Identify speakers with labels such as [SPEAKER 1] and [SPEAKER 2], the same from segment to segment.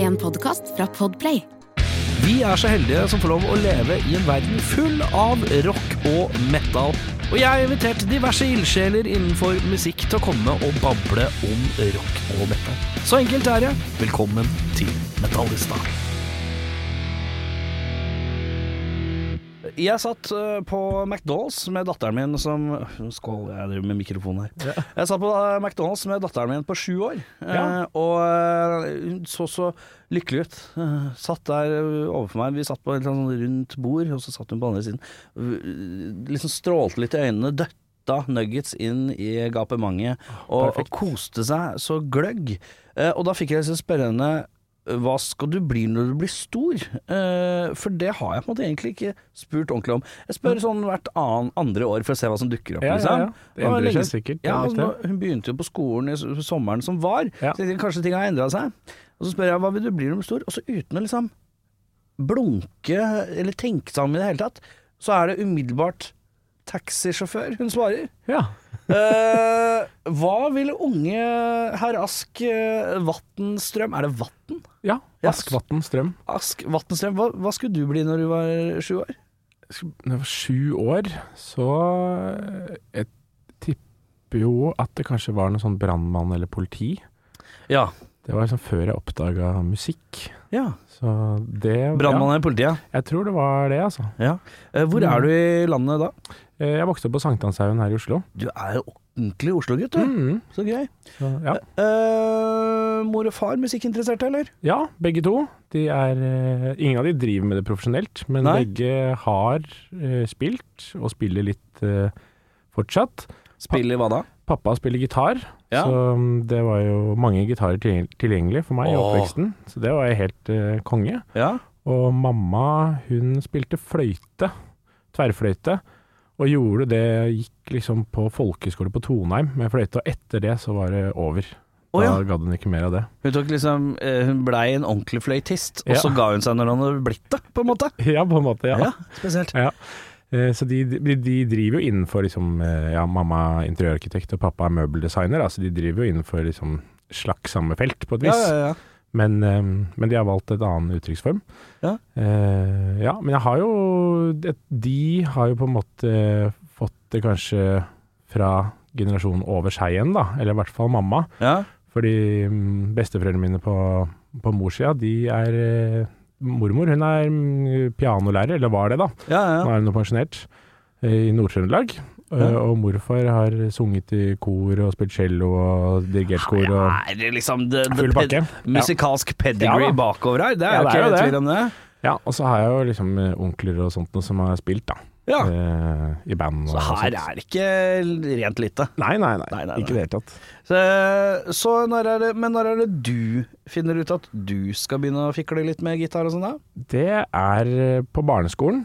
[SPEAKER 1] En podkast fra Podplay.
[SPEAKER 2] Vi er så heldige som får lov å leve i en verden full av rock og metal. Og jeg har invitert diverse ildsjeler innenfor musikk til å komme og bable om rock og metal. Så enkelt er det. Velkommen til Metallista. Jeg satt eh, på McDonald's med datteren min som Skål, jeg driver med mikrofon her. Jeg satt på eh, McDonald's med datteren min på sju år, eh,
[SPEAKER 3] Ja.
[SPEAKER 2] og eh, hun så så lykkelig ut. Eh, Satt der eh, overfor meg, vi satt på et eller annet sånn rundt bord, og så satt hun på andre siden. V- Liksom strålte litt i øynene, døtta nuggets inn i gapemanget, og, og koste seg så gløgg. Eh, Og da fikk jeg liksom spørre henne hva skal du bli når du blir stor? Eh, for det har jeg på en måte egentlig ikke spurt ordentlig om. Jeg spør sånn hvert annen, andre år for å se hva som dukker opp.
[SPEAKER 3] Ja, ja,
[SPEAKER 2] liksom.
[SPEAKER 3] ja. Det
[SPEAKER 2] Og
[SPEAKER 3] endrer seg
[SPEAKER 2] lenge-
[SPEAKER 3] sikkert, det er
[SPEAKER 2] Ja,
[SPEAKER 3] nok
[SPEAKER 2] og nå, hun begynte jo på skolen i s- sommeren som var,
[SPEAKER 3] Ja.
[SPEAKER 2] så jeg tenker kanskje ting har endra seg. Og så spør jeg hva vil du bli når du blir stor, og så uten å liksom blunke eller tenke seg om i det hele tatt, så er det umiddelbart taxisjåfør hun svarer.
[SPEAKER 3] Ja.
[SPEAKER 2] Eh, hva ville unge herr Ask eh, Vatnstrøm Er det Vatn?
[SPEAKER 3] ja.
[SPEAKER 2] Ja.
[SPEAKER 3] Askvatn Strøm.
[SPEAKER 2] Ask Vatnstrøm, hva, hva skulle du bli når du var sju år?
[SPEAKER 3] Når jeg var sju år, så eh, Jeg tipper jo at det kanskje var noe sånn brannmann eller politi.
[SPEAKER 2] Ja.
[SPEAKER 3] Det var liksom før jeg oppdaga musikk.
[SPEAKER 2] ja.
[SPEAKER 3] Så det
[SPEAKER 2] Brannmann i politiet.
[SPEAKER 3] Ja, jeg tror det var det, altså.
[SPEAKER 2] Ja. Eh, hvor er du i landet da?
[SPEAKER 3] Eh, Jeg vokste opp på Sankthanshaugen her i Oslo.
[SPEAKER 2] Du er jo ordentlig Oslo-gutt, du.
[SPEAKER 3] Mhm.
[SPEAKER 2] Mm. Så gøy.
[SPEAKER 3] Så, ja.
[SPEAKER 2] Eh, mor og far musikkinteresserte, eller?
[SPEAKER 3] ja, begge to. De er eh, Ingen av de driver med det profesjonelt, men
[SPEAKER 2] Nei.
[SPEAKER 3] begge har eh, spilt, og spiller litt eh, fortsatt.
[SPEAKER 2] Spiller hva da?
[SPEAKER 3] Pappa spiller gitar,
[SPEAKER 2] Ja.
[SPEAKER 3] så mm, det var jo mange gitarer til- tilgjengelig for meg i
[SPEAKER 2] Åh.
[SPEAKER 3] oppveksten. Så det var jo helt eh, konge.
[SPEAKER 2] Ja.
[SPEAKER 3] Og mamma, hun spilte fløyte, tverrfløyte, og gjorde det, gikk liksom på folkeskole på Tonheim med fløyte, og etter det så var det over.
[SPEAKER 2] Å, ja.
[SPEAKER 3] Da gadd hun ikke mer av det.
[SPEAKER 2] Hun, tok liksom, eh, hun blei en ordentlig fløytist, og
[SPEAKER 3] Ja.
[SPEAKER 2] så ga hun seg når han hadde blitt det, på en måte.
[SPEAKER 3] Ja, på en måte, ja.
[SPEAKER 2] spesielt.
[SPEAKER 3] Ja. Eh, Så de, de, de driver jo innenfor liksom, eh, ja, mamma er interiørarkitekt og pappa er møbeldesigner, da, så de driver jo innenfor liksom slags samme felt på et
[SPEAKER 2] Ja,
[SPEAKER 3] vis.
[SPEAKER 2] ja, ja.
[SPEAKER 3] Men, eh, men de har valgt et annen uttrykksform.
[SPEAKER 2] Ja.
[SPEAKER 3] Eh, ja, men jeg har jo det- De har jo på en måte fått det kanskje fra generasjonen over seg igjen, da. Eller i hvert fall mamma.
[SPEAKER 2] ja.
[SPEAKER 3] Fordi mm, besteforeldrene mine på, på morssida, de er eh, Mormor hun er mm, pianolærer, eller var det, da.
[SPEAKER 2] ja, ja,
[SPEAKER 3] Nå
[SPEAKER 2] ja.
[SPEAKER 3] er hun jo pensjonert eh, i Nord-Trøndelag. Eh,
[SPEAKER 2] Ja.
[SPEAKER 3] Og morfar har sunget i kor og spilt cello og dirigert kor. Og,
[SPEAKER 2] Er det liksom det, det
[SPEAKER 3] Full
[SPEAKER 2] ped-
[SPEAKER 3] pakke.
[SPEAKER 2] musikalsk pedigree
[SPEAKER 3] Ja da.
[SPEAKER 2] bakover her? Det er jo
[SPEAKER 3] Ja, det er
[SPEAKER 2] ikke
[SPEAKER 3] jo det.
[SPEAKER 2] tvil om det.
[SPEAKER 3] Ja, og så har jeg jo liksom eh, onkler og sånt noe som har spilt, da.
[SPEAKER 2] Ja.
[SPEAKER 3] Eh, I band og
[SPEAKER 2] Så her
[SPEAKER 3] sånt.
[SPEAKER 2] er det ikke rent lite.
[SPEAKER 3] Nei, nei, nei,
[SPEAKER 2] Nei, nei,
[SPEAKER 3] Ikke i det hele tatt.
[SPEAKER 2] Så, så når er det, men når er det du finner ut at du skal begynne å fikle litt med gitar og sånn, da?
[SPEAKER 3] Det er eh, på barneskolen.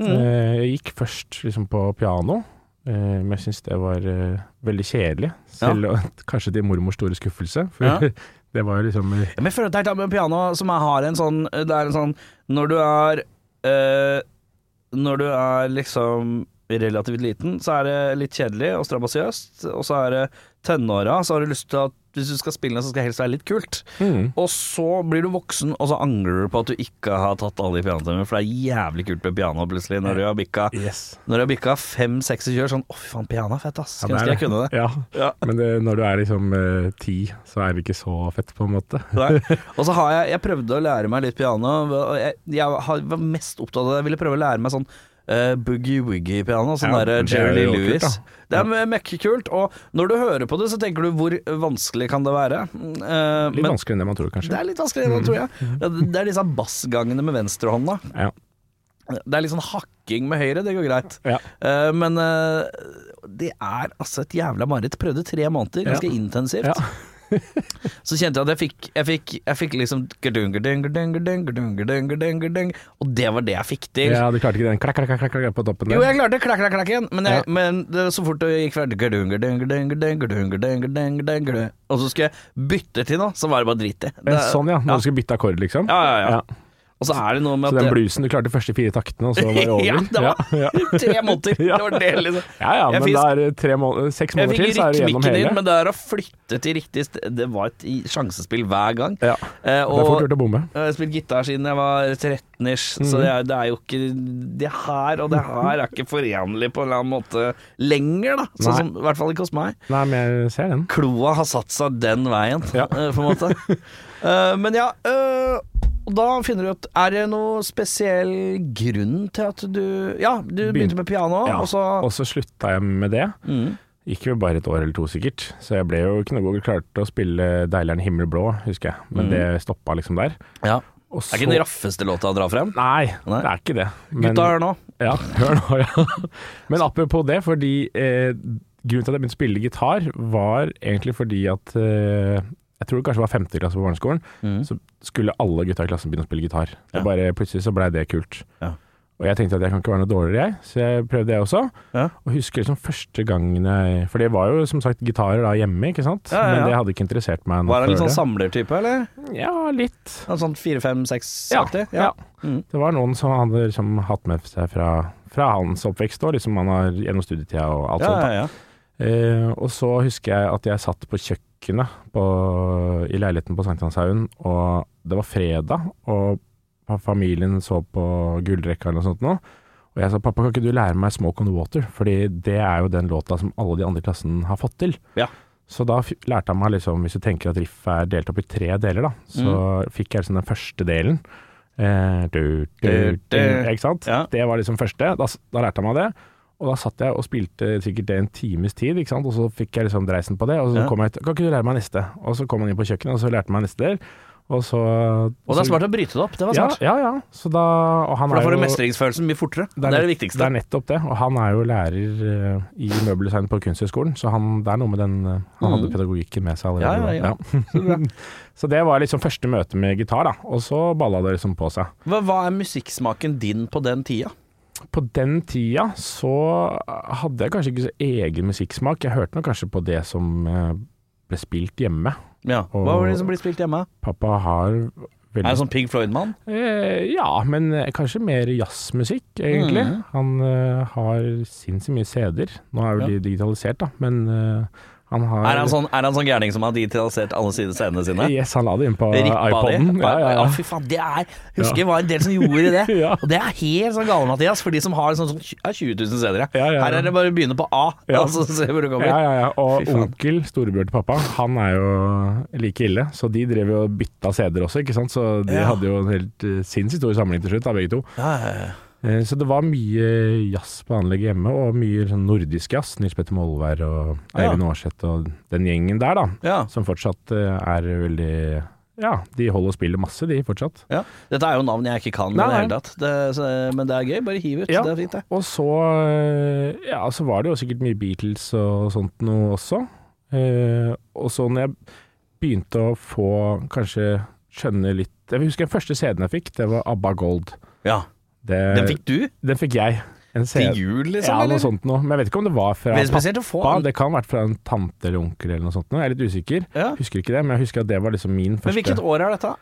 [SPEAKER 2] Mm.
[SPEAKER 3] Eh, jeg gikk først liksom på piano, eh, men jeg syns det var eh, veldig kjedelig. Selv om- kanskje til mormors store skuffelse, for
[SPEAKER 2] Ja.
[SPEAKER 3] det var jo liksom eh,
[SPEAKER 2] Men jeg føler at det er et med piano som jeg har en sånn Det er en sånn Når du er eh, Når du er liksom relativt liten, så er det litt kjedelig og strabasiøst. Og så er det tenåra, så har du lyst til at hvis du skal spille, så skal det helst være litt kult.
[SPEAKER 3] mm.
[SPEAKER 2] Og så blir du voksen, og så angrer du på at du ikke har tatt alle de pianotimene, for det er jævlig kult med piano plutselig når du har bikka
[SPEAKER 3] Yes.
[SPEAKER 2] Når du har bikka 5-26 år, sånn Å, fy faen, piano er fett, ass. Skulle ønske jeg kunne det.
[SPEAKER 3] Ja.
[SPEAKER 2] Ja.
[SPEAKER 3] Men det, når du er liksom eh, ti, så er det ikke så fett, på en måte.
[SPEAKER 2] Nei. Og så har jeg Jeg prøvde å lære meg litt piano. Og jeg, jeg har, var mest opptatt av det. Jeg ville prøve å lære meg sånn eh, boogie-woogie-piano. Sånn
[SPEAKER 3] Ja,
[SPEAKER 2] der eh,
[SPEAKER 3] det er
[SPEAKER 2] Jerry
[SPEAKER 3] jo
[SPEAKER 2] Lee
[SPEAKER 3] kult,
[SPEAKER 2] Lewis.
[SPEAKER 3] da.
[SPEAKER 2] Det er mekkekult. Og når du hører på det, så tenker du hvor vanskelig kan det være? Eh,
[SPEAKER 3] Litt Mm.
[SPEAKER 2] men
[SPEAKER 3] vanskeligere enn det man tror,
[SPEAKER 2] det
[SPEAKER 3] kanskje.
[SPEAKER 2] er litt vanskelig, da, tror jeg. Det- Det er disse bassgangene med venstrehånda.
[SPEAKER 3] Ja.
[SPEAKER 2] Det er litt sånn hakking med høyre, det går greit.
[SPEAKER 3] Ja.
[SPEAKER 2] Eh, men eh, det er altså et jævla mareritt. Prøvde tre måneder, ganske
[SPEAKER 3] Ja.
[SPEAKER 2] intensivt.
[SPEAKER 3] Ja.
[SPEAKER 2] så kjente jeg at jeg fikk Jeg fikk, jeg fikk liksom gerdung, gerdung, gerdung, gerdung, gerdung, gerdung, gerdung, gerdung, Og det var det jeg fikk til.
[SPEAKER 3] Ja, du klarte ikke den klakk, klakk, klakk, klakk på toppen der?
[SPEAKER 2] Jo, jeg klarte klakk-klakk-klakken, men, jeg-
[SPEAKER 3] Ja.
[SPEAKER 2] men det, så fort det gikk fra gerdung, gerdung, gerdung, gerdung, gerdung, gerdung, gerdung, gerdung, gerdung, Og så skulle jeg bytte til noe, så var det bare drit i.
[SPEAKER 3] Men
[SPEAKER 2] Det-
[SPEAKER 3] sånn ja, når
[SPEAKER 2] Ja.
[SPEAKER 3] du skal bytte akkord liksom.
[SPEAKER 2] Ja, ja, ja. Og så er det noe
[SPEAKER 3] Så
[SPEAKER 2] med
[SPEAKER 3] den
[SPEAKER 2] at det,
[SPEAKER 3] bluesen du klarte de første fire taktene, og så var det over?
[SPEAKER 2] Ja, det var-
[SPEAKER 3] ja, ja.
[SPEAKER 2] Tre måneder!
[SPEAKER 3] Ja.
[SPEAKER 2] Det var det, liksom.
[SPEAKER 3] ja, ja
[SPEAKER 2] Jeg
[SPEAKER 3] men
[SPEAKER 2] fikk-
[SPEAKER 3] da er det tre måneder, seks
[SPEAKER 2] Jeg
[SPEAKER 3] måneder
[SPEAKER 2] fikk
[SPEAKER 3] til, så er du gjennom
[SPEAKER 2] rytmikken inn,
[SPEAKER 3] hele.
[SPEAKER 2] men det er å flytte til riktig sted Det var et i- sjansespill hver gang.
[SPEAKER 3] Ja,
[SPEAKER 2] Eh,
[SPEAKER 3] det er
[SPEAKER 2] og
[SPEAKER 3] fort gjort Mhm. å bomme.
[SPEAKER 2] jeg har spilt gitar siden jeg var 13-ish, så det er, det er jo ikke Det her og det her er ikke forenlig på en eller annen måte lenger, da. Sånn
[SPEAKER 3] Nei.
[SPEAKER 2] som, I hvert fall ikke hos meg.
[SPEAKER 3] Nei, men jeg ser den.
[SPEAKER 2] Kloa har satt seg den veien,
[SPEAKER 3] Ja.
[SPEAKER 2] eh, på en måte. Eh, men ja, eh, og da finner du ut Er det noe spesiell grunn til at du Ja, du begynte
[SPEAKER 3] Begynte-
[SPEAKER 2] med piano,
[SPEAKER 3] Ja,
[SPEAKER 2] og så
[SPEAKER 3] Og så slutta jeg med det.
[SPEAKER 2] mm,
[SPEAKER 3] Gikk jo bare et år eller to sikkert, så jeg ble jo knallgod klar til å spille 'Deilig er den himmel blå', husker jeg, men
[SPEAKER 2] Mm.
[SPEAKER 3] det stoppa liksom der.
[SPEAKER 2] ja.
[SPEAKER 3] Og
[SPEAKER 2] Det er ikke den raffeste låta å dra frem.
[SPEAKER 3] Nei,
[SPEAKER 2] Nei.
[SPEAKER 3] det er ikke det.
[SPEAKER 2] Gutta, hør nå.
[SPEAKER 3] Ja, hør nå, ja. Men apropos det, fordi eh, grunnen til at jeg begynte å spille gitar, var egentlig fordi at eh, jeg tror det kanskje var femte klasse på barneskolen,
[SPEAKER 2] Mm.
[SPEAKER 3] så skulle alle gutta i klassen begynne å spille gitar.
[SPEAKER 2] Ja.
[SPEAKER 3] Det bare Plutselig så blei det kult.
[SPEAKER 2] Ja.
[SPEAKER 3] Og jeg tenkte at jeg kan ikke være noe dårligere, jeg, så jeg prøvde det også.
[SPEAKER 2] Ja.
[SPEAKER 3] Og husker liksom første gangen jeg For det var jo som sagt gitarer da hjemme, ikke sant?
[SPEAKER 2] Ja, ja, ja.
[SPEAKER 3] Men det hadde ikke interessert meg. noe
[SPEAKER 2] Var han litt
[SPEAKER 3] før
[SPEAKER 2] sånn samlertype, eller?
[SPEAKER 3] det. Ja, litt.
[SPEAKER 2] En sånn
[SPEAKER 3] Ja,
[SPEAKER 2] 4-5-6-aktig?
[SPEAKER 3] ja.
[SPEAKER 2] Mm.
[SPEAKER 3] Det var noen som hadde liksom hatt med seg fra, fra hans oppvekst og liksom han har gjennom studietida og alt sånt.
[SPEAKER 2] ja,
[SPEAKER 3] da.
[SPEAKER 2] ja, ja.
[SPEAKER 3] Eh, og så husker jeg at jeg satt på kjøkkenet på, i leiligheten på Sankthanshaugen, og det var fredag, og fa- familien så på gullrekka eller noe sånt nå. Og jeg sa pappa, kan ikke du lære meg 'Smoke on the Water', Fordi det er jo den låta som alle de andre i klassen har fått til.
[SPEAKER 2] Ja.
[SPEAKER 3] Så da f lærte han meg liksom, hvis du tenker at riffet er delt opp i tre deler, da, så
[SPEAKER 2] Mm.
[SPEAKER 3] fikk jeg liksom den første delen. Eh, du, du,
[SPEAKER 2] Du,
[SPEAKER 3] du,
[SPEAKER 2] du.
[SPEAKER 3] ikke sant?
[SPEAKER 2] Ja.
[SPEAKER 3] Det var liksom første. Da, s- da lærte jeg meg det. Og da satt jeg og spilte sikkert det en times tid, ikke sant? og så fikk jeg liksom dreisen på det. Og så
[SPEAKER 2] Ja.
[SPEAKER 3] kom jeg ut Kan ikke du lære meg neste? Og så kom han inn på kjøkkenet, og så lærte han meg neste del. Og så
[SPEAKER 2] Og det er smart å bryte det opp. Det var smart.
[SPEAKER 3] Ja, ja. ja. Så da, og han
[SPEAKER 2] For da
[SPEAKER 3] er
[SPEAKER 2] får du
[SPEAKER 3] jo-
[SPEAKER 2] mestringsfølelsen mye fortere. Det er det
[SPEAKER 3] nett- Det
[SPEAKER 2] viktigste.
[SPEAKER 3] er nettopp det. Og han er jo lærer eh, i møbeldesign på Kunsthøgskolen, så han, det er noe med den eh, Han hadde
[SPEAKER 2] Mhm.
[SPEAKER 3] pedagogikken med seg
[SPEAKER 2] Ja,
[SPEAKER 3] allerede.
[SPEAKER 2] ja, ja.
[SPEAKER 3] da. så det var liksom første møte med gitar, da. Og så balla det liksom på seg.
[SPEAKER 2] Hva, hva er musikksmaken din på den tida?
[SPEAKER 3] på den tida så hadde jeg kanskje ikke så egen musikksmak. Jeg hørte nok kanskje på det som eh, ble spilt hjemme.
[SPEAKER 2] Ja. Hva var det som ble spilt hjemme?
[SPEAKER 3] Pappa har
[SPEAKER 2] Er
[SPEAKER 3] veldig
[SPEAKER 2] det sånn Pig Floyd-mann?
[SPEAKER 3] eh, Ja, men eh, kanskje mer jazzmusikk, egentlig.
[SPEAKER 2] Mhm.
[SPEAKER 3] Han eh, har sinnssykt mye CD-er. Nå er jo
[SPEAKER 2] Ja.
[SPEAKER 3] de digitalisert, da, men eh, han har
[SPEAKER 2] Er han sånn, er han sånn gærning som har digitalisert alle sine scenene sine?
[SPEAKER 3] Yes, han la det inn på
[SPEAKER 2] Rippa de?
[SPEAKER 3] iPoden. Ja, ja, ja.
[SPEAKER 2] fy faen. Det er Husker det var en del som gjorde det.
[SPEAKER 3] Ja.
[SPEAKER 2] Og det er helt sånn gale, Mathias, for de som har sånn, sånn tj- ja, 20 000 steder.
[SPEAKER 3] Ja, ja, ja.
[SPEAKER 2] Her er det bare å begynne på A,
[SPEAKER 3] Ja.
[SPEAKER 2] og så se hvor du kommer.
[SPEAKER 3] Ja, ja, ja.
[SPEAKER 2] Fy
[SPEAKER 3] Og
[SPEAKER 2] faen.
[SPEAKER 3] onkel, storebror til pappa, han er jo like ille. Så de drev jo og bytta CD-er også, ikke sant. Så de
[SPEAKER 2] Ja.
[SPEAKER 3] hadde jo en helt eh, sinnssykt stor samling til slutt, da, begge to.
[SPEAKER 2] Ja, ja, ja.
[SPEAKER 3] Eh, Så det var mye jazz på anlegget hjemme, og mye sånn nordisk jazz. Nils Petter Molvær og Eivind Aarseth og den gjengen der, da.
[SPEAKER 2] ja.
[SPEAKER 3] Som fortsatt eh, er veldig Ja, de holder og spiller masse, de, fortsatt.
[SPEAKER 2] Ja. Dette er jo navn jeg ikke kan i
[SPEAKER 3] Nei,
[SPEAKER 2] det hele
[SPEAKER 3] nei.
[SPEAKER 2] tatt, det, så, men det er gøy. Bare hiv ut.
[SPEAKER 3] Ja.
[SPEAKER 2] Det er fint, det.
[SPEAKER 3] Og så eh, Ja, så var det jo sikkert mye Beatles og sånt noe også. Eh, og så når jeg begynte å få kanskje skjønne litt Jeg husker den første CD-en jeg fikk, det var ABBA Gold.
[SPEAKER 2] Ja.
[SPEAKER 3] Det,
[SPEAKER 2] Eh, Den fikk du
[SPEAKER 3] den fikk jeg. En
[SPEAKER 2] til
[SPEAKER 3] CD.
[SPEAKER 2] jul, liksom?
[SPEAKER 3] Ja, noe
[SPEAKER 2] eller?
[SPEAKER 3] sånt noe. Men jeg vet ikke om det var fra
[SPEAKER 2] Veldig spesielt å få.
[SPEAKER 3] pappa. Det kan ha vært fra en tante eller onkel eller noe sånt. Noe. Jeg er litt usikker.
[SPEAKER 2] Ja.
[SPEAKER 3] Husker ikke det, men jeg husker at det var liksom
[SPEAKER 2] Men
[SPEAKER 3] min
[SPEAKER 2] hvilket
[SPEAKER 3] første Sånn
[SPEAKER 2] år er dette?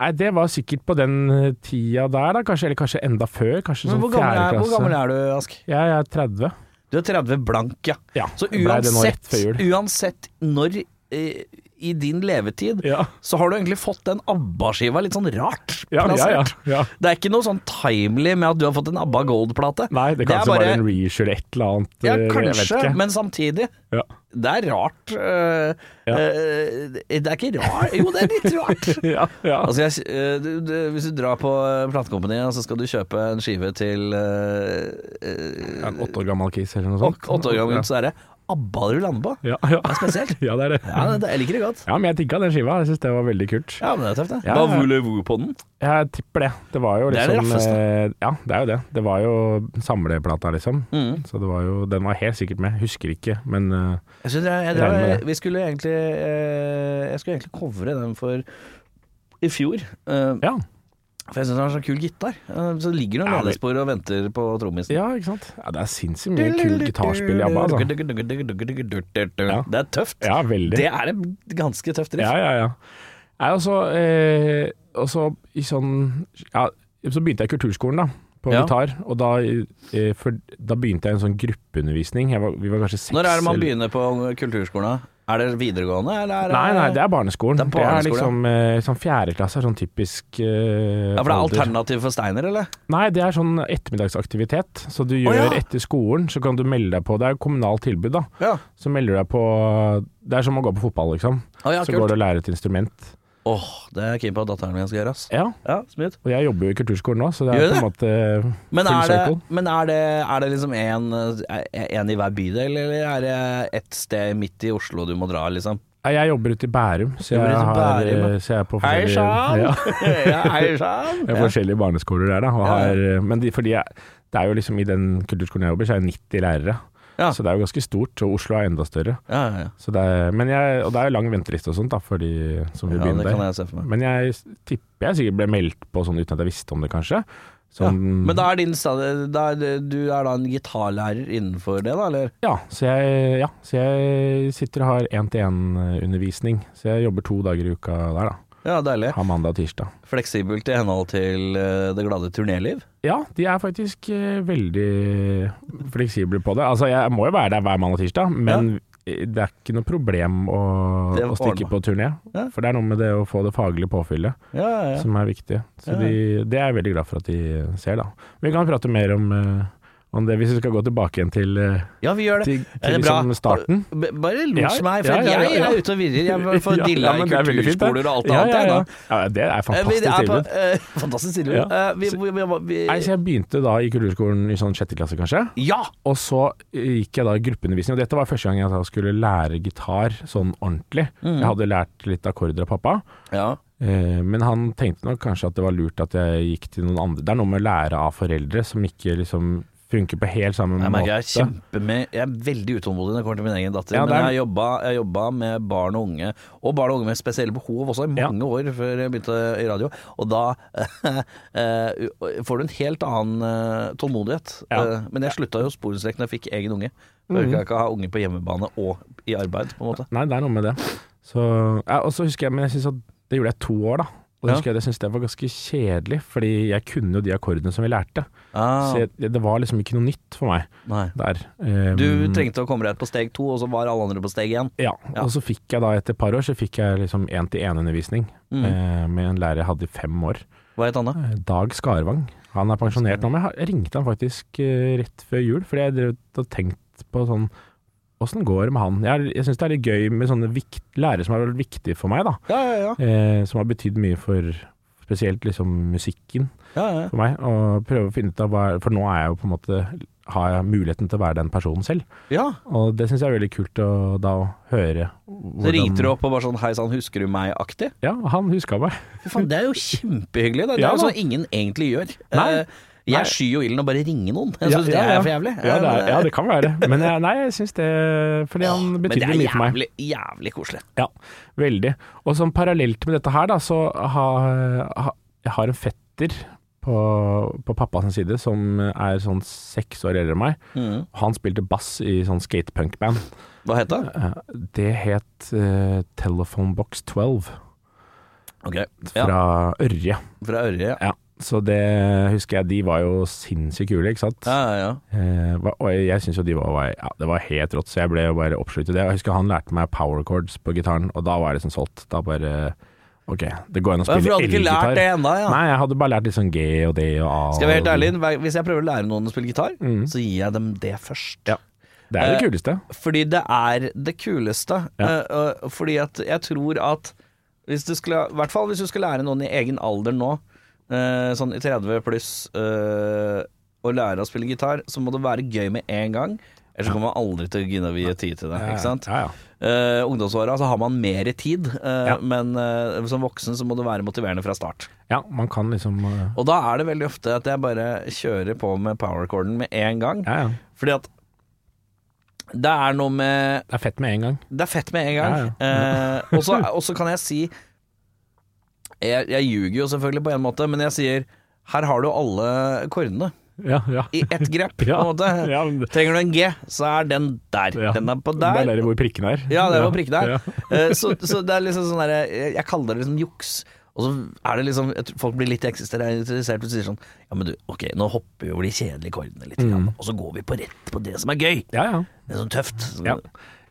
[SPEAKER 3] Nei, Det var sikkert på den eh, tida der, da. Kanskje, eller kanskje enda før. Kanskje
[SPEAKER 2] Men
[SPEAKER 3] sånn
[SPEAKER 2] hvor, gammel
[SPEAKER 3] fjerde
[SPEAKER 2] er, hvor
[SPEAKER 3] klasse.
[SPEAKER 2] gammel er du, Ask?
[SPEAKER 3] Jeg er 30.
[SPEAKER 2] Du er 30 blank, ja.
[SPEAKER 3] Ja,
[SPEAKER 2] Så
[SPEAKER 3] ble det nå rett
[SPEAKER 2] uansett,
[SPEAKER 3] før jul.
[SPEAKER 2] uansett når eh, i din levetid,
[SPEAKER 3] Ja,
[SPEAKER 2] så har du egentlig fått den ABBA-skiva litt sånn rart
[SPEAKER 3] ja, ja, ja,
[SPEAKER 2] plassert.
[SPEAKER 3] ja.
[SPEAKER 2] Det er ikke noe sånn timely med at du har fått en ABBA Gold-plate.
[SPEAKER 3] Nei, det
[SPEAKER 2] Det
[SPEAKER 3] kan
[SPEAKER 2] er
[SPEAKER 3] ikke
[SPEAKER 2] bare-
[SPEAKER 3] være en reissue eller et eller annet.
[SPEAKER 2] Ja,
[SPEAKER 3] eh,
[SPEAKER 2] kanskje,
[SPEAKER 3] jeg vet ikke.
[SPEAKER 2] men samtidig.
[SPEAKER 3] Ja.
[SPEAKER 2] Det er rart. eh,
[SPEAKER 3] Ja.
[SPEAKER 2] eh, det er ikke rart Jo, det er litt rart.
[SPEAKER 3] Ja, ja.
[SPEAKER 2] Altså jeg, eh, du, du, hvis du drar på eh, platekompaniet, så skal du kjøpe en skive til eh,
[SPEAKER 3] en åtte år gammel kis eller noe
[SPEAKER 2] Og
[SPEAKER 3] sånt.
[SPEAKER 2] åtte år gammel, så er det ABBA du lander på.
[SPEAKER 3] Ja, ja.
[SPEAKER 2] Det er spesielt.
[SPEAKER 3] ja, det er det.
[SPEAKER 2] Ja, det, jeg liker det godt.
[SPEAKER 3] Ja, men jeg digga den skiva. Jeg syns det var veldig kult.
[SPEAKER 2] Ja, men det er tøft, det.
[SPEAKER 3] Ja, ja.
[SPEAKER 2] voulez-vous på den?
[SPEAKER 3] Jeg tipper det. Det var jo
[SPEAKER 2] Det er det
[SPEAKER 3] liksom
[SPEAKER 2] raffeste.
[SPEAKER 3] eh, Ja, det er jo det. Det var jo samleplata, liksom.
[SPEAKER 2] Mm.
[SPEAKER 3] Så det var jo Den var helt sikkert med. Husker ikke, men eh,
[SPEAKER 2] Jeg synes jeg, jeg,
[SPEAKER 3] Regner med
[SPEAKER 2] jeg,
[SPEAKER 3] det.
[SPEAKER 2] vi skulle egentlig eh, Jeg skulle egentlig covre den for i fjor. Eh,
[SPEAKER 3] ja.
[SPEAKER 2] For jeg syns den har så kul gitar. Eh, så det ligger noen
[SPEAKER 3] Ja, men-
[SPEAKER 2] ladespor og venter på trommisen.
[SPEAKER 3] Ja, ikke sant. Ja, det er sinnssykt mye kult gitarspill i ABBA, altså. Ja.
[SPEAKER 2] Det er tøft.
[SPEAKER 3] Ja, veldig.
[SPEAKER 2] Det er et ganske tøft riff.
[SPEAKER 3] Ja, ja, ja. Nei, altså, eh, og så i sånn Ja, så begynte jeg i kulturskolen, da. På
[SPEAKER 2] Ja.
[SPEAKER 3] gitar. Og da, eh, for, da begynte jeg en sånn gruppeundervisning. Jeg var, vi var kanskje seks
[SPEAKER 2] Når er det man
[SPEAKER 3] eller-
[SPEAKER 2] begynner på kulturskolen? Er det videregående, eller er det
[SPEAKER 3] Nei, nei, det er barneskolen.
[SPEAKER 2] Det
[SPEAKER 3] Det
[SPEAKER 2] er
[SPEAKER 3] er,
[SPEAKER 2] barneskolen,
[SPEAKER 3] liksom eh, sånn fjerde klasse, er sånn typisk eh,
[SPEAKER 2] Ja, for det er
[SPEAKER 3] alder.
[SPEAKER 2] alternativ for Steiner, eller?
[SPEAKER 3] Nei, det er sånn ettermiddagsaktivitet. Så du
[SPEAKER 2] Å,
[SPEAKER 3] gjør
[SPEAKER 2] ja.
[SPEAKER 3] etter skolen, så kan du melde deg på. Det er jo kommunalt tilbud, da.
[SPEAKER 2] Ja.
[SPEAKER 3] Så melder du deg på Det er som å gå på fotball, liksom.
[SPEAKER 2] Å, ja
[SPEAKER 3] så
[SPEAKER 2] kult.
[SPEAKER 3] går du og lærer et instrument.
[SPEAKER 2] Åh, det er jeg keen på at datteren min skal gjøre, ass.
[SPEAKER 3] Ja,
[SPEAKER 2] Ja, smooth.
[SPEAKER 3] og jeg jobber jo i kulturskolen nå, så det
[SPEAKER 2] Gjør du
[SPEAKER 3] er på en måte
[SPEAKER 2] Men,
[SPEAKER 3] Full
[SPEAKER 2] er det,
[SPEAKER 3] circle.
[SPEAKER 2] men er, det, er det liksom en, en i hver bydel, eller er det ett sted midt i Oslo du må dra, liksom?
[SPEAKER 3] Nei, Jeg jobber ute i Bærum, så jeg,
[SPEAKER 2] Jobber ute i
[SPEAKER 3] har,
[SPEAKER 2] Bærum,
[SPEAKER 3] eh, så jeg er på
[SPEAKER 2] Hei
[SPEAKER 3] forskjellige
[SPEAKER 2] sann!
[SPEAKER 3] Ja.
[SPEAKER 2] Ja, hei sann!
[SPEAKER 3] Jeg har
[SPEAKER 2] Ja.
[SPEAKER 3] forskjellige barneskoler der, da. Og
[SPEAKER 2] Ja, ja.
[SPEAKER 3] har, eh, men de, fordi jeg, det er jo liksom i den kulturskolen jeg jobber, så er det 90 lærere.
[SPEAKER 2] Ja.
[SPEAKER 3] Så det er jo ganske stort, og Oslo er enda større.
[SPEAKER 2] Ja, ja, ja.
[SPEAKER 3] Så det er, men jeg, og det er jo lang venteliste og sånt, da, for de som vil
[SPEAKER 2] ja,
[SPEAKER 3] begynne
[SPEAKER 2] det kan
[SPEAKER 3] der.
[SPEAKER 2] jeg se for meg.
[SPEAKER 3] Men jeg s- tipper jeg sikkert ble meldt på sånn uten at jeg visste om det, kanskje.
[SPEAKER 2] Ja.
[SPEAKER 3] Sånn, ja,
[SPEAKER 2] Men da er din stad- da er, det- du er da en gitarlærer innenfor det, da, eller?
[SPEAKER 3] så jeg, ja, så jeg sitter og har én-til-én-undervisning. Så jeg jobber to dager i uka der, da.
[SPEAKER 2] Ja, deilig.
[SPEAKER 3] Har mandag og tirsdag.
[SPEAKER 2] Fleksibelt i henhold til eh, det glade turnéliv.
[SPEAKER 3] Ja, de er faktisk eh, veldig fleksible på det. Altså, jeg må jo være der hver mandag og tirsdag, men eh, det er ikke noe problem å,
[SPEAKER 2] Det
[SPEAKER 3] å stikke
[SPEAKER 2] ordner.
[SPEAKER 3] på turné.
[SPEAKER 2] Ja.
[SPEAKER 3] For det er noe med det å få det faglige påfyllet
[SPEAKER 2] Ja, ja, ja.
[SPEAKER 3] som er viktig. Så
[SPEAKER 2] Ja.
[SPEAKER 3] de, det er jeg veldig glad for at de ser, da. Vi kan prate mer om, eh, om det hvis vi skal gå tilbake igjen til, eh,
[SPEAKER 2] ja, vi gjør det.
[SPEAKER 3] til,
[SPEAKER 2] Er
[SPEAKER 3] til
[SPEAKER 2] det bra?
[SPEAKER 3] liksom starten.
[SPEAKER 2] B- Bare los
[SPEAKER 3] Ja,
[SPEAKER 2] meg, for
[SPEAKER 3] ja, ja,
[SPEAKER 2] jeg,
[SPEAKER 3] ja, ja.
[SPEAKER 2] er ute og virrer. Jeg får
[SPEAKER 3] Ja,
[SPEAKER 2] dilla
[SPEAKER 3] ja, men
[SPEAKER 2] i
[SPEAKER 3] det er veldig fint, det.
[SPEAKER 2] kulturskoler og alt det
[SPEAKER 3] ja,
[SPEAKER 2] annet.
[SPEAKER 3] ja,
[SPEAKER 2] jeg, da.
[SPEAKER 3] ja. ja, det er fantastisk
[SPEAKER 2] Eh, vi er på-
[SPEAKER 3] tilbud.
[SPEAKER 2] eh, fantastisk tilbud.
[SPEAKER 3] Ja.
[SPEAKER 2] Eh, vi, vi, vi, vi,
[SPEAKER 3] Nei, så jeg begynte da i kulturskolen i sånn sjette klasse, kanskje.
[SPEAKER 2] ja!
[SPEAKER 3] Og så eh, gikk jeg da i gruppeundervisning, og dette var første gang jeg da skulle lære gitar sånn ordentlig.
[SPEAKER 2] Mm.
[SPEAKER 3] Jeg hadde lært litt akkorder av pappa,
[SPEAKER 2] ja!
[SPEAKER 3] eh, men han tenkte nok kanskje at det var lurt at jeg gikk til noen andre. Det er noe med å lære av foreldre som ikke liksom funker på helt samme
[SPEAKER 2] Jeg merker jeg er
[SPEAKER 3] måte.
[SPEAKER 2] kjempe med Jeg er veldig utålmodig når det kommer til min egen datter.
[SPEAKER 3] Ja, det
[SPEAKER 2] Men
[SPEAKER 3] er-
[SPEAKER 2] jeg har jobba- jeg har jobba med barn og unge, og barn og unge med spesielle behov også, i
[SPEAKER 3] Ja.
[SPEAKER 2] mange år før jeg begynte i radio. Og da eh, får du en helt annen eh, tålmodighet.
[SPEAKER 3] Ja. Mhm.
[SPEAKER 2] Eh, men jeg slutta jo sporenstrek når jeg fikk egen unge. For jeg kan ikke ha unge på hjemmebane og i arbeid, på en måte.
[SPEAKER 3] Nei, det er noe med det. Så, ja, og så husker jeg, men jeg synes at det gjorde jeg to år da. Og
[SPEAKER 2] Ja.
[SPEAKER 3] da husker jeg, jeg synes det var ganske kjedelig, fordi jeg kunne jo de akkordene som vi lærte.
[SPEAKER 2] Ah,
[SPEAKER 3] Så jeg, det var liksom ikke noe nytt for meg
[SPEAKER 2] nei.
[SPEAKER 3] der.
[SPEAKER 2] Du
[SPEAKER 3] Um,
[SPEAKER 2] trengte å komme deg ut på steg to, og så var alle andre på steg én.
[SPEAKER 3] Ja,
[SPEAKER 2] Ja.
[SPEAKER 3] og så fikk jeg da etter et par år Så fikk jeg liksom en-til-en-undervisning
[SPEAKER 2] Mm.
[SPEAKER 3] eh, Med en lærer jeg hadde i fem år
[SPEAKER 2] Hva het Anna?
[SPEAKER 3] Eh, Dag Skarvang Han er pensjonert nå, men jeg har- jeg ringte han faktisk eh, rett før jul Fordi jeg drev og tenkt på sånn Hvordan går det med han? Jeg, jeg synes det er litt gøy med sånne vikt, lærere som har vært viktige for meg da
[SPEAKER 2] Ja, ja, ja.
[SPEAKER 3] eh, Som har betydd mye for spesielt liksom musikken
[SPEAKER 2] ja, ja.
[SPEAKER 3] for meg Og prøve å finne ut av hva For nå er jeg jo på en måte Har jeg muligheten til å være den personen selv
[SPEAKER 2] ja.
[SPEAKER 3] Og det synes jeg er veldig kult å da høre
[SPEAKER 2] Så ringte du opp og bare sånn 'hei sann, husker du meg?'-aktig.
[SPEAKER 3] Ja, han huska meg.
[SPEAKER 2] Fy faen, Det er jo kjempehyggelig. Det, det
[SPEAKER 3] Ja,
[SPEAKER 2] er jo
[SPEAKER 3] da.
[SPEAKER 2] sånn ingen egentlig gjør.
[SPEAKER 3] Nei.
[SPEAKER 2] Eh, Jeg
[SPEAKER 3] Nei.
[SPEAKER 2] skyr jo ilden og bare ringer noen. Jeg
[SPEAKER 3] Ja,
[SPEAKER 2] syns
[SPEAKER 3] ja,
[SPEAKER 2] det
[SPEAKER 3] ja.
[SPEAKER 2] er for jævlig.
[SPEAKER 3] Ja, det,
[SPEAKER 2] men,
[SPEAKER 3] er, ja, det kan være det. Men jeg, nei, jeg syns det Fordi han
[SPEAKER 2] men det
[SPEAKER 3] betydde
[SPEAKER 2] er
[SPEAKER 3] mye for meg.
[SPEAKER 2] jævlig, jævlig koselig.
[SPEAKER 3] Ja, veldig. Og sånn parallelt med dette her, da, så har ha, jeg har en fetter på, på pappas side som er sånn seks år eldre enn meg.
[SPEAKER 2] Mhm.
[SPEAKER 3] Han spilte bass i sånn skatepunkband.
[SPEAKER 2] Hva het det?
[SPEAKER 3] Eh, Det het eh, Telephone Box 12
[SPEAKER 2] Ok, ja,
[SPEAKER 3] fra Ørje.
[SPEAKER 2] Fra Ørje. Ja,
[SPEAKER 3] Ja, så det husker jeg. De var jo sinnssykt kule, ikke sant?
[SPEAKER 2] ja, ja.
[SPEAKER 3] Eh, hva- og jeg, jeg synes jo de var, var ja, Det var helt rått, så jeg ble jo bare oppsluttet i det. Og Jeg husker han lærte meg power chords på gitaren, og da var jeg liksom solgt. Da bare Ok, det går an å
[SPEAKER 2] Ja, For du
[SPEAKER 3] spille
[SPEAKER 2] hadde ikke lært det
[SPEAKER 3] elgitar.
[SPEAKER 2] ennå, ja.
[SPEAKER 3] Nei, jeg hadde bare lært liksom G og D og A.
[SPEAKER 2] Skal jeg være helt
[SPEAKER 3] og-
[SPEAKER 2] ærlig, hver- hvis jeg prøver å lære noen å spille gitar,
[SPEAKER 3] Mm.
[SPEAKER 2] så gir jeg dem det først.
[SPEAKER 3] Ja. Det er det
[SPEAKER 2] Eh,
[SPEAKER 3] kuleste.
[SPEAKER 2] Fordi det er det kuleste.
[SPEAKER 3] Ja.
[SPEAKER 2] Eh, eh, fordi at jeg tror at hvis du skulle, I hvert fall hvis du skal lære noen i egen alder nå, eh, sånn i 30 pluss, eh, å lære å spille gitar, så må det være gøy med en gang. Ellers så kommer man aldri til å gidde å vie tid til det. ikke sant?
[SPEAKER 3] Ja, ja.
[SPEAKER 2] Uh, ungdomsåra så har man mer tid, eh,
[SPEAKER 3] Ja.
[SPEAKER 2] men eh, som voksen så må det være motiverende fra start.
[SPEAKER 3] ja, man kan liksom eh,
[SPEAKER 2] Og da er det veldig ofte at jeg bare kjører på med powercorden med en gang.
[SPEAKER 3] Ja, ja.
[SPEAKER 2] Fordi at det er noe med
[SPEAKER 3] Det er fett med en gang.
[SPEAKER 2] det er fett med en gang.
[SPEAKER 3] Ja,
[SPEAKER 2] Eh, og så- og så kan jeg si Jeg, jeg ljuger jo selvfølgelig på en måte, men jeg sier her har du alle kordene
[SPEAKER 3] Ja, ja.
[SPEAKER 2] i ett grep. på
[SPEAKER 3] Ja,
[SPEAKER 2] en måte.
[SPEAKER 3] ja, men det-
[SPEAKER 2] Trenger du en G, så er den der.
[SPEAKER 3] Ja.
[SPEAKER 2] Den er på
[SPEAKER 3] Det
[SPEAKER 2] der.
[SPEAKER 3] er der hvor prikken er.
[SPEAKER 2] Ja, det var prikken der.
[SPEAKER 3] Ja.
[SPEAKER 2] Eh, så, så det er liksom sånn derre jeg, jeg kaller det liksom juks. Og så er det liksom jeg tror Folk blir litt eksistensrealisert og sier sånn Ja, men du, ok, nå hopper vi over de kjedelige kordene litt,
[SPEAKER 3] Mm.
[SPEAKER 2] grann, og så går vi på rett på det som er gøy.
[SPEAKER 3] Ja, ja.
[SPEAKER 2] Det er sånn tøft. Så,
[SPEAKER 3] Ja.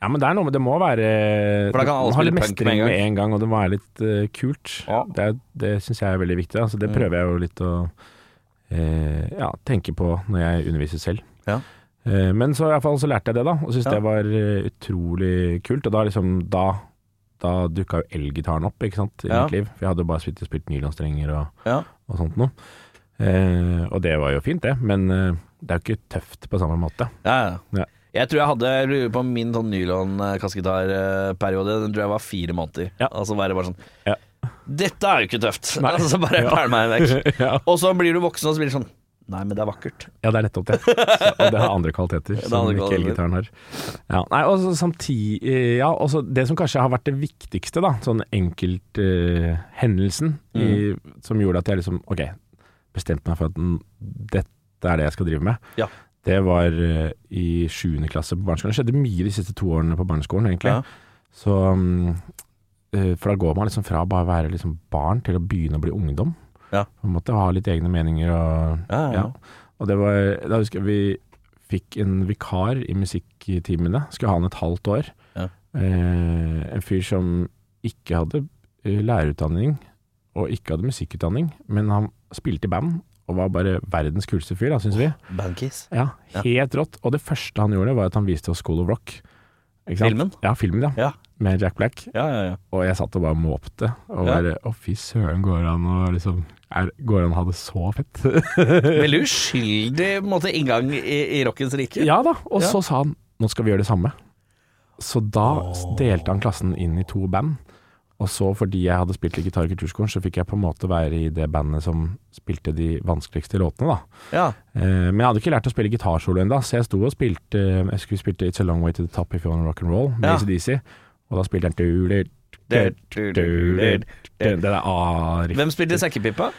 [SPEAKER 3] ja, men det er noe med Det må være
[SPEAKER 2] For da kan alle
[SPEAKER 3] man har litt
[SPEAKER 2] spille punk
[SPEAKER 3] mestring
[SPEAKER 2] med en gang.
[SPEAKER 3] med en gang, og det må være litt eh, kult.
[SPEAKER 2] Ja. Mm.
[SPEAKER 3] Det, er- det syns jeg er veldig viktig. Altså, det prøver jeg jo litt å eh, ja, tenke på når jeg underviser selv.
[SPEAKER 2] Ja.
[SPEAKER 3] Eh, men så, i hvert fall, så lærte jeg det, da, og syntes
[SPEAKER 2] Ja.
[SPEAKER 3] det var eh, utrolig kult. Og da liksom da, da dukka jo elgitaren opp ikke sant, i
[SPEAKER 2] Ja.
[SPEAKER 3] mitt liv. For jeg hadde jo bare spilt, spilt nylonstrenger og,
[SPEAKER 2] Ja.
[SPEAKER 3] og sånt noe. Eh, og det var jo fint, det, men eh, det er jo ikke tøft på samme måte.
[SPEAKER 2] Ja, ja.
[SPEAKER 3] Ja.
[SPEAKER 2] Jeg tror jeg hadde jeg lurer på min sånn nylon-kassegitarperiode. Den tror jeg var fire måneder.
[SPEAKER 3] Ja.
[SPEAKER 2] Altså være bare sånn
[SPEAKER 3] Ja.
[SPEAKER 2] Dette er jo ikke tøft!
[SPEAKER 3] Nei.
[SPEAKER 2] Altså bare
[SPEAKER 3] Ja.
[SPEAKER 2] pæl meg vekk.
[SPEAKER 3] ja.
[SPEAKER 2] Og så blir du voksen og spiller sånn Nei, men det er vakkert.
[SPEAKER 3] Ja, det er nettopp det. Så, og det har andre kvaliteter
[SPEAKER 2] har
[SPEAKER 3] som
[SPEAKER 2] andre
[SPEAKER 3] ikke
[SPEAKER 2] kvaliteter.
[SPEAKER 3] elgitaren har. Ja, nei, og så samtidig, eh, ja, og så Det som kanskje har vært det viktigste, da, sånn enkelthendelsen
[SPEAKER 2] Mm.
[SPEAKER 3] som gjorde at jeg liksom Ok, bestemte meg for at mm, dette er det jeg skal drive med.
[SPEAKER 2] Ja.
[SPEAKER 3] Det var eh, i sjuende klasse på barneskolen. Det skjedde mye de siste to årene på barneskolen, egentlig.
[SPEAKER 2] Ja.
[SPEAKER 3] Så, mm, eh, for da går man liksom fra bare å være liksom barn til å begynne å bli ungdom.
[SPEAKER 2] Ja.
[SPEAKER 3] På en måte ha litt egne meninger og
[SPEAKER 2] Ja, ja.
[SPEAKER 3] ja. Og det var, da husker jeg vi fikk en vikar i musikktimene. Skulle ha han et halvt år.
[SPEAKER 2] Ja.
[SPEAKER 3] Eh, en fyr som ikke hadde eh, lærerutdanning og ikke hadde musikkutdanning, men han spilte i band og var bare verdens kuleste fyr, da, syns vi.
[SPEAKER 2] Bandkiss.
[SPEAKER 3] Ja,
[SPEAKER 2] Ja.
[SPEAKER 3] Helt rått. Og det første han gjorde, var at han viste oss School of Rock. Ikke sant?
[SPEAKER 2] Filmen?
[SPEAKER 3] Ja, filmen, ja.
[SPEAKER 2] Ja.
[SPEAKER 3] Med Jack Black.
[SPEAKER 2] Ja, ja, ja.
[SPEAKER 3] Og jeg satt og bare måpte. Og
[SPEAKER 2] Ja.
[SPEAKER 3] bare Å, fy søren, går det an å liksom er, Går det an å ha det så fett?
[SPEAKER 2] Veldig uskyldig på en måte, inngang i, i rockens rike.
[SPEAKER 3] Ja da, og
[SPEAKER 2] Ja.
[SPEAKER 3] så sa han nå skal vi gjøre det samme. Så da delte han klassen inn i to band. Og så fordi jeg hadde spilt i gitar i kulturskolen, så fikk jeg på en måte være i det bandet som spilte de vanskeligste låtene, da.
[SPEAKER 2] Ja.
[SPEAKER 3] Eh, Men jeg hadde ikke lært å spille gitarsolo ennå, så jeg sto og spilte Jeg skulle spilte It's a Long Way to the Top if you wanna rock and roll med
[SPEAKER 2] Ja.
[SPEAKER 3] ACDC, og da spilte han du-du,
[SPEAKER 2] Du,
[SPEAKER 3] du-du,
[SPEAKER 2] du, du,
[SPEAKER 3] du-du,
[SPEAKER 2] du.
[SPEAKER 3] Den der A-riff
[SPEAKER 2] Hvem spilte sekkepipa?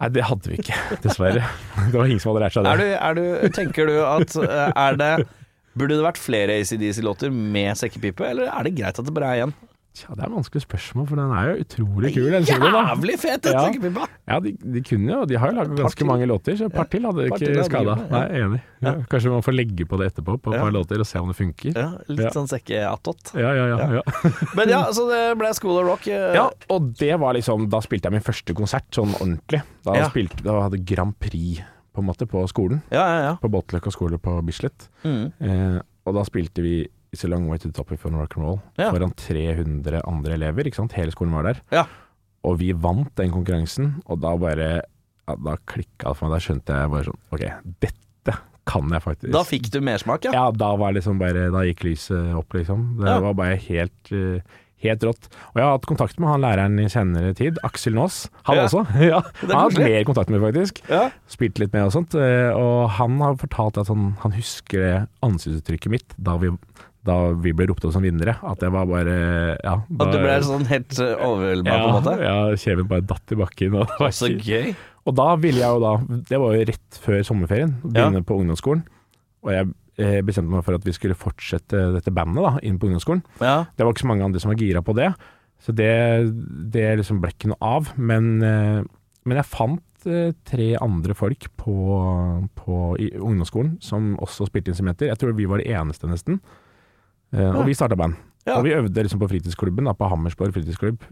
[SPEAKER 3] Nei, det hadde vi ikke, dessverre. Det var ingen som hadde lært seg det.
[SPEAKER 2] Er du, er du, tenker du at eh, er det Burde det vært flere ACDC-låter med sekkepipe, eller er det greit at det bare er én?
[SPEAKER 3] Tja, det er et vanskelig spørsmål, for den er jo utrolig kul. Den soloen, da.
[SPEAKER 2] Jævlig fet, den
[SPEAKER 3] Ja.
[SPEAKER 2] sekkepipa!
[SPEAKER 3] Ja, de, de kunne jo, de har jo laget
[SPEAKER 2] par
[SPEAKER 3] ganske
[SPEAKER 2] til.
[SPEAKER 3] mange låter, så et par til hadde
[SPEAKER 2] par til
[SPEAKER 3] ikke
[SPEAKER 2] hadde
[SPEAKER 3] skada.
[SPEAKER 2] gjort det,
[SPEAKER 3] Nei,
[SPEAKER 2] ja.
[SPEAKER 3] enig. Ja, kanskje man får legge på det etterpå, på et
[SPEAKER 2] Ja.
[SPEAKER 3] par låter, og se om det funker.
[SPEAKER 2] Ja, litt
[SPEAKER 3] Ja.
[SPEAKER 2] sånn sekkeattåt.
[SPEAKER 3] Ja, ja, ja. ja.
[SPEAKER 2] Men ja, så det ble School of Rock. eh,
[SPEAKER 3] Ja, og det var liksom Da spilte jeg min første konsert sånn ordentlig. Da,
[SPEAKER 2] Ja.
[SPEAKER 3] spilte, da hadde Grand Prix på en måte på skolen.
[SPEAKER 2] ja, ja.
[SPEAKER 3] På Båtløkka skole på Bislett.
[SPEAKER 2] ja. Mm.
[SPEAKER 3] Eh, og da spilte vi It's a long way to the top if you wanna rock and roll
[SPEAKER 2] Ja.
[SPEAKER 3] foran 300 andre elever. ikke sant? Hele skolen var der.
[SPEAKER 2] Ja.
[SPEAKER 3] Og vi vant den konkurransen, og da bare ja, Da klikka det for meg. Da skjønte jeg bare sånn OK, dette kan jeg faktisk.
[SPEAKER 2] Da fikk du mersmak, ja.
[SPEAKER 3] ja, da var liksom bare Da gikk lyset opp, liksom. Det
[SPEAKER 2] Ja.
[SPEAKER 3] var bare helt eh, Helt rått. Og jeg har hatt kontakt med han læreren i senere tid, Aksel Nås. Han
[SPEAKER 2] Ja.
[SPEAKER 3] også. ja. Han har hatt
[SPEAKER 2] koselig.
[SPEAKER 3] mer kontakt med, faktisk
[SPEAKER 2] Ja.
[SPEAKER 3] spilt litt med og sånt. eh, Og han har fortalt at han, han husker det ansiktsuttrykket mitt da vi, da vi ble ropt opp som vinnere. At jeg var bare ja,
[SPEAKER 2] At du
[SPEAKER 3] da-
[SPEAKER 2] ble sånn helt eh, overveldet
[SPEAKER 3] ja,
[SPEAKER 2] på en måte.
[SPEAKER 3] Ja, kjeven bare datt i bakken. Og, det var
[SPEAKER 2] Så
[SPEAKER 3] ikke-
[SPEAKER 2] gøy.
[SPEAKER 3] og da ville jeg jo da Det var jo rett før sommerferien, begynne på ungdomsskolen. Og jeg eh, bestemte meg for at vi skulle fortsette dette bandet da, inn på ungdomsskolen.
[SPEAKER 2] Ja.
[SPEAKER 3] Det var ikke så mange andre som var gira på det, så det, det liksom ble ikke noe av. Men, eh, men jeg fant eh, tre andre folk på, på i ungdomsskolen som også spilte instrumenter. Jeg tror vi var de eneste, nesten. Eh, Og vi starta band.
[SPEAKER 2] Ja.
[SPEAKER 3] Og vi øvde liksom på fritidsklubben, da, på Hammersborg fritidsklubb,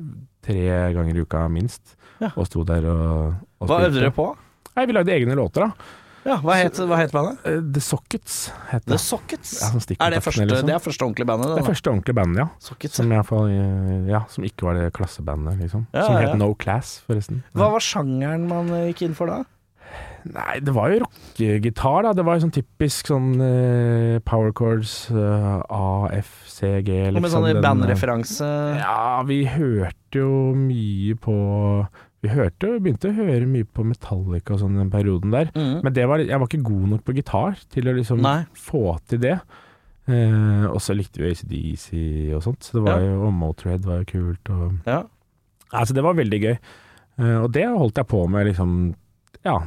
[SPEAKER 3] tre ganger i uka minst.
[SPEAKER 2] Ja.
[SPEAKER 3] Og sto der og, og
[SPEAKER 2] Hva øvde dere på?
[SPEAKER 3] Nei, Vi lagde egne låter, da.
[SPEAKER 2] Ja, hva het, hva het bandet?
[SPEAKER 3] Eh, The Sockets het
[SPEAKER 2] The
[SPEAKER 3] det.
[SPEAKER 2] Sockets.
[SPEAKER 3] Ja, sånn stikkontaktene,
[SPEAKER 2] er det, første,
[SPEAKER 3] liksom.
[SPEAKER 2] det er første ordentlige bandet?
[SPEAKER 3] Det er
[SPEAKER 2] Det, da.
[SPEAKER 3] første ordentlige bandet, ja.
[SPEAKER 2] Sockets, ja.
[SPEAKER 3] Som, i hvert fall, eh, ja, som ikke var det klassebandet, liksom.
[SPEAKER 2] Ja,
[SPEAKER 3] som
[SPEAKER 2] ja,
[SPEAKER 3] het
[SPEAKER 2] ja.
[SPEAKER 3] No Class, forresten.
[SPEAKER 2] Hva var sjangeren man eh, gikk inn for da?
[SPEAKER 3] Nei, det var jo rockegitar, da. Det var jo sånn typisk sånn eh, power chords, eh, A, F, C, G
[SPEAKER 2] Og med sånn
[SPEAKER 3] den, eh,
[SPEAKER 2] bandreferanse?
[SPEAKER 3] Ja, vi hørte jo mye på Vi hørte jo, begynte å høre mye på Metallica og sånn den perioden der.
[SPEAKER 2] Mm.
[SPEAKER 3] Men det var, jeg var ikke god nok på gitar til å liksom
[SPEAKER 2] Nei.
[SPEAKER 3] få til det. Eh, og så likte vi ACDC og sånt, så det var
[SPEAKER 2] Ja.
[SPEAKER 3] jo, og Motörhead var jo kult. Og,
[SPEAKER 2] Ja.
[SPEAKER 3] Altså, det var veldig gøy. Eh, Og det holdt jeg på med liksom, ja,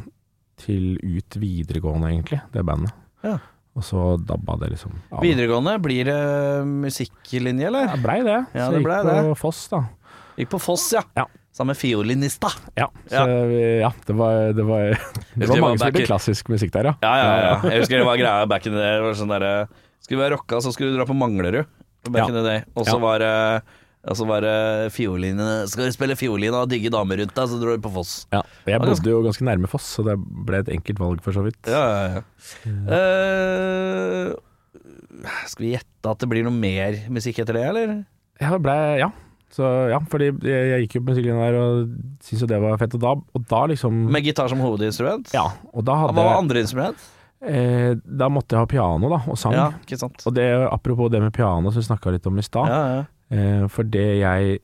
[SPEAKER 3] til ut videregående, egentlig, det bandet.
[SPEAKER 2] Ja.
[SPEAKER 3] Og så dabba det liksom av.
[SPEAKER 2] Videregående, blir det musikklinje, eller?
[SPEAKER 3] Ja, blei det.
[SPEAKER 2] Ja,
[SPEAKER 3] så
[SPEAKER 2] det
[SPEAKER 3] jeg
[SPEAKER 2] blei
[SPEAKER 3] gikk på Foss, da.
[SPEAKER 2] Gikk på Foss, ja.
[SPEAKER 3] Ja.
[SPEAKER 2] Sammen med fiolinista.
[SPEAKER 3] Ja, så, vi- ja det var, det var, det var
[SPEAKER 2] var
[SPEAKER 3] mange som
[SPEAKER 2] backer.
[SPEAKER 3] spilte klassisk musikk der, ja.
[SPEAKER 2] Ja, ja, ja. Jeg husker det var greia back in the day. det var Sånn derre- skulle du være rocka, så skulle du dra på Manglerud. Back
[SPEAKER 3] Ja.
[SPEAKER 2] in the day. Og så
[SPEAKER 3] Ja.
[SPEAKER 2] var det og så var det fiolinene Skal du spille fiolin og digge damer rundt deg, så drar du på Foss.
[SPEAKER 3] ja. Jeg
[SPEAKER 2] ganske-
[SPEAKER 3] bodde jo ganske nærme Foss, så det ble et enkelt valg for så vidt.
[SPEAKER 2] Ja, ja, ja. Eh, skal vi gjette at det blir noe mer musikk etter det, eller?
[SPEAKER 3] Ja, det ble, ja. Så, ja fordi jeg, jeg gikk jo på musikklinja der og syntes jo det var fett. Og da, og da liksom
[SPEAKER 2] Med gitar som hovedinstrument?
[SPEAKER 3] Ja, og da
[SPEAKER 2] Hva var
[SPEAKER 3] hadde
[SPEAKER 2] andre instrument?
[SPEAKER 3] eh, Da måtte jeg ha piano, da, og sang.
[SPEAKER 2] Ja, ikke sant.
[SPEAKER 3] Og det, apropos det med piano som vi snakka litt om i stad.
[SPEAKER 2] Ja, ja.
[SPEAKER 3] Eh, for det jeg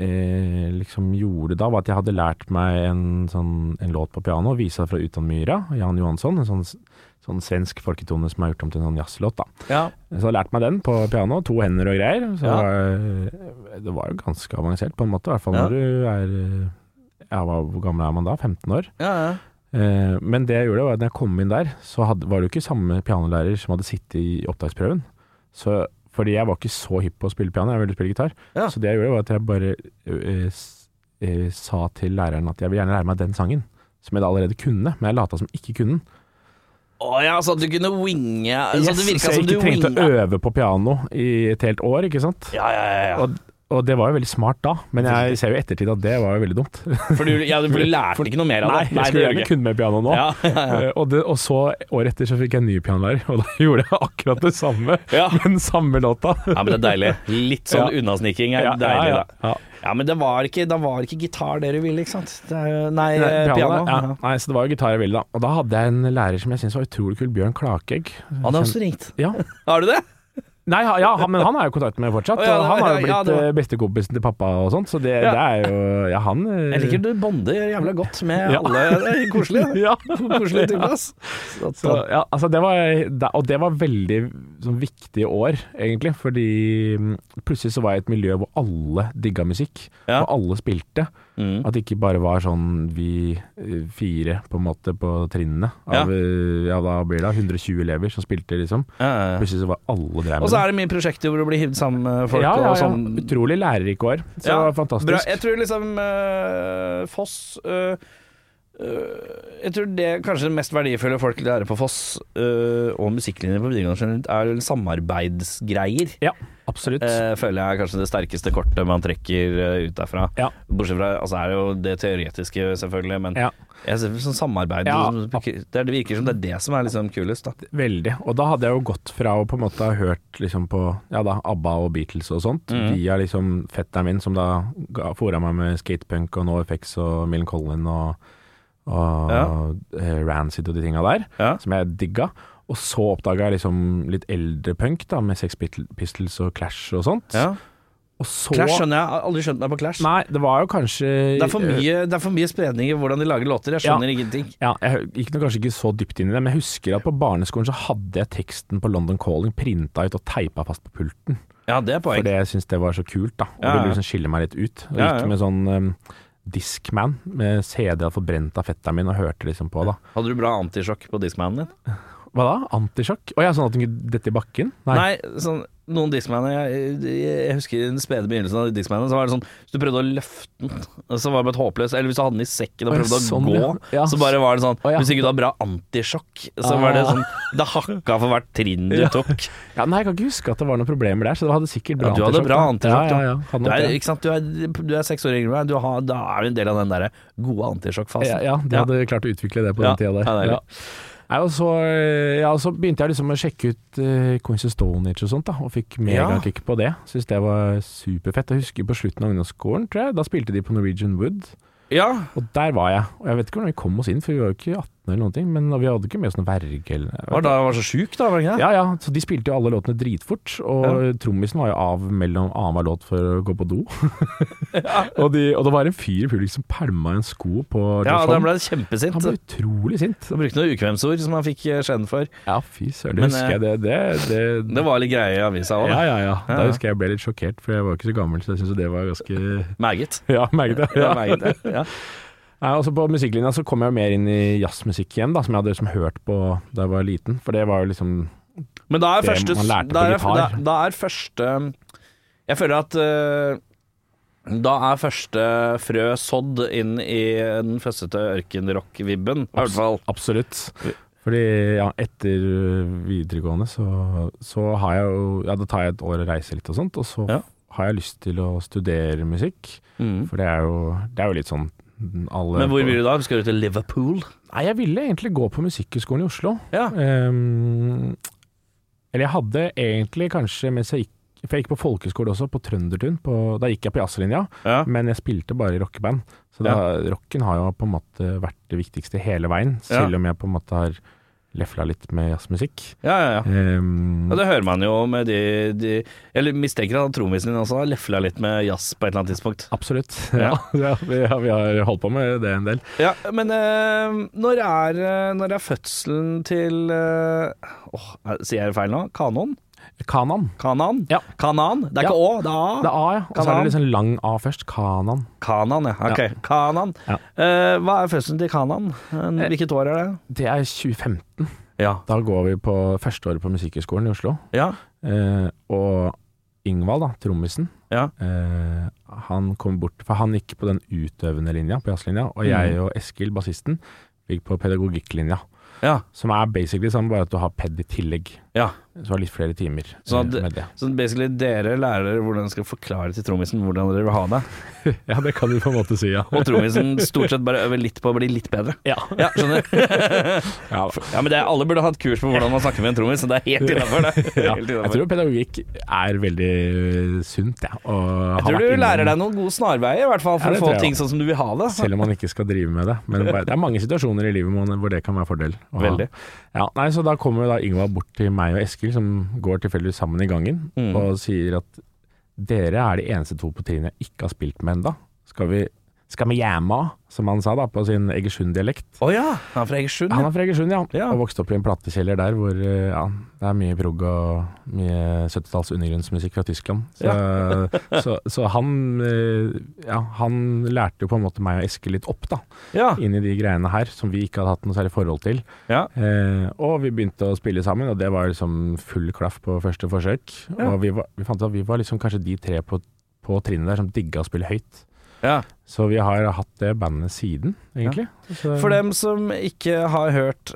[SPEAKER 3] eh, liksom gjorde da, var at jeg hadde lært meg en, sånn, en låt på piano, visa fra Utan myra, Jan Johansson. En sånn, sånn svensk folketone som er gjort om til en sånn jazzlåt, da.
[SPEAKER 2] ja.
[SPEAKER 3] Så jeg lærte meg den på piano, to hender og greier. Så
[SPEAKER 2] Ja.
[SPEAKER 3] eh, det var jo ganske avansert, på en måte. I hvert fall
[SPEAKER 2] Ja.
[SPEAKER 3] når du er eh, ja, hva- Hvor gammel er man da? 15 år?
[SPEAKER 2] ja, ja.
[SPEAKER 3] Eh, Men det jeg gjorde var at når jeg kom inn der, så hadde, var det jo ikke samme pianolærer som hadde sittet i opptaksprøven. Så, fordi jeg var ikke så hypp på å spille piano, jeg ville spille gitar.
[SPEAKER 2] Ja.
[SPEAKER 3] Så det jeg gjorde var at jeg bare eh, s- eh, sa til læreren at jeg vil gjerne lære meg den sangen. Som jeg da allerede kunne, men jeg lata som ikke kunne den.
[SPEAKER 2] Å ja, så at du kunne winge Så
[SPEAKER 3] Yes,
[SPEAKER 2] Altså, det
[SPEAKER 3] så
[SPEAKER 2] virka
[SPEAKER 3] jeg
[SPEAKER 2] som du
[SPEAKER 3] ikke trengte
[SPEAKER 2] winga.
[SPEAKER 3] å øve på piano i et helt år, ikke sant.
[SPEAKER 2] Ja, ja, ja, ja.
[SPEAKER 3] Og, og det var jo veldig smart da, men jeg ser jo i ettertid at det var jo veldig dumt.
[SPEAKER 2] For du, ja, du lærte ikke noe mer av
[SPEAKER 3] Nei,
[SPEAKER 2] det?
[SPEAKER 3] jeg
[SPEAKER 2] det gjør
[SPEAKER 3] skulle
[SPEAKER 2] du
[SPEAKER 3] gjerne
[SPEAKER 2] ikke.
[SPEAKER 3] kunne mer piano nå.
[SPEAKER 2] Ja, ja, ja.
[SPEAKER 3] Eh, Og, det, og så året etter så fikk jeg en ny pianolærer, og da gjorde jeg akkurat det samme,
[SPEAKER 2] Ja.
[SPEAKER 3] men samme låta.
[SPEAKER 2] ja, men det er deilig. Litt sånn
[SPEAKER 3] Ja.
[SPEAKER 2] unnasniking er
[SPEAKER 3] Ja,
[SPEAKER 2] deilig,
[SPEAKER 3] ja,
[SPEAKER 2] da.
[SPEAKER 3] ja.
[SPEAKER 2] Ja, men det var ikke, da var ikke gitar dere ville, ikke sant? Det er, jo- nei,
[SPEAKER 3] Nei,
[SPEAKER 2] eh, piano.
[SPEAKER 3] Ja.
[SPEAKER 2] Ja.
[SPEAKER 3] Nei, så det var jo gitar jeg ville, da. Og da hadde jeg en lærer som jeg syntes var utrolig kul, Bjørn Klakegg.
[SPEAKER 2] Han har også ringt.
[SPEAKER 3] Ja.
[SPEAKER 2] Har du det?
[SPEAKER 3] Nei, ha- ja, han- men han er jo i kontakt med fortsatt.
[SPEAKER 2] Å, ja,
[SPEAKER 3] og han har
[SPEAKER 2] ja,
[SPEAKER 3] jo
[SPEAKER 2] ja,
[SPEAKER 3] blitt
[SPEAKER 2] det var-
[SPEAKER 3] eh, bestekompisen til pappa og sånt, så det,
[SPEAKER 2] Ja.
[SPEAKER 3] det er jo Ja, han eh,
[SPEAKER 2] Jeg liker du bonder jævla godt med
[SPEAKER 3] Ja.
[SPEAKER 2] alle. Det er koselig. det.
[SPEAKER 3] Ja.
[SPEAKER 2] Koselig type, ass.
[SPEAKER 3] Så, ja, altså det var, da- og det var veldig sånn, viktige år, egentlig. Fordi mm, plutselig så var jeg i et miljø hvor alle digga musikk,
[SPEAKER 2] Ja.
[SPEAKER 3] og alle spilte.
[SPEAKER 2] Mm.
[SPEAKER 3] At det ikke bare var sånn vi eh, fire på en måte på trinnene. Av, eh, ja, da blir det 120 elever som spilte, liksom.
[SPEAKER 2] Ja, ja, ja.
[SPEAKER 3] Plutselig så var alle drev
[SPEAKER 2] Og
[SPEAKER 3] med
[SPEAKER 2] så er det mye prosjekter hvor du blir hivd sammen med folk.
[SPEAKER 3] ja,
[SPEAKER 2] Og
[SPEAKER 3] ja, ja.
[SPEAKER 2] sånn.
[SPEAKER 3] Utrolig lærerike år. Så det
[SPEAKER 2] Ja,
[SPEAKER 3] var fantastisk.
[SPEAKER 2] Bra. Jeg tror liksom eh, Foss eh, eh, Jeg tror det kanskje det mest verdifulle folk lærer på Foss, eh, og musikklinjer på videregående generelt, er vel samarbeidsgreier.
[SPEAKER 3] Ja, absolutt.
[SPEAKER 2] Eh, føler jeg er kanskje det sterkeste kortet man trekker eh, ut derfra.
[SPEAKER 3] Ja.
[SPEAKER 2] Bortsett fra altså er det jo det teoretiske, selvfølgelig, men
[SPEAKER 3] Ja.
[SPEAKER 2] jeg ser sånn samarbeid
[SPEAKER 3] Ja.
[SPEAKER 2] det, er- det virker som det er det som er liksom kulest, da.
[SPEAKER 3] Veldig. Og da hadde jeg jo gått fra å på en måte ha hørt liksom på ja da, ABBA og Beatles og sånt,
[SPEAKER 2] Mhm.
[SPEAKER 3] via liksom fetteren min som da ga- fora meg med skatepunk og NoFX og Millen Collin og, og eh, Rancid og de tinga der,
[SPEAKER 2] Ja.
[SPEAKER 3] som jeg digga. Og så oppdaga jeg liksom litt eldre punk, da, med Sex Pit- Pistols og Clash og sånt. Og så
[SPEAKER 2] Clash skjønner jeg. jeg, har aldri skjønt meg på Clash.
[SPEAKER 3] Nei, det var jo kanskje
[SPEAKER 2] Det er, for mye, det er for mye spredning i hvordan de lager låter, jeg
[SPEAKER 3] Ja.
[SPEAKER 2] skjønner ingenting.
[SPEAKER 3] Ja, jeg gikk nå kanskje ikke så dypt inn i det, men jeg husker at på barneskolen så hadde jeg teksten på London Calling printa ut og teipa fast på pulten.
[SPEAKER 2] Ja, det er poeng.
[SPEAKER 3] Fordi jeg syntes det var så kult, da. Og
[SPEAKER 2] Ja, ja.
[SPEAKER 3] ville liksom skille meg litt ut. Og
[SPEAKER 2] Ja, ja.
[SPEAKER 3] gikk med sånn um, Discman med CD jeg hadde forbrent av fetteren min, og hørte liksom på, da.
[SPEAKER 2] Hadde du bra antisjokk på diskmanen din?
[SPEAKER 3] Hva da? Antisjokk? Å ja, sånn at den kunne dette i bakken? Nei.
[SPEAKER 2] Nei, sånn, noen diskmaner jeg, jeg, jeg husker i den spede begynnelsen av diskmanen, så var det sånn Hvis du prøvde å løfte den, så var det bare et håpløst Eller hvis du hadde den i sekken og
[SPEAKER 3] Å, ja,
[SPEAKER 2] prøvde
[SPEAKER 3] sånn,
[SPEAKER 2] å gå,
[SPEAKER 3] ja. Ja.
[SPEAKER 2] så bare var det sånn
[SPEAKER 3] Å, ja.
[SPEAKER 2] Hvis ikke du hadde bra antisjokk, så
[SPEAKER 3] Ah.
[SPEAKER 2] var det sånn Det hakka for hvert trinn du
[SPEAKER 3] Ja. Sånn
[SPEAKER 2] tok.
[SPEAKER 3] Ja, nei, jeg kan ikke huske at det var noen problemer der, så det hadde sikkert bra
[SPEAKER 2] Ja, du hadde bra antisjokk,
[SPEAKER 3] da.
[SPEAKER 2] da.
[SPEAKER 3] Ja, ja, ja. Hadde
[SPEAKER 2] Du
[SPEAKER 3] nok
[SPEAKER 2] er,
[SPEAKER 3] det.
[SPEAKER 2] ikke sant? Du, er, du er seks år yngre enn meg, du har, da er du en del av den derre gode antisjokkfasen.
[SPEAKER 3] Ja, ja, de hadde klart å utvikle det på
[SPEAKER 2] Ja,
[SPEAKER 3] den tida
[SPEAKER 2] ja,
[SPEAKER 3] der.
[SPEAKER 2] det er
[SPEAKER 3] Ja. Nei, og så, eh, ja, og så begynte jeg liksom å sjekke ut eh, Queens of Stone Age og sånt, da, og fikk megakick på det. Syns det var superfett. Jeg husker på slutten av ungdomsskolen, tror jeg, da spilte de på Norwegian Wood,
[SPEAKER 2] ja.
[SPEAKER 3] og der var jeg. Og jeg vet ikke hvordan vi kom oss inn, for vi var jo ikke 18 eller noen ting, men vi hadde ikke med oss noen verge eller
[SPEAKER 2] Var da var så sjuk, da, var det ikke det?
[SPEAKER 3] ja, ja, så de spilte jo alle låtene dritfort, og trommisen var jo av mellom annenhver låt for å gå på do. og, de, og det var en fyr i publikum som pælma en sko på
[SPEAKER 2] Ja,
[SPEAKER 3] Josh
[SPEAKER 2] da
[SPEAKER 3] Homme.
[SPEAKER 2] ble det kjempesint.
[SPEAKER 3] sånn. Han ble utrolig sint.
[SPEAKER 2] Han brukte noen ukvemsord som han fikk eh, skjenn for.
[SPEAKER 3] Ja, fy søren.
[SPEAKER 2] Men,
[SPEAKER 3] Det husker jeg. Det, det, det,
[SPEAKER 2] Det var litt greie i avisa òg,
[SPEAKER 3] ja,
[SPEAKER 2] da.
[SPEAKER 3] ja, ja. Da
[SPEAKER 2] ja.
[SPEAKER 3] husker jeg jeg ble litt sjokkert, for jeg var jo ikke så gammel, så jeg syns det var ganske
[SPEAKER 2] Meget.
[SPEAKER 3] Ja, merket det. Ja.
[SPEAKER 2] meget, ja.
[SPEAKER 3] Nei, og så på musikklinja så kom jeg jo mer inn i jazzmusikk igjen, da, som jeg hadde liksom hørt på da jeg var liten. For det var jo liksom
[SPEAKER 2] Men da er
[SPEAKER 3] Det
[SPEAKER 2] første
[SPEAKER 3] man lærte på
[SPEAKER 2] da er,
[SPEAKER 3] gitar.
[SPEAKER 2] da, da er første Jeg føler at øh, Da er første frø sådd inn i den føssete ørkenrock-vibben. I hvert fall.
[SPEAKER 3] Absolutt. Fordi ja, etter videregående så, så har jeg jo Ja, da tar jeg et år og reiser litt og sånt, og så
[SPEAKER 2] Ja.
[SPEAKER 3] har jeg lyst til å studere musikk.
[SPEAKER 2] Mm.
[SPEAKER 3] For det er jo, det er jo litt sånn alle
[SPEAKER 2] Men hvor vil du da? Skal du til Liverpool?
[SPEAKER 3] Nei, jeg ville egentlig gå på Musikkhøgskolen i Oslo.
[SPEAKER 2] Ja.
[SPEAKER 3] Ehm, eller jeg hadde egentlig kanskje mens jeg gikk For jeg gikk på folkeskole også, på Trøndertun. På, da gikk jeg på jazzlinja,
[SPEAKER 2] Ja.
[SPEAKER 3] men jeg spilte bare i rockeband. Så da, rocken har jo på en måte vært det viktigste hele veien, selv om jeg på en måte har lefla litt med jazzmusikk.
[SPEAKER 2] Ja, ja, ja.
[SPEAKER 3] Ehm,
[SPEAKER 2] Ja, Det hører man jo med de, de Jeg mistenker at trommisen din også har lefla litt med jazz på et eller annet tidspunkt.
[SPEAKER 3] Absolutt. Ja,
[SPEAKER 2] Ja.
[SPEAKER 3] ja vi, har- vi har holdt på med det en del.
[SPEAKER 2] Ja, Men eh, når, er, eh, når er fødselen til eh, Åh, er- Sier jeg det feil nå? Kanon?
[SPEAKER 3] Kanan.
[SPEAKER 2] Kanan?
[SPEAKER 3] Ja.
[SPEAKER 2] Kanan? Det er
[SPEAKER 3] Ja.
[SPEAKER 2] ikke Å, det er A.
[SPEAKER 3] Det er A, ja. Og så er
[SPEAKER 2] Ah, Kanan.
[SPEAKER 3] det liksom lang A først. Kanan.
[SPEAKER 2] Kanan, ja. Ok,
[SPEAKER 3] Ja.
[SPEAKER 2] Kanan.
[SPEAKER 3] Ja.
[SPEAKER 2] Eh, hva er fødselen til Kanan? Eh, Hvilket år er det?
[SPEAKER 3] Det er 2015.
[SPEAKER 2] Ja.
[SPEAKER 3] Da går vi på første året på Musikkhøgskolen i Oslo.
[SPEAKER 2] ja.
[SPEAKER 3] Eh, og Ingvald, da, trommisen,
[SPEAKER 2] Ja.
[SPEAKER 3] eh, han kom bort For han gikk på den utøvende linja, på jazzlinja, og
[SPEAKER 2] Mm.
[SPEAKER 3] jeg og Eskil, bassisten, gikk på pedagogikklinja.
[SPEAKER 2] Ja.
[SPEAKER 3] Som er basically sånn, bare at du har ped i tillegg.
[SPEAKER 2] ja.
[SPEAKER 3] Så du har litt flere timer eh,
[SPEAKER 2] Så at-
[SPEAKER 3] med det.
[SPEAKER 2] Så basically dere lærer dere hvordan dere skal forklare til trommisen hvordan dere vil ha det.
[SPEAKER 3] Ja, det kan du på en måte si, ja.
[SPEAKER 2] Og trommisen stort sett bare øver litt på å bli litt bedre.
[SPEAKER 3] ja.
[SPEAKER 2] Ja, skjønner.
[SPEAKER 3] ja.
[SPEAKER 2] Ja, men det er, Alle burde ha et kurs på hvordan man snakker med en trommis, så det er helt innafor.
[SPEAKER 3] Ja, jeg tror pedagogikk er veldig øh, sunt, jeg. og har
[SPEAKER 2] Jeg tror
[SPEAKER 3] vært
[SPEAKER 2] du
[SPEAKER 3] innom-
[SPEAKER 2] lærer deg noen gode snarveier, i hvert fall,
[SPEAKER 3] Ja,
[SPEAKER 2] for
[SPEAKER 3] det
[SPEAKER 2] å få
[SPEAKER 3] tror jeg
[SPEAKER 2] ting sånn som du vil ha det.
[SPEAKER 3] Selv om man ikke skal drive med det. Men bare, det er mange situasjoner i livet man- hvor det kan være fordel. å ha.
[SPEAKER 2] Veldig.
[SPEAKER 3] Ja, nei, så da kommer jo da Ingvar bort til meg og Eskil, som går tilfeldigvis sammen i gangen,
[SPEAKER 2] Mm.
[SPEAKER 3] og sier at dere er de eneste to på trinnet jeg ikke har spilt med enda. Skal vi, skal vi hjemme, som han sa da, på sin Egersund-dialekt.
[SPEAKER 2] Å ja, han er fra Egersund.
[SPEAKER 3] Han
[SPEAKER 2] ja.
[SPEAKER 3] er fra Egersund, ja,
[SPEAKER 2] Ja.
[SPEAKER 3] og vokste opp i en platekjeller der hvor eh, ja, det er mye prog og mye 70-talls undergrunnsmusikk fra Tyskland. Så, så, så han, eh, ja, han lærte jo på en måte meg og Eskil litt opp, da
[SPEAKER 2] Ja.
[SPEAKER 3] inn i de greiene her som vi ikke hadde hatt noe særlig forhold til.
[SPEAKER 2] Ja.
[SPEAKER 3] Eh, og vi begynte å spille sammen, og det var liksom full klaff på første forsøk.
[SPEAKER 2] Ja.
[SPEAKER 3] Og vi, var, vi fant ut at vi var liksom kanskje de tre på, på trinnet der som digga å spille høyt.
[SPEAKER 2] ja.
[SPEAKER 3] Så vi har hatt det bandet siden, egentlig. Så-
[SPEAKER 2] For dem som ikke har hørt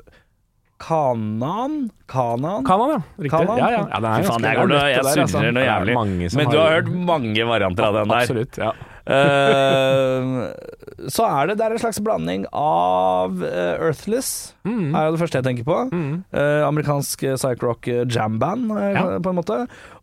[SPEAKER 2] Kanan Kanan?
[SPEAKER 3] Kanan, ja. Riktig.
[SPEAKER 2] Kanan?
[SPEAKER 3] Ja, ja. ja, det
[SPEAKER 2] Fy
[SPEAKER 3] er
[SPEAKER 2] faen,
[SPEAKER 3] ganske-
[SPEAKER 2] jeg går
[SPEAKER 3] det
[SPEAKER 2] nå-
[SPEAKER 3] er
[SPEAKER 2] jeg
[SPEAKER 3] nøtte der, altså.
[SPEAKER 2] surrer noe
[SPEAKER 3] Det er
[SPEAKER 2] jævlig.
[SPEAKER 3] mange som
[SPEAKER 2] Men du har hørt mange varianter av den der.
[SPEAKER 3] Absolutt. Ja.
[SPEAKER 2] Eh, så er det, det er en slags blanding av eh, Earthless,
[SPEAKER 3] Mm.
[SPEAKER 2] er jo det første jeg tenker på.
[SPEAKER 3] Mm.
[SPEAKER 2] Eh, amerikansk eh, psych-rock eh, jam-band, eh,
[SPEAKER 3] Ja.
[SPEAKER 2] på en måte.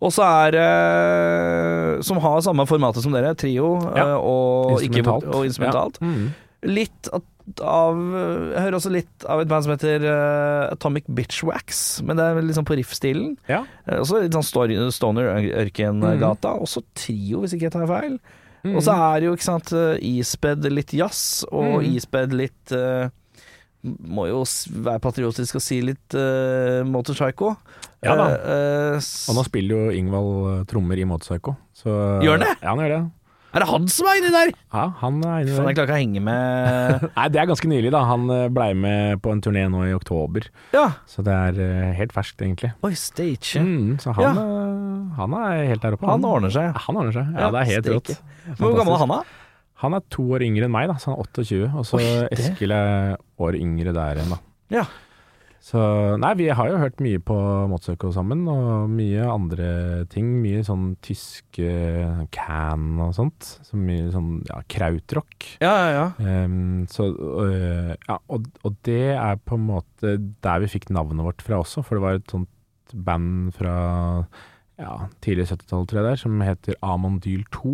[SPEAKER 2] Og så er eh, Som har samme formatet som dere, trio eh,
[SPEAKER 3] Ja.
[SPEAKER 2] og, ikke,
[SPEAKER 3] Instrumentalt.
[SPEAKER 2] og instrumentalt.
[SPEAKER 3] Ja. Mm.
[SPEAKER 2] Litt at- av eh, Jeg hører også litt av et band som heter eh, Atomic Bitchwax, men det er vel liksom på riff-stilen.
[SPEAKER 3] ja.
[SPEAKER 2] Eh, Også litt sånn stor- stoner Ør- Ørkengata. Også trio, hvis ikke jeg tar feil. Og
[SPEAKER 3] Mm.
[SPEAKER 2] så er det jo, ikke sant, eh, ispedd litt jazz, og
[SPEAKER 3] Mhm.
[SPEAKER 2] ispedd litt eh, Må jo s- være patriotisk og si litt uh, Motor Psycho.
[SPEAKER 3] Ja da.
[SPEAKER 2] Eh, eh, s-
[SPEAKER 3] Og nå spiller jo Ingvald eh, trommer i Motorpsycho.
[SPEAKER 2] Gjør han det?
[SPEAKER 3] Ja, han gjør det.
[SPEAKER 2] er det han som er inni der?!
[SPEAKER 3] Ja, han er inne i
[SPEAKER 2] Faen, jeg klarer ikke å henge med
[SPEAKER 3] Nei, det er ganske nylig da. Han eh, blei med på en turné nå i oktober,
[SPEAKER 2] Ja!
[SPEAKER 3] så det er eh, helt ferskt egentlig.
[SPEAKER 2] Oi, stage.
[SPEAKER 3] Mm, så han, eh, han er helt der oppe.
[SPEAKER 2] Han ordner seg.
[SPEAKER 3] Ja, han ordner seg. Ja,
[SPEAKER 2] Ja,
[SPEAKER 3] det er helt rått.
[SPEAKER 2] steike. Hvor gammel er han, da?
[SPEAKER 3] Han er to år yngre enn meg, da, så han er 28. Og så
[SPEAKER 2] Oi, det-
[SPEAKER 3] Eskil er år yngre der igjen, da.
[SPEAKER 2] Ja.
[SPEAKER 3] Så nei, vi har jo hørt mye på Motsøko sammen, og mye andre ting. Mye sånn tysk eh, can og sånt. Så mye sånn ja, krautrock.
[SPEAKER 2] Ja, ja, ja.
[SPEAKER 3] Ehm, så, øh, ja, og, og det er på en måte der vi fikk navnet vårt fra også, for det var et sånt band fra ja, tidlig 70-tall, tror jeg det er, som heter Amondyl 2.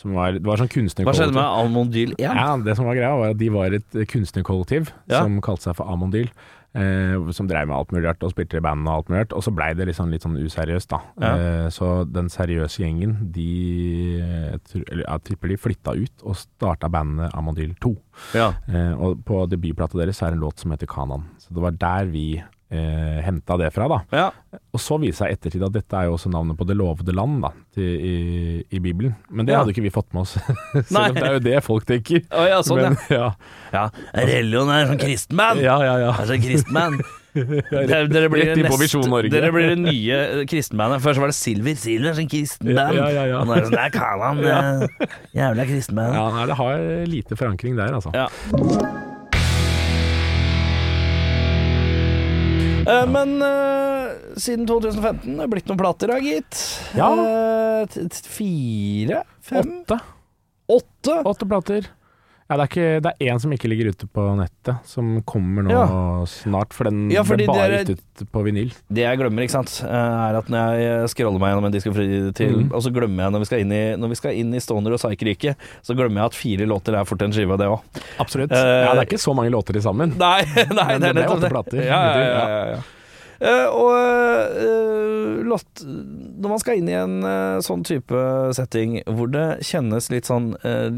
[SPEAKER 3] Som var, det var sånn
[SPEAKER 2] Hva skjedde med
[SPEAKER 3] kunstnerkollektiv.
[SPEAKER 2] Almondyl 1?
[SPEAKER 3] Ja, det som var greia, var at de var et eh, kunstnerkollektiv
[SPEAKER 2] Ja.
[SPEAKER 3] som kalte seg for Amondyl. Eh, som dreiv med alt mulig rart, og spilte i band og alt mulig rart. Og så blei det liksom litt sånn useriøst, da.
[SPEAKER 2] Ja.
[SPEAKER 3] Eh, så den seriøse gjengen, de eh, jeg tror- eller, Jeg tipper de flytta ut og starta bandet Amondyl 2.
[SPEAKER 2] Ja.
[SPEAKER 3] Eh, og på debutplata deres er en låt som heter Kanan. Så det var der vi eh, henta det fra. da.
[SPEAKER 2] Ja.
[SPEAKER 3] Og så viser det seg i ettertid at dette er jo også navnet på det lovede land da, til, i, i Bibelen. Men det
[SPEAKER 2] Ja.
[SPEAKER 3] hadde ikke vi fått med oss, selv
[SPEAKER 2] Nei.
[SPEAKER 3] om det er jo det folk tenker.
[SPEAKER 2] Å, ja, sånn,
[SPEAKER 3] Men, ja.
[SPEAKER 2] ja. Religion er sånn kristenmann.
[SPEAKER 3] Ja, ja, ja.
[SPEAKER 2] Altså, kristenmann. Dere, dere blir
[SPEAKER 3] Rett inn på
[SPEAKER 2] nest-
[SPEAKER 3] Visjon Norge.
[SPEAKER 2] Dere blir det nye kristenbandet. Først var det Silver. Silver er sånn kristenband.
[SPEAKER 3] Ja, ja, ja, ja.
[SPEAKER 2] Og nå er det sånn, der kan han eh, jævla kristenband.
[SPEAKER 3] ja nei, det har lite forankring der, altså.
[SPEAKER 2] Ja. Eh, Men eh, siden 2015 er det blitt noen plater da, gitt.
[SPEAKER 3] Ja.
[SPEAKER 2] Eh, t- t- fire? Fem?
[SPEAKER 3] Åtte.
[SPEAKER 2] Åtte?
[SPEAKER 3] Åtte plater. Ja, det er, ikke, det er én som ikke ligger ute på nettet, som kommer nå
[SPEAKER 2] Ja.
[SPEAKER 3] snart. For den
[SPEAKER 2] Ja, fordi
[SPEAKER 3] ble bare
[SPEAKER 2] dere-
[SPEAKER 3] gitt ut på vinyl.
[SPEAKER 2] Det jeg glemmer, ikke sant, eh, er at når jeg scroller meg gjennom en diskografi til
[SPEAKER 3] Mhm.
[SPEAKER 2] Og så glemmer jeg når vi skal inn i, når vi skal inn i Stoner og Psyche-riket, så glemmer jeg at fire låter er fort en skive av det òg.
[SPEAKER 3] Absolutt.
[SPEAKER 2] Eh,
[SPEAKER 3] ja, det er ikke så mange låter til sammen.
[SPEAKER 2] Nei, nei,
[SPEAKER 3] Men
[SPEAKER 2] det
[SPEAKER 3] det
[SPEAKER 2] er
[SPEAKER 3] ble
[SPEAKER 2] nettopp
[SPEAKER 3] åtte plater.
[SPEAKER 2] Ja, ja, ja, ja, ja. Eh, og eh, låt Når man skal inn i en eh, sånn type setting hvor det kjennes litt sånn eh,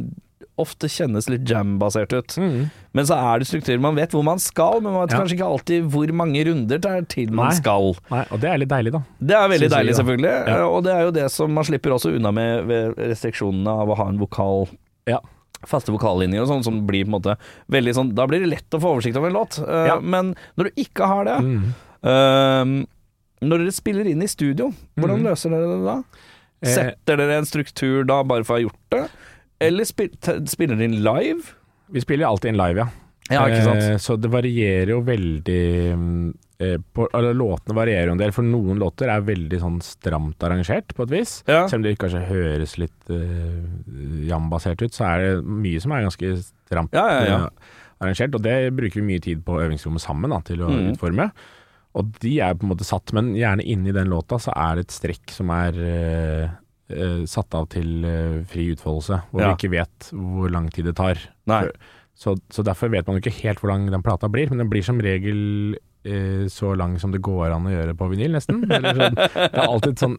[SPEAKER 2] Ofte kjennes litt jam-basert ut,
[SPEAKER 3] Mm.
[SPEAKER 2] men så er det strukturer. Man vet hvor man skal, men man vet
[SPEAKER 3] Ja.
[SPEAKER 2] kanskje ikke alltid hvor mange runder det er til man
[SPEAKER 3] Nei.
[SPEAKER 2] skal.
[SPEAKER 3] Nei, og det er litt deilig, da.
[SPEAKER 2] Det er veldig
[SPEAKER 3] Synes jeg,
[SPEAKER 2] deilig,
[SPEAKER 3] ja.
[SPEAKER 2] selvfølgelig.
[SPEAKER 3] Ja.
[SPEAKER 2] eh, Og det er jo det som man slipper også unna med ved restriksjonene av å ha en vokal.
[SPEAKER 3] Ja.
[SPEAKER 2] Faste vokallinjer og sånn, som blir på en måte veldig sånn Da blir det lett å få oversikt over en låt. eh,
[SPEAKER 3] Ja.
[SPEAKER 2] Men når du ikke har det
[SPEAKER 3] Mm.
[SPEAKER 2] eh, Når dere spiller inn i studio, hvordan
[SPEAKER 3] Mhm.
[SPEAKER 2] løser dere det da?
[SPEAKER 3] Eh,
[SPEAKER 2] Setter dere en struktur da, bare for å ha gjort det? Eller spil t- spiller dere inn live?
[SPEAKER 3] Vi spiller jo alltid inn live, ja.
[SPEAKER 2] Ja, ikke sant?
[SPEAKER 3] Eh, så det varierer jo veldig mm, eh, på, eller, Låtene varierer jo en del, for noen låter er veldig sånn stramt arrangert, på et vis.
[SPEAKER 2] Ja.
[SPEAKER 3] Selv om det kanskje høres litt eh, jambasert ut, så er det mye som er ganske stramt
[SPEAKER 2] Ja, ja, ja.
[SPEAKER 3] eh, arrangert. Og det bruker vi mye tid på øvingsrommet sammen da, til å
[SPEAKER 2] Mm.
[SPEAKER 3] utforme. Og de er på en måte satt, men gjerne inni den låta så er det et strekk som er eh, eh, satt av til eh, fri utfoldelse, hvor
[SPEAKER 2] Ja.
[SPEAKER 3] vi ikke vet hvor lang tid det tar.
[SPEAKER 2] Nei.
[SPEAKER 3] Så, så derfor vet man jo ikke helt hvor lang den plata blir, men den blir som regel eh, så lang som det går an å gjøre på vinyl, nesten. Eller sånn, det er alltid sånn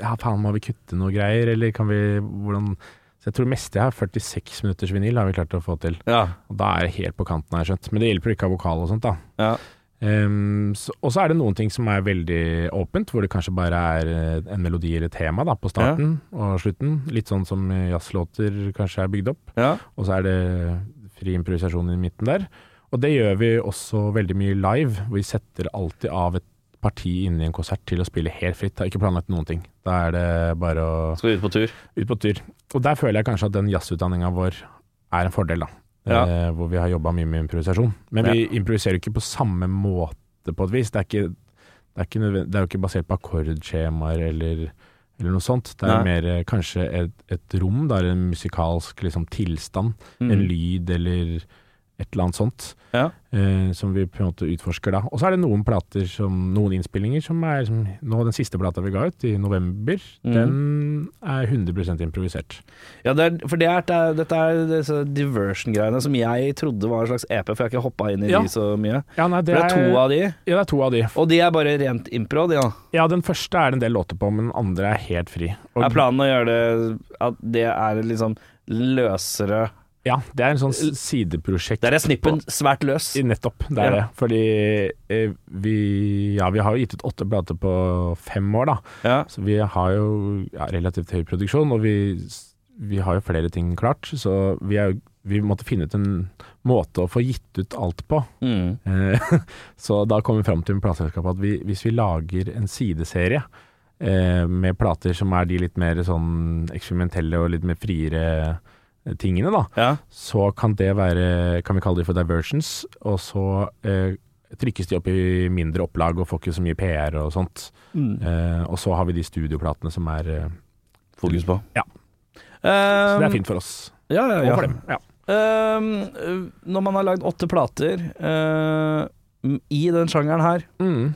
[SPEAKER 3] Ja, faen, må vi kutte noe greier, eller kan vi Hvordan Så jeg tror det meste jeg har, 46 minutters vinyl, har vi klart å få til.
[SPEAKER 2] Ja.
[SPEAKER 3] Og da er det helt på kanten, har jeg skjønt. Men det hjelper ikke å ha vokal og sånt, da.
[SPEAKER 2] ja.
[SPEAKER 3] Ehm, så, og så er det noen ting som er veldig åpent, hvor det kanskje bare er eh, en melodi eller et tema da, på starten og slutten. Litt sånn som eh, jazzlåter kanskje er bygd opp.
[SPEAKER 2] ja.
[SPEAKER 3] Og så er det fri improvisasjon i midten der. Og det gjør vi også veldig mye live. hvor Vi setter alltid av et parti inne i en konsert til å spille helt fritt. Det er ikke planlagt noen ting. Da er det bare å
[SPEAKER 2] Skal vi ut på tur?
[SPEAKER 3] ut på tur. Og der føler jeg kanskje at den jazzutdanninga vår er en fordel, da.
[SPEAKER 2] Ja.
[SPEAKER 3] Eh, hvor vi har jobba mye med improvisasjon. Men vi improviserer jo ikke på samme måte, på et vis. Det er, ikke, det er, ikke nødvendig, det er jo ikke basert på akkordskjemaer eller, eller noe sånt. Det
[SPEAKER 2] Nei.
[SPEAKER 3] er mer eh, kanskje et, et rom, da, eller en musikalsk liksom, tilstand
[SPEAKER 2] Mm.
[SPEAKER 3] en lyd eller et eller annet sånt.
[SPEAKER 2] Ja.
[SPEAKER 3] Eh, som vi på en måte utforsker da. Og så er det noen plater som, noen innspillinger som er som, Nå den siste plata vi ga ut, i november,
[SPEAKER 2] Mhm.
[SPEAKER 3] den er 100 improvisert.
[SPEAKER 2] Ja, det er, for det er, det er, dette er disse diversion-greiene som jeg trodde var en slags EP, for jeg har ikke hoppa inn i
[SPEAKER 3] Ja.
[SPEAKER 2] de så mye.
[SPEAKER 3] Ja, nei,
[SPEAKER 2] For det er to av de,
[SPEAKER 3] ja, det er to av de.
[SPEAKER 2] og de er bare rent impro, de da.
[SPEAKER 3] Ja, den første er det en del låter på, men den andre er helt fri. Og-
[SPEAKER 2] Er planen å gjøre det at det er liksom løsere
[SPEAKER 3] ja, det er en sånn s- sideprosjekt.
[SPEAKER 2] Der er snippen svært løs.
[SPEAKER 3] I- Nettopp, det
[SPEAKER 2] Ja.
[SPEAKER 3] er det. Fordi eh, vi, ja, vi har jo gitt ut åtte plater på fem år, da.
[SPEAKER 2] Ja.
[SPEAKER 3] Så vi har jo ja, relativt høy produksjon, og vi, vi har jo flere ting klart. Så vi, er, jo- vi måtte finne ut en måte å få gitt ut alt på.
[SPEAKER 2] Mm.
[SPEAKER 3] Eh, så da kom vi fram til med plateselskapet at vi, hvis vi lager en sideserie eh, med plater som er de litt mer sånn eksperimentelle og litt mer friere eh, tingene, da,
[SPEAKER 2] ja.
[SPEAKER 3] så kan det være Kan vi kalle de for diversions? Og så eh, trykkes de opp i mindre opplag og får ikke så mye PR og sånt. Eh, og så har vi de studioplatene som er eh,
[SPEAKER 2] Fokus på.
[SPEAKER 3] Ja. Så
[SPEAKER 2] Um,
[SPEAKER 3] det er fint for oss.
[SPEAKER 2] Ja, ja,
[SPEAKER 3] Og
[SPEAKER 2] ja.
[SPEAKER 3] for dem. Ja.
[SPEAKER 2] Um, uh, når man har lagd åtte plater uh, m- i den sjangeren her,
[SPEAKER 3] Mm.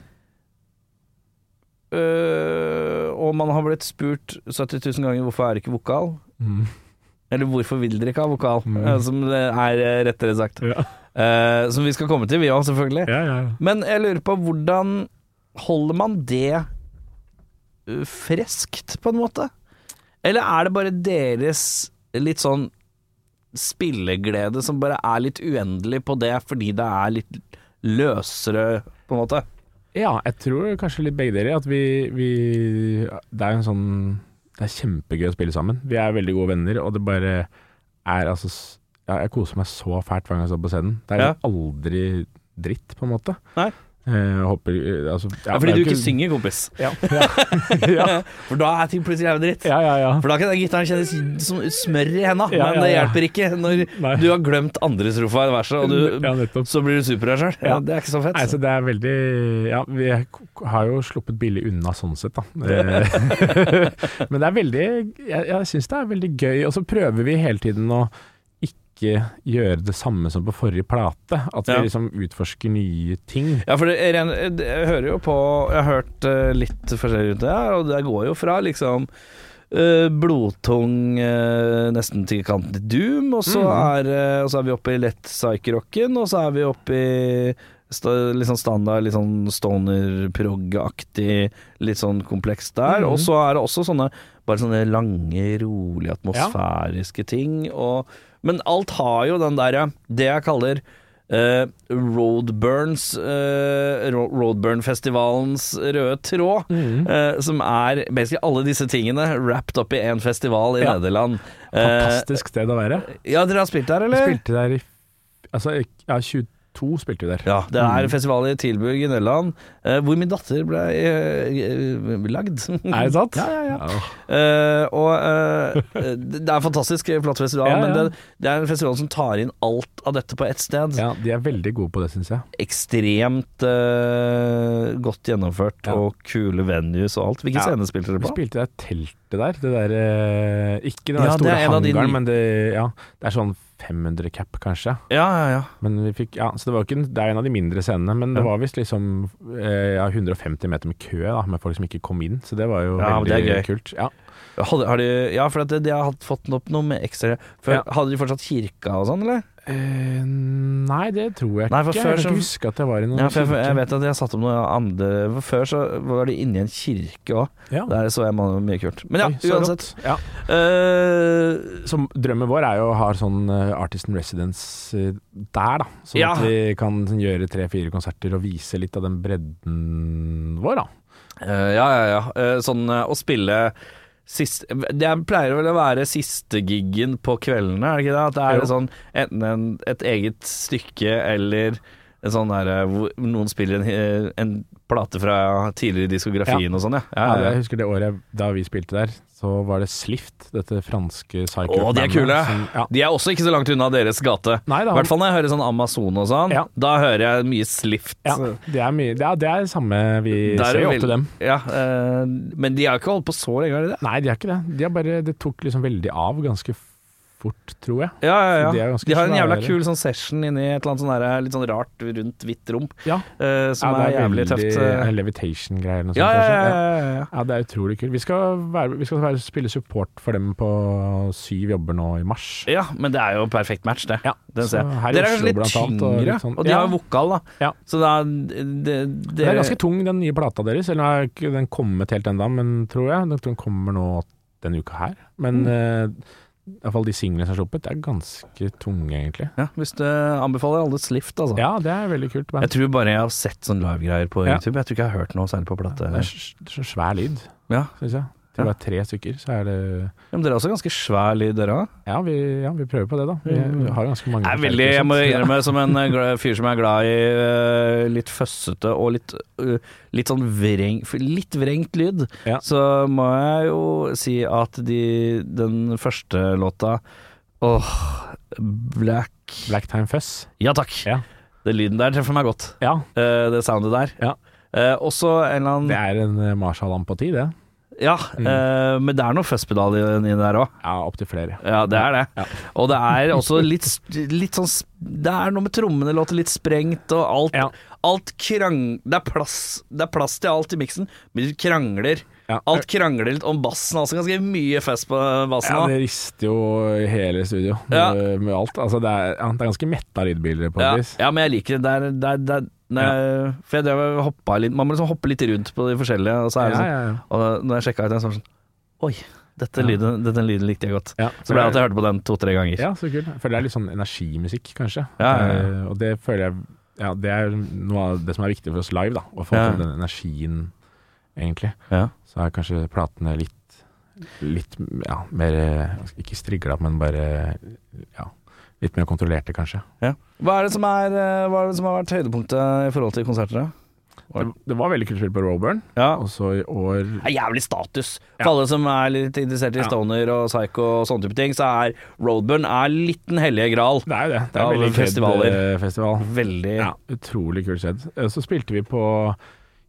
[SPEAKER 2] uh, og man har blitt spurt 70 000 ganger hvorfor er det ikke vokal,
[SPEAKER 3] Mm.
[SPEAKER 2] Eller hvorfor vil dere ikke ha vokal,
[SPEAKER 3] Mm.
[SPEAKER 2] eh, som det er eh, rettere sagt.
[SPEAKER 3] Ja.
[SPEAKER 2] Eh, som vi skal komme til, vi òg, selvfølgelig.
[SPEAKER 3] Ja, ja,
[SPEAKER 2] Men jeg lurer på hvordan holder man det eh, freskt, på en måte? Eller er det bare deres litt sånn spilleglede som bare er litt uendelig på det fordi det er litt løsere, på en måte?
[SPEAKER 3] Ja, jeg tror kanskje litt begge dere. At vi, vi Det er jo en sånn Det er kjempegøy å spille sammen. Vi er veldig gode venner, og det bare er altså s- ja, Jeg koser meg så fælt hver gang jeg står på scenen. Det er
[SPEAKER 2] Ja.
[SPEAKER 3] jo aldri dritt, på en måte.
[SPEAKER 2] Nei.
[SPEAKER 3] Eh, jeg håper eh, altså, ja,
[SPEAKER 2] Ja,
[SPEAKER 3] det
[SPEAKER 2] fordi
[SPEAKER 3] er
[SPEAKER 2] du
[SPEAKER 3] jo
[SPEAKER 2] ikke synger, kompis.
[SPEAKER 3] Ja, ja, ja,
[SPEAKER 2] For da er ting plutselig jævlig dritt.
[SPEAKER 3] ja, ja, ja.
[SPEAKER 2] For da kan den gitaren kjennes som smør i henda,
[SPEAKER 3] Ja,
[SPEAKER 2] men
[SPEAKER 3] ja,
[SPEAKER 2] det
[SPEAKER 3] ja.
[SPEAKER 2] hjelper ikke når
[SPEAKER 3] Nei.
[SPEAKER 2] du har glemt andres rofa i verset, og du,
[SPEAKER 3] ja, nettopp.
[SPEAKER 2] så blir du super her sjøl. Ja,
[SPEAKER 3] Ja.
[SPEAKER 2] det er ikke så fett.
[SPEAKER 3] Nei, så det er veldig Ja, vi er- har jo sluppet billig unna sånn sett, da. Eh, Men det er veldig Jeg, jeg syns det er veldig gøy. Og så prøver vi hele tiden å ikke gjøre det samme som på forrige plate. At vi
[SPEAKER 2] Ja.
[SPEAKER 3] liksom utforsker nye ting.
[SPEAKER 2] Ja, for det, jeg, ren- det- jeg hører jo på Jeg har hørt eh, litt forskjellig rundt det her, og det går jo fra liksom eh, blodtung, eh, nesten til kanten til doom, og så,
[SPEAKER 3] Mhm.
[SPEAKER 2] er, eh, og så er vi oppe i lett psyche-rocken, og så er vi oppe i sta, litt sånn standard, litt sånn stoner-prog-aktig, litt sånn kompleks der.
[SPEAKER 3] Mhm.
[SPEAKER 2] Og så er det også sånne bare sånne lange, rolige, atmosfæriske ting. Og, men alt har jo den derre Det jeg kaller eh, Roadburns eh, Ro- Roadburn-festivalens røde tråd.
[SPEAKER 3] Mm.
[SPEAKER 2] eh, som er basically alle disse tingene wrapped opp i én festival i
[SPEAKER 3] Ja.
[SPEAKER 2] Nederland. Eh,
[SPEAKER 3] Fantastisk sted å være.
[SPEAKER 2] ja, dere har spilt der,
[SPEAKER 3] Vi
[SPEAKER 2] eller?
[SPEAKER 3] spilte der i Altså, ja, 22 spilte vi der.
[SPEAKER 2] Ja, det er
[SPEAKER 3] Mm.
[SPEAKER 2] festival i Tilburg i Nederland, eh, hvor min datter ble eh, lagd.
[SPEAKER 3] Er det sant?
[SPEAKER 2] Ja, ja, ja.
[SPEAKER 3] Ja.
[SPEAKER 2] Eh, og eh, det er en fantastisk flott festival,
[SPEAKER 3] Ja, ja.
[SPEAKER 2] men det, det er en festival som tar inn alt av dette på ett sted.
[SPEAKER 3] Ja, de er veldig gode på det, syns jeg.
[SPEAKER 2] Ekstremt eh, godt gjennomført,
[SPEAKER 3] Ja.
[SPEAKER 2] og kule venues og alt. Hvilke
[SPEAKER 3] Ja.
[SPEAKER 2] scener spilte dere
[SPEAKER 3] Vi
[SPEAKER 2] på?
[SPEAKER 3] spilte det teltet der. Det der eh, ikke den
[SPEAKER 2] Ja,
[SPEAKER 3] der
[SPEAKER 2] det
[SPEAKER 3] store
[SPEAKER 2] er en av de
[SPEAKER 3] hangaren,
[SPEAKER 2] nye-
[SPEAKER 3] men det, ja, det er sånn 500 cap, kanskje.
[SPEAKER 2] Ja, ja, ja.
[SPEAKER 3] Men vi fikk, ja, så det, var jo ikke, en- det er en av de mindre scenene, men det
[SPEAKER 2] Ja.
[SPEAKER 3] var visst liksom eh, ja, 150 meter med kø da, med folk som ikke kom inn, så det var jo
[SPEAKER 2] Ja, men
[SPEAKER 3] veldig
[SPEAKER 2] det er
[SPEAKER 3] kult. Ja.
[SPEAKER 2] Hadde, har de, ja, for at de, de har hatt- fått opp noe med ekstra for,
[SPEAKER 3] Ja.
[SPEAKER 2] Hadde de fortsatt kirka og sånn, eller?
[SPEAKER 3] Eh, nei, det tror jeg
[SPEAKER 2] Nei, for
[SPEAKER 3] ikke.
[SPEAKER 2] før
[SPEAKER 3] jeg
[SPEAKER 2] så-
[SPEAKER 3] kan ikke huske at det var i noen
[SPEAKER 2] Ja, for jeg,
[SPEAKER 3] kirke.
[SPEAKER 2] jeg vet at de har satt opp noe andre for Før så var de inne i en kirke òg.
[SPEAKER 3] Ja.
[SPEAKER 2] Der så jeg man- mye kult. Men ja,
[SPEAKER 3] Oi, så
[SPEAKER 2] uansett.
[SPEAKER 3] rått. Ja.
[SPEAKER 2] Eh,
[SPEAKER 3] Så drømmen vår er jo å ha sånn eh, artist in residence eh, der, da. Sånn
[SPEAKER 2] Ja.
[SPEAKER 3] at vi kan gjøre tre-fire konserter og vise litt av den bredden vår, da.
[SPEAKER 2] Eh, ja, ja, ja. Eh, sånn eh, å spille sist, Det er- pleier vel å være siste giggen på kveldene, er det ikke det? At det er
[SPEAKER 3] Jo.
[SPEAKER 2] sånn enten en, et eget stykke eller en sånn derre hvor noen spiller en, eh, en plate fra tidligere i diskografien og sånn, ja. ja,
[SPEAKER 3] Ja,
[SPEAKER 2] ja,
[SPEAKER 3] Jeg
[SPEAKER 2] ja.
[SPEAKER 3] husker det året jeg- da vi spilte der, så var det Slift, dette franske psycho
[SPEAKER 2] Å, de er kule.
[SPEAKER 3] ja.
[SPEAKER 2] De er også ikke så langt unna deres gate.
[SPEAKER 3] Nei,
[SPEAKER 2] I
[SPEAKER 3] da,
[SPEAKER 2] hvert fall når jeg hører sånn Amazon og sånn.
[SPEAKER 3] Ja.
[SPEAKER 2] Da hører jeg mye slift.
[SPEAKER 3] ja, det er mye Ja, det er samme vi
[SPEAKER 2] Der er
[SPEAKER 3] ser jo
[SPEAKER 2] vel-
[SPEAKER 3] opp til dem.
[SPEAKER 2] Ja, eh, men de har ikke holdt på så lenge, har de det?
[SPEAKER 3] Nei, de er ikke det. De er bare, det tok liksom veldig av ganske fort, tror jeg.
[SPEAKER 2] Ja, ja, ja.
[SPEAKER 3] De er ganske
[SPEAKER 2] De har en jævla
[SPEAKER 3] svære.
[SPEAKER 2] kul sånn session inni et eller annet sånn der, litt sånn rart rundt hvitt rom,
[SPEAKER 3] Ja,
[SPEAKER 2] eh, som
[SPEAKER 3] ja,
[SPEAKER 2] er, jævlig tøft. eh.
[SPEAKER 3] en Levitation-greier eller noe
[SPEAKER 2] Ja,
[SPEAKER 3] sånt.
[SPEAKER 2] ja,
[SPEAKER 3] kanskje.
[SPEAKER 2] ja, ja, ja.
[SPEAKER 3] Ja, det er utrolig kult. Vi skal, være, vi skal være, spille support for dem på syv jobber nå i mars.
[SPEAKER 2] Ja, men det er jo perfekt match, det.
[SPEAKER 3] Ja,
[SPEAKER 2] Den
[SPEAKER 3] så
[SPEAKER 2] ser jeg.
[SPEAKER 3] her i
[SPEAKER 2] Dere er
[SPEAKER 3] Oslo,
[SPEAKER 2] kanskje litt
[SPEAKER 3] blant annet, og
[SPEAKER 2] tyngre,
[SPEAKER 3] litt sånn-
[SPEAKER 2] og de har
[SPEAKER 3] Ja.
[SPEAKER 2] jo vokal, da.
[SPEAKER 3] Ja.
[SPEAKER 2] Så da det, det,
[SPEAKER 3] Den
[SPEAKER 2] dere-
[SPEAKER 3] er ganske tung, den nye plata deres. Eller den har ikke den kommet helt ennå, men tror jeg. Jeg tror den kommer nå denne uka her.
[SPEAKER 2] Mm.
[SPEAKER 3] Men eh, i hvert fall de singlene som er sluppet, det er ganske tunge, egentlig.
[SPEAKER 2] ja, Hvis du anbefaler alle Slift, altså.
[SPEAKER 3] Ja, det er veldig kult.
[SPEAKER 2] Jeg
[SPEAKER 3] Band.
[SPEAKER 2] tror bare jeg har sett sånn livegreier på
[SPEAKER 3] Ja.
[SPEAKER 2] YouTube. Jeg tror ikke jeg har hørt noe særlig på plate.
[SPEAKER 3] Det er s- så svær lyd,
[SPEAKER 2] Ja.
[SPEAKER 3] syns jeg.
[SPEAKER 2] Ja.
[SPEAKER 3] Til å være tre stykker, så er det
[SPEAKER 2] Ja, men dere er også ganske svær lyd, dere òg.
[SPEAKER 3] Ja, vi, ja, vi prøver på det, da. Vi, vi har ganske mange.
[SPEAKER 2] Jeg, Mm. er
[SPEAKER 3] forsterkere,
[SPEAKER 2] veldig- jeg må
[SPEAKER 3] sant?
[SPEAKER 2] innrømme som en eh, gla- fyr som er glad i eh, litt føssete og litt, eh, litt sånn vreng, f- litt vrengt lyd,
[SPEAKER 3] Ja.
[SPEAKER 2] så må jeg jo si at de, den første låta Åh, Black
[SPEAKER 3] Blacktime Fuzz.
[SPEAKER 2] Ja takk!
[SPEAKER 3] Ja.
[SPEAKER 2] Den lyden der treffer meg godt.
[SPEAKER 3] Ja,
[SPEAKER 2] Eh, det soundet der.
[SPEAKER 3] Ja.
[SPEAKER 2] Eh, også en eller annen
[SPEAKER 3] det er Mm. en eh, Marshall-ampati, det.
[SPEAKER 2] Ja, eh, men det er noe fuzz-pedal i- inni der òg.
[SPEAKER 3] Ja, opptil flere.
[SPEAKER 2] Ja, det er det.
[SPEAKER 3] Ja.
[SPEAKER 2] Og det er også litt, litt sånn sp- Det er noe med trommene låter litt sprengt, og alt,
[SPEAKER 3] Ja.
[SPEAKER 2] alt krang... Det er, plass, det er plass til alt i miksen, men du krangler.
[SPEAKER 3] Ja.
[SPEAKER 2] Alt krangler litt om bassen, altså ganske mye fest på bassen. da.
[SPEAKER 3] Ja, det rister jo i hele studio
[SPEAKER 2] Ja.
[SPEAKER 3] med, med alt. Altså, det, er, ja, det er ganske metta lydbilder på et
[SPEAKER 2] Ja,
[SPEAKER 3] vis.
[SPEAKER 2] ja, men jeg liker det. Det er- det er- det er- nei, For jeg drev og hoppa litt Man må liksom hoppe litt rundt på de forskjellige, og så er det
[SPEAKER 3] Ja,
[SPEAKER 2] sånn
[SPEAKER 3] ja, ja.
[SPEAKER 2] Og da- når jeg sjekka ut den, så var det sånn Oi, dette
[SPEAKER 3] Ja.
[SPEAKER 2] lyden, denne lyden likte jeg godt.
[SPEAKER 3] Ja.
[SPEAKER 2] Så ble det at jeg hørte på den to-tre ganger.
[SPEAKER 3] Ja, så kult. Jeg føler det er litt sånn energimusikk, kanskje.
[SPEAKER 2] Ja, ja, ja.
[SPEAKER 3] Eh, og det føler jeg ja, det er noe av det som er viktig for oss live, da. Å få
[SPEAKER 2] Ja.
[SPEAKER 3] fram den energien, egentlig.
[SPEAKER 2] Ja.
[SPEAKER 3] Så er kanskje platene litt Litt ja, mer eh, Ikke strigla, men bare ja, litt mer kontrollerte, kanskje.
[SPEAKER 2] Hva, er det som er, eh, hva er det som har vært høydepunktet i forhold til konserter? da?
[SPEAKER 3] Det, det var veldig kult spill på Roburn,
[SPEAKER 2] Ja.
[SPEAKER 3] også i år
[SPEAKER 2] Det er jævlig status. For
[SPEAKER 3] Ja.
[SPEAKER 2] alle som er litt interessert i
[SPEAKER 3] Ja.
[SPEAKER 2] stoner og psycho og sånne type ting, så er Roadburn er litt den hellige gral.
[SPEAKER 3] Det er jo det. Det er
[SPEAKER 2] Ja,
[SPEAKER 3] en veldig
[SPEAKER 2] over festivaler.
[SPEAKER 3] fred, eh, festival.
[SPEAKER 2] Veldig
[SPEAKER 3] Ja, utrolig kult sted. Eh, Så spilte vi på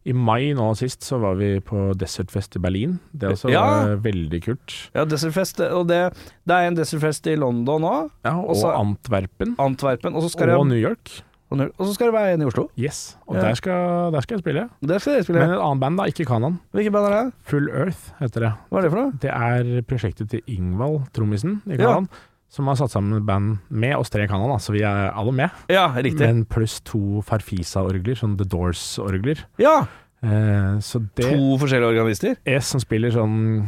[SPEAKER 3] I mai nå sist så var vi på Desertfest i Berlin. Det også
[SPEAKER 2] Ja.
[SPEAKER 3] var veldig kult.
[SPEAKER 2] Ja, Desertfest, og det, det er en Desertfest i London òg,
[SPEAKER 3] Ja, og
[SPEAKER 2] Også-
[SPEAKER 3] Antwerpen.
[SPEAKER 2] Antwerpen, og så skal,
[SPEAKER 3] Og
[SPEAKER 2] det,
[SPEAKER 3] New York.
[SPEAKER 2] og så skal det være en i Oslo.
[SPEAKER 3] Yes. Og
[SPEAKER 2] Ja.
[SPEAKER 3] der, skal, der skal jeg spille.
[SPEAKER 2] Der skal dere spille.
[SPEAKER 3] Men et annet band, da. Ikke Kanan.
[SPEAKER 2] Hvilket band er det?
[SPEAKER 3] Full Earth heter det.
[SPEAKER 2] Hva er det for noe?
[SPEAKER 3] Det er prosjektet til Ingvald, trommisen i
[SPEAKER 2] Ja.
[SPEAKER 3] Kanan, som har satt sammen et band med oss tre i Kanan, da, så vi er alle med.
[SPEAKER 2] Ja, riktig.
[SPEAKER 3] Men pluss to Farfisa-orgler, sånn The Doors-orgler.
[SPEAKER 2] ja,
[SPEAKER 3] Eh, så det
[SPEAKER 2] To forskjellige organister?
[SPEAKER 3] S som spiller sånn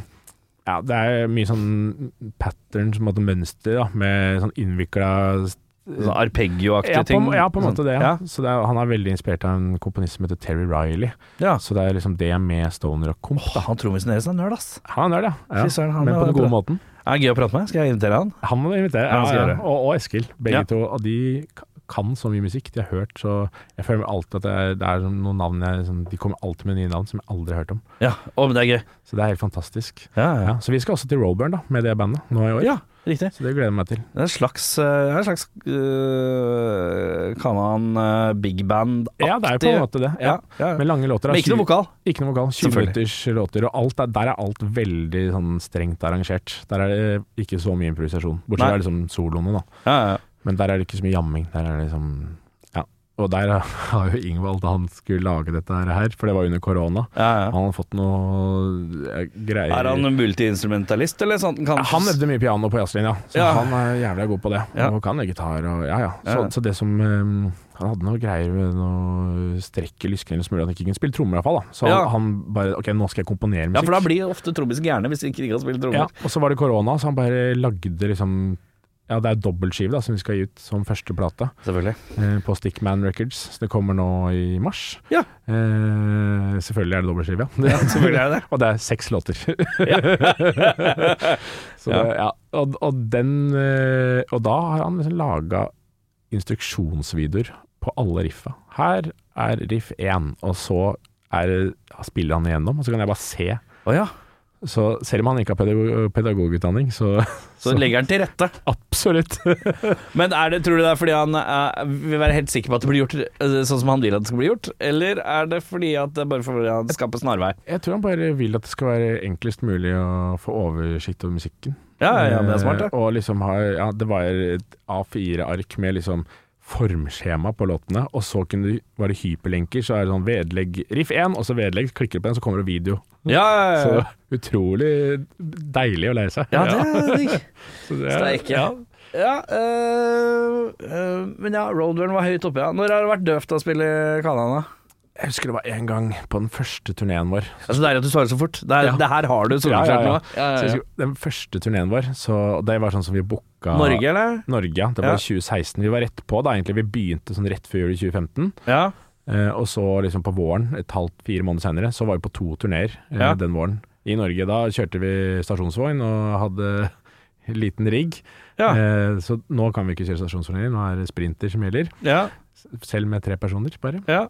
[SPEAKER 3] Ja, det er mye sånn patterns, på en måte mønster, da, med sånn innvikla
[SPEAKER 2] Sånn Arpeggio-aktige
[SPEAKER 3] ja, på-
[SPEAKER 2] ting?
[SPEAKER 3] ja, på en måte
[SPEAKER 2] Sånn.
[SPEAKER 3] det.
[SPEAKER 2] Ja.
[SPEAKER 3] Ja. Så det er, han er veldig inspirert av en komponist som heter Terry Riley.
[SPEAKER 2] Ja.
[SPEAKER 3] Så det er liksom det med stoner og komp.
[SPEAKER 2] Åh, han trommisen deres er nerd, ass.
[SPEAKER 3] Han er nerd, ja.
[SPEAKER 2] Fy søren,
[SPEAKER 3] ja.
[SPEAKER 2] han
[SPEAKER 3] Men
[SPEAKER 2] er
[SPEAKER 3] på den
[SPEAKER 2] bra.
[SPEAKER 3] gode måten.
[SPEAKER 2] Er det gøy å prate med? Skal jeg invitere han?
[SPEAKER 3] Han må du invitere.
[SPEAKER 2] Ja, han
[SPEAKER 3] Ja,
[SPEAKER 2] skal
[SPEAKER 3] ja,
[SPEAKER 2] gjøre det.
[SPEAKER 3] Og, og Eskil. Begge
[SPEAKER 2] Ja.
[SPEAKER 3] to. Og de k- kan så mye musikk. De har hørt, så jeg føler alltid at det er, det er noen navn jeg liksom, De kommer alltid med nye navn som jeg aldri har hørt om.
[SPEAKER 2] Ja, å, men det er gøy.
[SPEAKER 3] Så det er helt fantastisk.
[SPEAKER 2] Ja, ja.
[SPEAKER 3] Ja, så vi skal også til Rollburn da, med det bandet nå i år.
[SPEAKER 2] Ja, riktig.
[SPEAKER 3] Så det gleder jeg meg til.
[SPEAKER 2] Det er en slags, eh, det er en slags eh, Kan man eh, big band-aktig
[SPEAKER 3] Ja, det er jo på en måte det.
[SPEAKER 2] ja,
[SPEAKER 3] Ja.
[SPEAKER 2] ja.
[SPEAKER 3] Med lange låter. da.
[SPEAKER 2] Men ikke noe vokal.
[SPEAKER 3] Tjue- Ikke noe vokal. 20
[SPEAKER 2] Selvfølgelig.
[SPEAKER 3] minutters låter. Og alt er, der er alt veldig sånn strengt arrangert. Der er det ikke så mye improvisasjon.
[SPEAKER 2] Nei.
[SPEAKER 3] Bortsett fra liksom soloene, da.
[SPEAKER 2] Ja, ja.
[SPEAKER 3] Men der er det ikke så mye jamming. Der er det liksom Ja. Og der har jo Ingvald, da han skulle lage dette her, for det var under korona
[SPEAKER 2] ja, ja.
[SPEAKER 3] Han hadde fått noe eh, greier
[SPEAKER 2] Er han en multiinstrumentalist, eller sånn? Kan...
[SPEAKER 3] Ja, Han øvde mye piano på jazzlinja, så
[SPEAKER 2] Ja.
[SPEAKER 3] han er jævlig god på det.
[SPEAKER 2] Ja.
[SPEAKER 3] Og kan gitar og ja ja. Så,
[SPEAKER 2] Ja, ja.
[SPEAKER 3] så det som eh, Han hadde noe greier med noe strekk i lysken eller smule, han ikke kunne spille trommer iallfall. Så
[SPEAKER 2] Ja.
[SPEAKER 3] han bare Ok, nå skal jeg komponere
[SPEAKER 2] Ja,
[SPEAKER 3] musikk.
[SPEAKER 2] for da blir ofte trommisen gærne hvis de ikke kan spille
[SPEAKER 3] Ja,
[SPEAKER 2] trommer.
[SPEAKER 3] og så var det korona, så han bare lagde liksom ja, det er dobbeltskive da, som vi skal gi ut som første plate
[SPEAKER 2] Selvfølgelig.
[SPEAKER 3] eh, på Stickman Records. Så det kommer nå i mars.
[SPEAKER 2] Ja.
[SPEAKER 3] Eh, selvfølgelig er det dobbeltskive, ja.
[SPEAKER 2] Selvfølgelig er det
[SPEAKER 3] Og det er seks låter. så
[SPEAKER 2] Ja.
[SPEAKER 3] det, ja. og, og den eh, Og da har han liksom laga instruksjonsvideoer på alle riffa. Her er riff én, og så er, det- spiller han igjennom, og så kan jeg bare se.
[SPEAKER 2] Å ja.
[SPEAKER 3] Så selv om han ikke har pedago pedagogutdanning, så
[SPEAKER 2] Så legger han til rette.
[SPEAKER 3] absolutt.
[SPEAKER 2] Men er det, tror du det er fordi han eh, vil være helt sikker på at det blir gjort eh, sånn som han vil at det skal bli gjort, eller er det fordi at det er bare fordi han skaper snarvei?
[SPEAKER 3] Jeg tror han bare vil at det skal være enklest mulig å få oversikt over musikken.
[SPEAKER 2] Ja, ja, men det er smart, det.
[SPEAKER 3] Eh, Og liksom har, ja, det var et A4-ark med liksom formskjema på låtene, og så kunne du, var det hyperlenker, så er det sånn vedlegg, riff 1, og så vedlegg, så klikker du på den, så kommer det video.
[SPEAKER 2] Ja, ja,
[SPEAKER 3] Så
[SPEAKER 2] ja.
[SPEAKER 3] utrolig deilig å lære seg.
[SPEAKER 2] Eh. ja det er digg.
[SPEAKER 3] så det
[SPEAKER 2] Steike. Ja, øh, øh, men ja, Roadburn var høyt oppe, ja. Når har det vært døvt å spille Kanan, da?
[SPEAKER 3] Jeg husker det var en gang på den første turneen vår.
[SPEAKER 2] Altså, det er at du svarer så fort. Det, er,
[SPEAKER 3] Ja.
[SPEAKER 2] det her har du soleklart nå.
[SPEAKER 3] Så jeg husker, den første turneen vår, så det var sånn som vi booka
[SPEAKER 2] Norge, eller?
[SPEAKER 3] Norge, ja. Det
[SPEAKER 2] Ja.
[SPEAKER 3] var 2016. Vi var rett på da, egentlig. Vi begynte sånn rett før jul i 2015.
[SPEAKER 2] Ja.
[SPEAKER 3] Eh, og så liksom på våren, et halvt, fire måneder senere, så var vi på to turneer eh,
[SPEAKER 2] Ja.
[SPEAKER 3] den våren i Norge. Da kjørte vi stasjonsvogn og hadde liten rigg.
[SPEAKER 2] Ja.
[SPEAKER 3] Eh, så nå kan vi ikke kjøre stasjonsturneer, nå er det sprinter som gjelder.
[SPEAKER 2] ja.
[SPEAKER 3] Selv med tre personer, bare.
[SPEAKER 2] ja.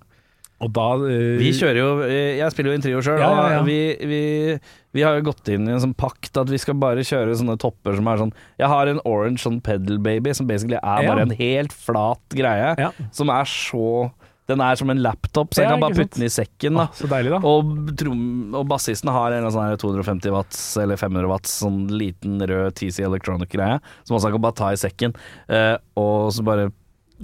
[SPEAKER 3] Og da eh,
[SPEAKER 2] Vi kjører jo Jeg spiller jo i en trio sjøl,
[SPEAKER 3] Ja, ja, ja.
[SPEAKER 2] og vi, vi, vi har jo gått inn i en sånn pakt at vi skal bare kjøre sånne topper som er sånn Jeg har en orange sånn pedal baby som basically er
[SPEAKER 3] Ja.
[SPEAKER 2] bare en helt flat greie,
[SPEAKER 3] Ja.
[SPEAKER 2] som er så Den er som en laptop, så jeg
[SPEAKER 3] Ja,
[SPEAKER 2] kan bare
[SPEAKER 3] ikke sant?
[SPEAKER 2] putte den i sekken, da.
[SPEAKER 3] ah, Så deilig, da.
[SPEAKER 2] Og, trom- og bassisten har en eller annen sånn her 250 watts eller 500 watts sånn liten rød TC Electronic-greie, som også kan bare ta i sekken, eh, og så bare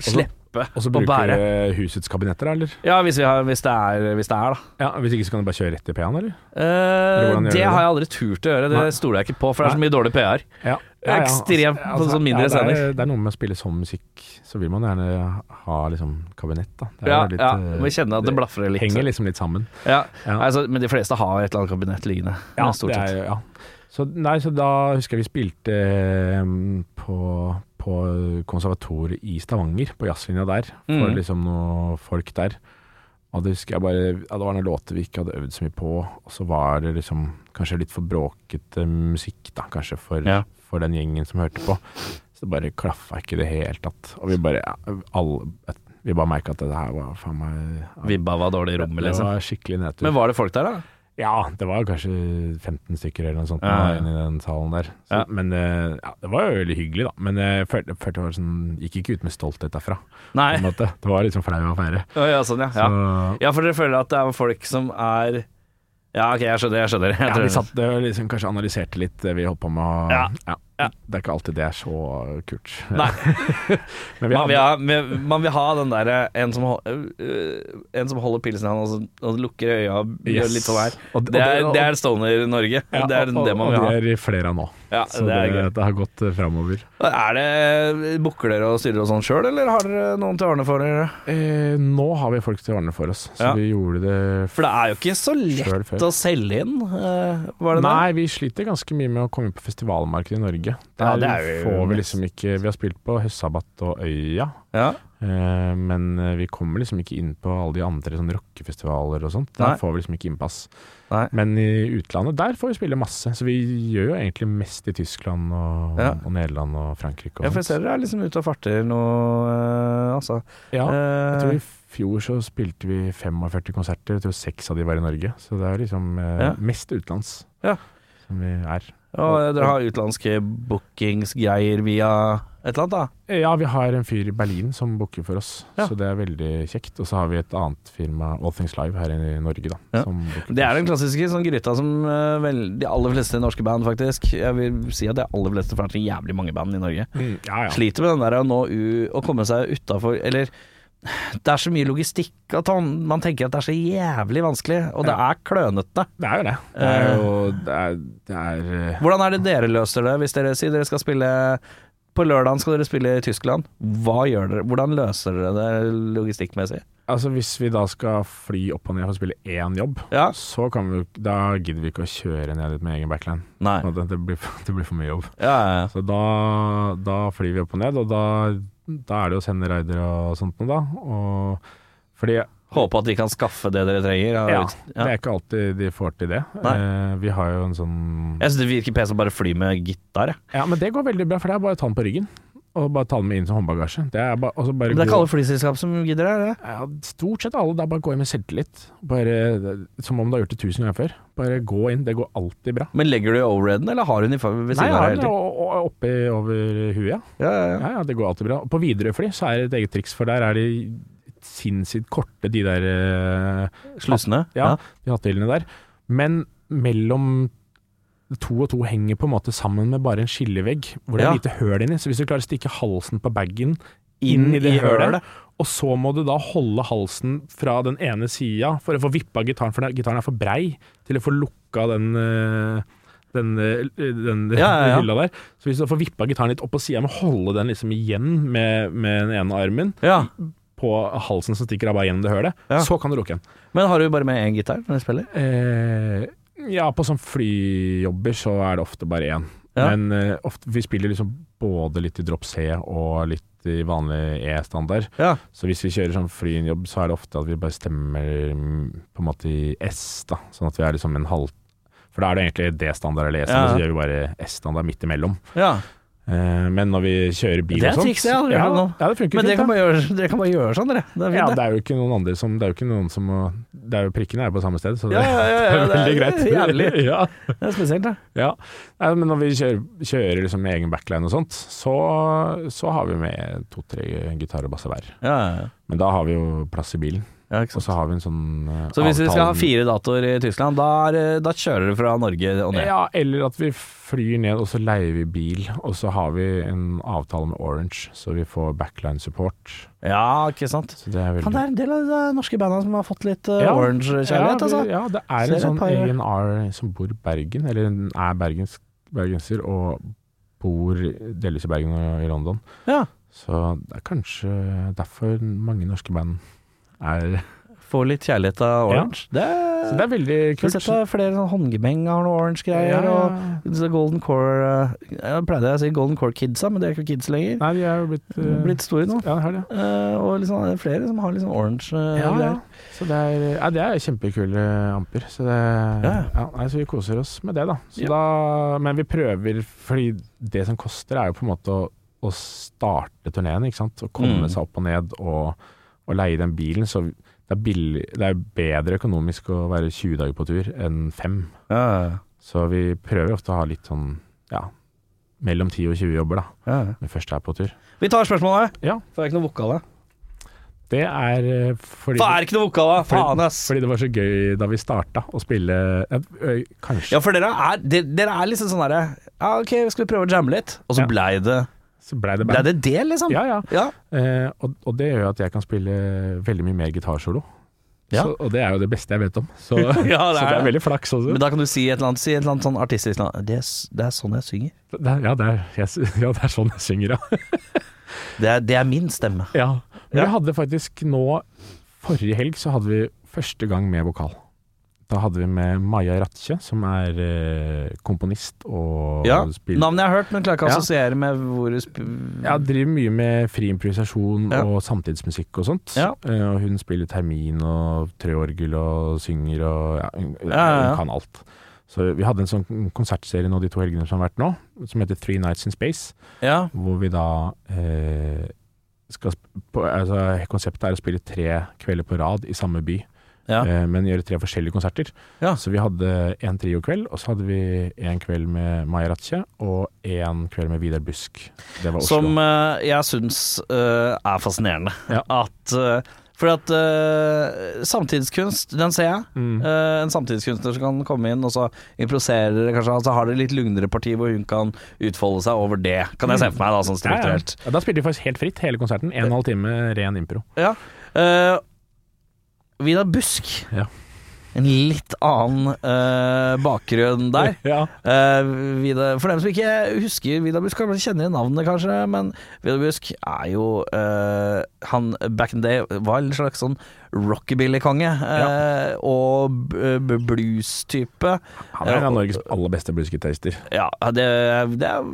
[SPEAKER 3] så-
[SPEAKER 2] slippe
[SPEAKER 3] Og
[SPEAKER 2] å
[SPEAKER 3] så bruker
[SPEAKER 2] bære.
[SPEAKER 3] du husets kabinetter, da, eller?
[SPEAKER 2] Ja, hvis, vi har, hvis, det er, hvis det er, da.
[SPEAKER 3] Ja, Hvis ikke så kan du bare kjøre rett i P-en, eller?
[SPEAKER 2] Eh,
[SPEAKER 3] hvordan gjør
[SPEAKER 2] det
[SPEAKER 3] du det?
[SPEAKER 2] har jeg aldri turt å gjøre, det
[SPEAKER 3] Nei.
[SPEAKER 2] stoler jeg ikke på, for det er så mye dårlig PR.
[SPEAKER 3] Ja. Altså,
[SPEAKER 2] Ekstremt på sånn mindre
[SPEAKER 3] det, er,
[SPEAKER 2] scener.
[SPEAKER 3] det er noe med å spille sånn musikk, så vil man gjerne ha liksom kabinett, da. Det er
[SPEAKER 2] Ja,
[SPEAKER 3] litt,
[SPEAKER 2] ja,
[SPEAKER 3] eh,
[SPEAKER 2] Vi kjenner at det blafrer litt.
[SPEAKER 3] henger liksom litt sammen.
[SPEAKER 2] Ja.
[SPEAKER 3] Ja.
[SPEAKER 2] Altså, men de fleste har et eller annet kabinett liggende.
[SPEAKER 3] Ja,
[SPEAKER 2] stort
[SPEAKER 3] det
[SPEAKER 2] sett.
[SPEAKER 3] er, ja. Så, nei, så da husker jeg vi spilte eh, på, på konservatoriet i Stavanger, på jazzlinja der, for
[SPEAKER 2] Mhm.
[SPEAKER 3] liksom noen folk der. Og det husker jeg bare ja, Det var noen låter vi ikke hadde øvd så mye på, og så var det liksom kanskje litt for bråkete musikk, da, kanskje for,
[SPEAKER 2] Ja.
[SPEAKER 3] for den gjengen som hørte på. Så det bare klaffa ikke i det hele tatt. Og vi bare ja, alle, Vi bare merka at det her var faen meg
[SPEAKER 2] Vibba var dårlig i rommet,
[SPEAKER 3] Det
[SPEAKER 2] liksom.
[SPEAKER 3] var skikkelig nedtur.
[SPEAKER 2] Men var det folk der, da?
[SPEAKER 3] Ja, det var kanskje 15 stykker eller noe sånt
[SPEAKER 2] Ja, ja.
[SPEAKER 3] inne i den salen der. Så,
[SPEAKER 2] Ja.
[SPEAKER 3] Men eh, ja, det var jo veldig hyggelig, da. Men jeg følte, følte det var sånn, gikk ikke ut med stolthet derfra. På
[SPEAKER 2] Nei.
[SPEAKER 3] en måte. Det var liksom flau å feire.
[SPEAKER 2] Å, Ja, sånn, ja.
[SPEAKER 3] Så,
[SPEAKER 2] ja. Ja, for dere føler at det er folk som er Ja, ok, jeg skjønner. jeg skjønner jeg
[SPEAKER 3] ja,
[SPEAKER 2] tror-
[SPEAKER 3] vi satt og liksom, kanskje analyserte litt det vi holdt på med. Og,
[SPEAKER 2] Ja. Ja.
[SPEAKER 3] Det er ikke alltid det er så kult.
[SPEAKER 2] Nei.
[SPEAKER 3] men vi
[SPEAKER 2] man, vil
[SPEAKER 3] hadde,
[SPEAKER 2] ha, men- man vil ha den derre en, som hol- øh, en som holder pilsen i hånda og, så- og lukker øya og gjør
[SPEAKER 3] Yes.
[SPEAKER 2] litt sånn her.
[SPEAKER 3] Og- og
[SPEAKER 2] Det er,
[SPEAKER 3] og-
[SPEAKER 2] det er Stoner-Norge.
[SPEAKER 3] ja,
[SPEAKER 2] det er
[SPEAKER 3] og-
[SPEAKER 2] det man
[SPEAKER 3] og
[SPEAKER 2] vil ha.
[SPEAKER 3] Og det er flere av nå.
[SPEAKER 2] Ja,
[SPEAKER 3] Så
[SPEAKER 2] det er
[SPEAKER 3] det,
[SPEAKER 2] gøy.
[SPEAKER 3] det har gått uh, framover.
[SPEAKER 2] Er det Booker dere og styrer og sånn sjøl, eller har dere noen til å ordne for dere?
[SPEAKER 3] Eh, nå har vi folk til å ordne for oss, så
[SPEAKER 2] Ja.
[SPEAKER 3] vi gjorde det
[SPEAKER 2] For det er jo ikke så lett
[SPEAKER 3] sjøl før.
[SPEAKER 2] å selge inn, eh, var det det?
[SPEAKER 3] Nei, vi sliter ganske mye med å komme inn på festivalmarkedet i Norge. Der
[SPEAKER 2] Ja, det er jo
[SPEAKER 3] får vi
[SPEAKER 2] mest.
[SPEAKER 3] liksom ikke Vi har spilt på Høstsabbat og Øya,
[SPEAKER 2] Ja.
[SPEAKER 3] eh, men eh, vi kommer liksom ikke inn på alle de andre sånn rockefestivaler og sånt. Der
[SPEAKER 2] Nei.
[SPEAKER 3] får vi liksom ikke innpass.
[SPEAKER 2] Nei.
[SPEAKER 3] Men i utlandet, der får vi spille masse. Så vi gjør jo egentlig mest i Tyskland og,
[SPEAKER 2] Ja.
[SPEAKER 3] og Nederland og Frankrike og
[SPEAKER 2] ja, for jeg ser
[SPEAKER 3] sånt.
[SPEAKER 2] dere er liksom ute og farter nå, eh, altså.
[SPEAKER 3] Ja, jeg tror
[SPEAKER 2] Eh,
[SPEAKER 3] i fjor så spilte vi 45 konserter, jeg tror seks av de var i Norge. Så det er liksom eh,
[SPEAKER 2] Ja.
[SPEAKER 3] mest utenlands
[SPEAKER 2] Ja.
[SPEAKER 3] som vi er.
[SPEAKER 2] og dere har utenlandske bookingsgreier via et eller annet, da?
[SPEAKER 3] Ja, vi har en fyr i Berlin som booker for oss,
[SPEAKER 2] Ja.
[SPEAKER 3] så det er veldig kjekt. Og så har vi et annet firma, All Things Live, her i Norge, da.
[SPEAKER 2] Ja.
[SPEAKER 3] Som booker
[SPEAKER 2] Det er
[SPEAKER 3] for
[SPEAKER 2] den
[SPEAKER 3] oss.
[SPEAKER 2] klassiske sånn gryta som eh, vel, de aller fleste norske band, faktisk. Jeg vil si at de aller fleste, for det er så jævlig mange band i Norge,
[SPEAKER 3] Mm, ja, ja.
[SPEAKER 2] sliter med den der å nå u å komme seg utafor Eller det er så mye logistikk at han, man tenker at det er så jævlig vanskelig, og det er klønete.
[SPEAKER 3] Det er jo det. Det er jo Det er, det er eh,
[SPEAKER 2] Hvordan er det dere løser det, hvis dere sier dere skal spille på lørdagen skal dere spille i Tyskland. Hva gjør dere? Hvordan løser dere det logistikkmessig?
[SPEAKER 3] Altså, hvis vi da skal fly opp og ned for å spille én jobb,
[SPEAKER 2] Ja?
[SPEAKER 3] så kan vi jo Da gidder vi ikke å kjøre ned dit med egen backline.
[SPEAKER 2] Nei.
[SPEAKER 3] På en måte, Det blir, for- det blir for mye jobb.
[SPEAKER 2] Ja, ja,
[SPEAKER 3] Så da, da flyr vi opp og ned, og da, da er det å sende rider og sånt noe, da. Og fordi
[SPEAKER 2] ja. Håper at de kan skaffe det dere trenger. av
[SPEAKER 3] Ja,
[SPEAKER 2] ut-
[SPEAKER 3] Det er ikke alltid de får til det.
[SPEAKER 2] Nei.
[SPEAKER 3] Eh, vi har jo en sånn
[SPEAKER 2] Jeg syns det virker pes å bare fly med gitar, jeg.
[SPEAKER 3] Ja, men det går veldig bra, for det er bare å ta den på ryggen. Og bare ta den med inn som håndbagasje. Det er bare, og så bare
[SPEAKER 2] Men det er ikke
[SPEAKER 3] gå-
[SPEAKER 2] alle flyselskap som gidder det? er det?
[SPEAKER 3] ja, Stort sett alle. Det er bare å gå inn med selvtillit. Bare, eh, som om du har gjort det tusen ganger før. Bare gå inn. Det går alltid bra.
[SPEAKER 2] Men legger du overreden, eller har hun i fa- ved
[SPEAKER 3] Nei,
[SPEAKER 2] siden
[SPEAKER 3] jeg
[SPEAKER 2] av
[SPEAKER 3] har
[SPEAKER 2] deg hele
[SPEAKER 3] den
[SPEAKER 2] tiden?
[SPEAKER 3] o- o- oppi over huet, ja.
[SPEAKER 2] Ja, ja, ja.
[SPEAKER 3] ja. Ja, det går alltid bra. Og På Widerøe-fly så er det et eget triks, for der er de sinnssykt korte, de der eh,
[SPEAKER 2] Slusene?
[SPEAKER 3] Ja, de hattehyllene der. Men mellom to og to henger på en måte sammen med bare en skillevegg, hvor det er
[SPEAKER 2] Ja.
[SPEAKER 3] lite høl inni. Så hvis du klarer å stikke halsen på bagen
[SPEAKER 2] Inn i hølet.
[SPEAKER 3] og så må du da holde halsen fra den ene sida for å få vippa gitaren, for den- gitaren er for brei til å få lukka den eh, den, eh, den
[SPEAKER 2] Ja, ja, ja.
[SPEAKER 3] hylla der. Så hvis du får vippa gitaren litt opp på sida, må holde den liksom igjen med, med den ene armen
[SPEAKER 2] Ja.
[SPEAKER 3] på halsen som stikker av bare gjennom det hølet,
[SPEAKER 2] Ja.
[SPEAKER 3] så kan du lukke den.
[SPEAKER 2] Men har du bare med én gitar når du spiller?
[SPEAKER 3] Eh, ja, på sånn flyjobber så er det ofte bare én.
[SPEAKER 2] Ja.
[SPEAKER 3] Men eh, ofte, vi spiller liksom både litt i drop C og litt i vanlig E-standard.
[SPEAKER 2] Ja.
[SPEAKER 3] Så hvis vi kjører sånn flyjobb, så er det ofte at vi bare stemmer mm, på en måte i S, da. Sånn at vi er liksom en halv... For da er det egentlig D-standard eller
[SPEAKER 2] Ja.
[SPEAKER 3] E-standard, så gjør vi bare S-standard midt imellom.
[SPEAKER 2] ja.
[SPEAKER 3] Eh, men når vi kjører bil
[SPEAKER 2] Det er
[SPEAKER 3] og sånt
[SPEAKER 2] trikset jeg aldri
[SPEAKER 3] ja,
[SPEAKER 2] hørt om.
[SPEAKER 3] ja, det funker
[SPEAKER 2] Men
[SPEAKER 3] fint.
[SPEAKER 2] dere
[SPEAKER 3] da.
[SPEAKER 2] kan, bare gjøre, dere kan bare gjøre sånn, dere. Det er
[SPEAKER 3] Ja,
[SPEAKER 2] fint, det.
[SPEAKER 3] det er jo ikke noen andre som Det er jo ikke noen som må Det er jo prikkene er jo på samme sted, så det,
[SPEAKER 2] Ja, ja, ja, ja,
[SPEAKER 3] det er veldig
[SPEAKER 2] det er
[SPEAKER 3] greit.
[SPEAKER 2] jævlig.
[SPEAKER 3] ja.
[SPEAKER 2] Det er spesielt, det.
[SPEAKER 3] Ja, Nei, men når vi kjører, kjører liksom med egen backline og sånt, så, så har vi med to-tre gitarer og basser hver.
[SPEAKER 2] Ja, ja, ja.
[SPEAKER 3] Men da har vi jo plass i bilen,
[SPEAKER 2] ja ikke
[SPEAKER 3] og
[SPEAKER 2] sant.
[SPEAKER 3] så har vi en sånn eh,
[SPEAKER 2] Så hvis vi
[SPEAKER 3] avtale-
[SPEAKER 2] skal ha fire datoer i Tyskland, da, er, det- da kjører du fra Norge og ned?
[SPEAKER 3] Ja, eller at vi flyr ned og så leier vi bil, og så har vi en avtale med Orange, så vi får backline support.
[SPEAKER 2] Ja, ikke sant.
[SPEAKER 3] Så det er veldig
[SPEAKER 2] Kan det er en del av de norske bandene som har fått litt eh,
[SPEAKER 3] Ja.
[SPEAKER 2] orange-kjærlighet,
[SPEAKER 3] ja, vi-
[SPEAKER 2] altså.
[SPEAKER 3] Ja, det er
[SPEAKER 2] Ser
[SPEAKER 3] en
[SPEAKER 2] et
[SPEAKER 3] sånn
[SPEAKER 2] par-
[SPEAKER 3] A&R som bor i Bergen, eller en- er bergens, bergenser og bor delvis i Bergen og i London.
[SPEAKER 2] Ja.
[SPEAKER 3] Så det er kanskje derfor mange norske band er
[SPEAKER 2] Får litt kjærlighet av
[SPEAKER 3] Ja.
[SPEAKER 2] orange. Det
[SPEAKER 3] Så
[SPEAKER 2] er,
[SPEAKER 3] det er veldig
[SPEAKER 2] jeg har
[SPEAKER 3] kult.
[SPEAKER 2] sett at flere sånn håndgemeng har noe orange-greier.
[SPEAKER 3] Ja, ja, ja.
[SPEAKER 2] Og så Golden Core eh, Jeg pleide å si Golden Core Kidsa, men de er ikke kids lenger.
[SPEAKER 3] Nei, de er jo blitt,
[SPEAKER 2] De er
[SPEAKER 3] eh,
[SPEAKER 2] Blitt store nå.
[SPEAKER 3] Ja, det har de.
[SPEAKER 2] Eh, og liksom, det er flere som har litt sånn orange eh,
[SPEAKER 3] Ja, ja.
[SPEAKER 2] greier.
[SPEAKER 3] Så det er, ja, det er kjempekule eh, amper. Så, det, ja.
[SPEAKER 2] Ja.
[SPEAKER 3] nei, så vi koser oss med det, da.
[SPEAKER 2] Ja.
[SPEAKER 3] Så da. Men vi prøver, fordi det som koster, er jo på en måte å, å starte turneen. Ikke sant? Å komme
[SPEAKER 2] Mm.
[SPEAKER 3] seg opp og ned og, og leie den bilen. Så det er, billig, det er bedre økonomisk å være 20 dager på tur enn 5.
[SPEAKER 2] Ja,
[SPEAKER 3] Så vi prøver ofte å ha litt sånn ja, mellom 10 og 20 jobber, da.
[SPEAKER 2] ja,
[SPEAKER 3] Når vi først er på tur.
[SPEAKER 2] ja. Vi tar spørsmålet!
[SPEAKER 3] Ja.
[SPEAKER 2] For det er ikke noe vokal her.
[SPEAKER 3] Det er eh, fordi
[SPEAKER 2] Det er ikke noe vokal her! Faen, ass!
[SPEAKER 3] Fordi det var så gøy da vi starta å spille ja, ø, Kanskje
[SPEAKER 2] Ja, for dere er, de- dere er liksom sånn derre Ja, OK, skal vi prøve å jamme litt? Og så
[SPEAKER 3] Ja.
[SPEAKER 2] blei det
[SPEAKER 3] så blei det
[SPEAKER 2] Blei
[SPEAKER 3] band.
[SPEAKER 2] det det, liksom?
[SPEAKER 3] Ja, ja.
[SPEAKER 2] ja.
[SPEAKER 3] Eh, og, og det gjør jo at jeg kan spille veldig mye mer gitarsolo.
[SPEAKER 2] Ja.
[SPEAKER 3] Så- Og det er jo det beste jeg vet om, så,
[SPEAKER 2] Ja, det
[SPEAKER 3] så det
[SPEAKER 2] er
[SPEAKER 3] er
[SPEAKER 2] det.
[SPEAKER 3] veldig flaks også.
[SPEAKER 2] Men da kan du si et eller annet, si et eller annet sånn artistisk navn. det, er s- det er sånn jeg synger.
[SPEAKER 3] Det er- ja, det er, jeg, sy- ja, det er sånn jeg synger, ja.
[SPEAKER 2] Det er, det er min stemme.
[SPEAKER 3] ja.
[SPEAKER 2] Ja.
[SPEAKER 3] Men vi hadde faktisk nå Forrige helg så hadde vi første gang med vokal. Da hadde vi med Maja Ratche, som er eh, komponist og
[SPEAKER 2] Ja,
[SPEAKER 3] spiller
[SPEAKER 2] Navnet jeg har hørt, men klarer ikke å
[SPEAKER 3] Ja.
[SPEAKER 2] assosiere med hvor du sp
[SPEAKER 3] Ja, driver mye med fri improvisasjon
[SPEAKER 2] Ja.
[SPEAKER 3] og samtidsmusikk og sånt.
[SPEAKER 2] Ja.
[SPEAKER 3] Eh, og hun spiller termin og treorgel og synger og ja, hun,
[SPEAKER 2] Ja, ja, ja.
[SPEAKER 3] hun kan alt. Så vi hadde en sånn konsertserie nå de to helgene som har vært nå, som heter Three Nights in Space,
[SPEAKER 2] ja.
[SPEAKER 3] hvor vi da eh, skal sp- på, altså, Konseptet er å spille tre kvelder på rad i samme by,
[SPEAKER 2] Ja.
[SPEAKER 3] eh, men gjøre tre forskjellige konserter.
[SPEAKER 2] Ja.
[SPEAKER 3] Så vi hadde en triokveld, og så hadde vi en kveld med Maja Ratche og en kveld med Vidar Busk. Det var Oslo.
[SPEAKER 2] Som eh, jeg syns eh, er fascinerende.
[SPEAKER 3] Ja.
[SPEAKER 2] At eh, Fordi at eh, samtidskunst, den ser jeg.
[SPEAKER 3] Mm.
[SPEAKER 2] Eh, en samtidskunstner som kan komme inn og så improviserer det kanskje, og så har det litt lugnere parti hvor hun kan utfolde seg over det. Kan jeg se for meg, da, sånn strukturelt.
[SPEAKER 3] Mm. Ja, ja. Ja, da spilte vi faktisk helt fritt hele konserten. En og en halv time ren impro.
[SPEAKER 2] Ja. Eh, Vidar Busk.
[SPEAKER 3] Ja.
[SPEAKER 2] En litt annen eh, bakgrunn der.
[SPEAKER 3] Ja.
[SPEAKER 2] Eh, Vidar, for dem som ikke husker Vidar Busk, kanskje kjenner igjen navnet, kanskje, men Vidar Busk er jo eh, Han back in the day var en slags sånn rockabilly-konge. eh, Og b- b- blues-type.
[SPEAKER 3] Han er en av Norges aller beste bluesgitarister.
[SPEAKER 2] Ja, det, det, er,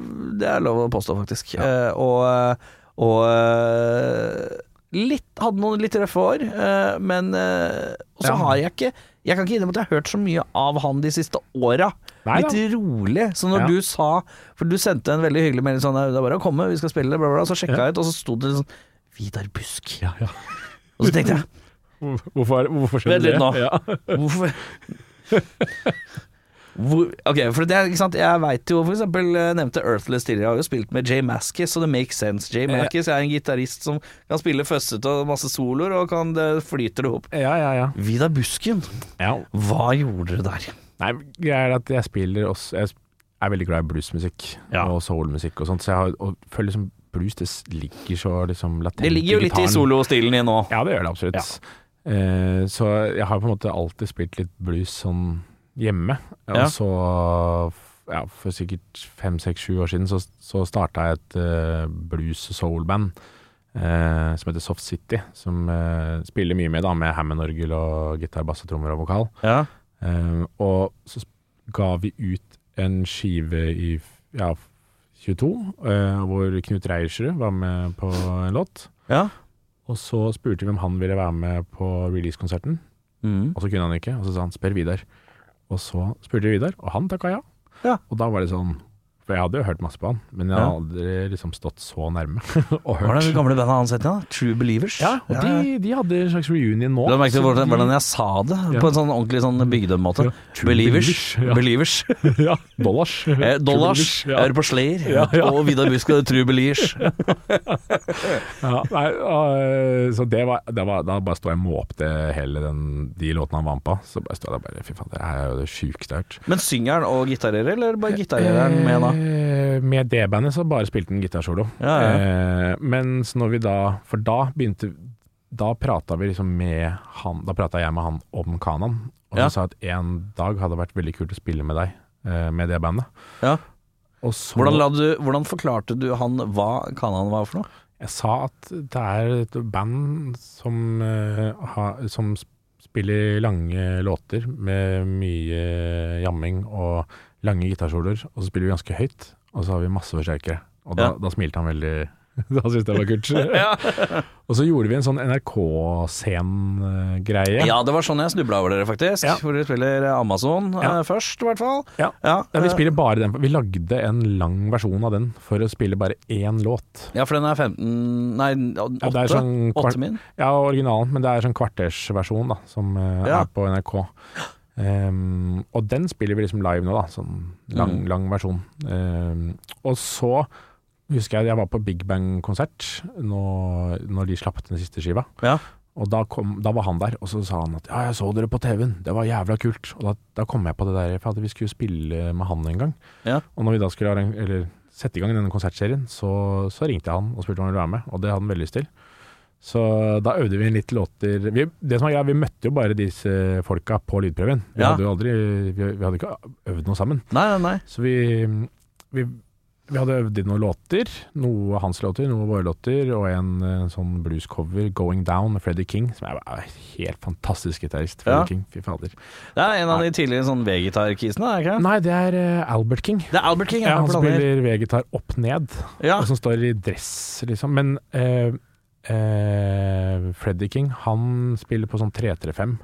[SPEAKER 2] det er lov å påstå, faktisk. Eh, og og eh, litt, hadde noen litt røffe år, eh, men eh, Og så
[SPEAKER 3] Ja.
[SPEAKER 2] har jeg ikke Jeg kan ikke innrømme at jeg har hørt så mye av han de siste åra.
[SPEAKER 3] Nei da.
[SPEAKER 2] Litt rolig. Så når
[SPEAKER 3] Ja.
[SPEAKER 2] du sa For du sendte en veldig hyggelig melding sånn Det er bare å komme, vi skal spille, bla, bla, bla. Så sjekka jeg ut, og så sto det sånn Vidar Busk. Og så tenkte jeg
[SPEAKER 3] Hvorfor, hvorfor skjedde
[SPEAKER 2] Vent litt
[SPEAKER 3] det?
[SPEAKER 2] nå.
[SPEAKER 3] Ja.
[SPEAKER 2] Hvorfor Hvor, ok, for det er ikke sant Jeg vet jo for eksempel eh, Nevnte Earthless tidligere Jeg har jo spilt med Jay Mascis Så det makes sense Jay Mascis er en gitarrist som Kan spille føsset og masse soloer Og kan det flyter det opp
[SPEAKER 3] Ja, ja, ja.
[SPEAKER 2] Vidar Busken
[SPEAKER 3] ja.
[SPEAKER 2] Hva gjorde dere der?
[SPEAKER 3] Nei, greia er at jeg spiller også Jeg er veldig glad i bluesmusikk
[SPEAKER 2] Ja.
[SPEAKER 3] og soulmusikk og sånt, så jeg har, og føler liksom blues det ligger så liksom latent
[SPEAKER 2] Det ligger jo litt i
[SPEAKER 3] gitaren.
[SPEAKER 2] solostilen din nå
[SPEAKER 3] Ja, det gjør det absolutt. Eh, så jeg har på en måte alltid spilt litt blues sånn hjemme. Og
[SPEAKER 2] Ja.
[SPEAKER 3] så, ja, for sikkert fem, seks, sju år siden, så, så starta jeg et eh, blues- og soul-band eh, som heter Soft City. Som eh, spiller mye med, da, med Hammond-orgel og gitar, bass og trommer og vokal.
[SPEAKER 2] Ja
[SPEAKER 3] Eh, og så sp- ga vi ut en skive i f- ja, 22, eh, hvor Knut Reiersrud var med på en låt.
[SPEAKER 2] Ja
[SPEAKER 3] Og så spurte vi om han ville være med på releasekonserten,
[SPEAKER 2] mm.
[SPEAKER 3] og så kunne han ikke. Og så sa han 'spør Vidar'. Og så spurte vi Vidar, og han takka ja.
[SPEAKER 2] Ja.
[SPEAKER 3] Og da var det sånn For jeg hadde jo hørt masse på han, men jeg
[SPEAKER 2] Ja.
[SPEAKER 3] hadde aldri liksom stått så nærme og
[SPEAKER 2] Hva er det
[SPEAKER 3] hørt.
[SPEAKER 2] gamle bandet han sette da? True Believers
[SPEAKER 3] Ja, og de, de hadde en slags reunion nå.
[SPEAKER 2] Du har merket
[SPEAKER 3] så
[SPEAKER 2] hvordan,
[SPEAKER 3] de-
[SPEAKER 2] hvordan jeg sa det
[SPEAKER 3] Ja.
[SPEAKER 2] På en sånn ordentlig sånn bygdemåte
[SPEAKER 3] Ja. True
[SPEAKER 2] Believers
[SPEAKER 3] Believers, ja.
[SPEAKER 2] Believers
[SPEAKER 3] Ja, dollars.
[SPEAKER 2] Eh, Dollars,
[SPEAKER 3] True Believers, ja.
[SPEAKER 2] er på Slayer
[SPEAKER 3] Ja, ja.
[SPEAKER 2] og Vidar Busk og True Beliers.
[SPEAKER 3] Ja, nei, øh, så det var, det var, da bare sto jeg og måpte hele den, de låtene han var med på. Så bare sto jeg der bare Fy faen, det her er jo det sjukeste jeg har hørt.
[SPEAKER 2] Men synger han og gitarer, eller bare gitarer han med da?
[SPEAKER 3] Eh, Med det bandet så bare spilte han gitarsolo.
[SPEAKER 2] Ja,
[SPEAKER 3] Eh, mens når vi da For da begynte Da prata vi liksom med han Da prata jeg med han om Kanan, og
[SPEAKER 2] Ja.
[SPEAKER 3] han sa at en dag hadde det vært veldig kult å spille med deg, eh, med det bandet.
[SPEAKER 2] Ja.
[SPEAKER 3] Og så
[SPEAKER 2] Hvordan, la du, hvordan forklarte du han hva Kanan var for noe?
[SPEAKER 3] Jeg sa at det er et band som, eh, har- som Spiller lange låter med mye jamming og lange gitarsoloer, og så spiller vi ganske høyt, og så har vi masse forsterkere. Og da,
[SPEAKER 2] Ja.
[SPEAKER 3] da smilte han veldig Da syntes jeg det var kult. og så gjorde vi en sånn NRK-scen-greie.
[SPEAKER 2] Ja, det var sånn jeg snubla over dere, faktisk.
[SPEAKER 3] Ja.
[SPEAKER 2] Hvor dere spiller Amazon
[SPEAKER 3] Ja.
[SPEAKER 2] eh, først, i hvert fall.
[SPEAKER 3] Ja.
[SPEAKER 2] Ja,
[SPEAKER 3] Ja, vi
[SPEAKER 2] eh,
[SPEAKER 3] spiller bare den. Vi lagde en lang versjon av den for å spille bare én låt.
[SPEAKER 2] ja, for den er 15 Nei,
[SPEAKER 3] Ja, det
[SPEAKER 2] 8.
[SPEAKER 3] er sånn kvart-
[SPEAKER 2] 8 min.
[SPEAKER 3] Ja, originalen, men det er sånn kvartersversjon da, som eh,
[SPEAKER 2] Ja.
[SPEAKER 3] er på NRK. Ehm, og den spiller vi liksom live nå, da. Sånn lang,
[SPEAKER 2] Mm.
[SPEAKER 3] lang versjon. Ehm, og så husker jeg jeg var på Big Bang-konsert når, når de slapp den siste skiva.
[SPEAKER 2] Ja.
[SPEAKER 3] Og da, kom, da var han der, og så sa han at ja, jeg så dere på TV-en, det var jævla kult. Og da, da kom jeg på det der, for at vi skulle spille med han en gang.
[SPEAKER 2] Ja.
[SPEAKER 3] Og når vi da skulle arran- eller, sette i gang denne konsertserien, så, så ringte jeg han og spurte om han ville være med, og det hadde han veldig lyst til. Så da øvde vi inn litt låter vi, Det som er greia, vi møtte jo bare disse folka på lydprøven. Vi
[SPEAKER 2] Ja.
[SPEAKER 3] hadde jo aldri vi, vi hadde ikke øvd noe sammen.
[SPEAKER 2] Nei, nei, nei.
[SPEAKER 3] Så vi, vi, vi hadde øvd inn noen låter. Noe hans låter, noe våre låter, og en, eh, sånn bluescover, 'Going Down', med Freddie King, som er er helt fantastisk gitarist. Freddie
[SPEAKER 2] Ja.
[SPEAKER 3] King, fy fader.
[SPEAKER 2] Det er en av de tidligere sånn V-gitarkisene, er det ikke?
[SPEAKER 3] Nei, det er eh, Albert King.
[SPEAKER 2] Det er Albert King.
[SPEAKER 3] Ja, han
[SPEAKER 2] jeg blander.
[SPEAKER 3] spiller V-gitar opp ned,
[SPEAKER 2] Ja.
[SPEAKER 3] og som står i dress, liksom. Men eh, eh, Freddie King, han spiller på sånn 335.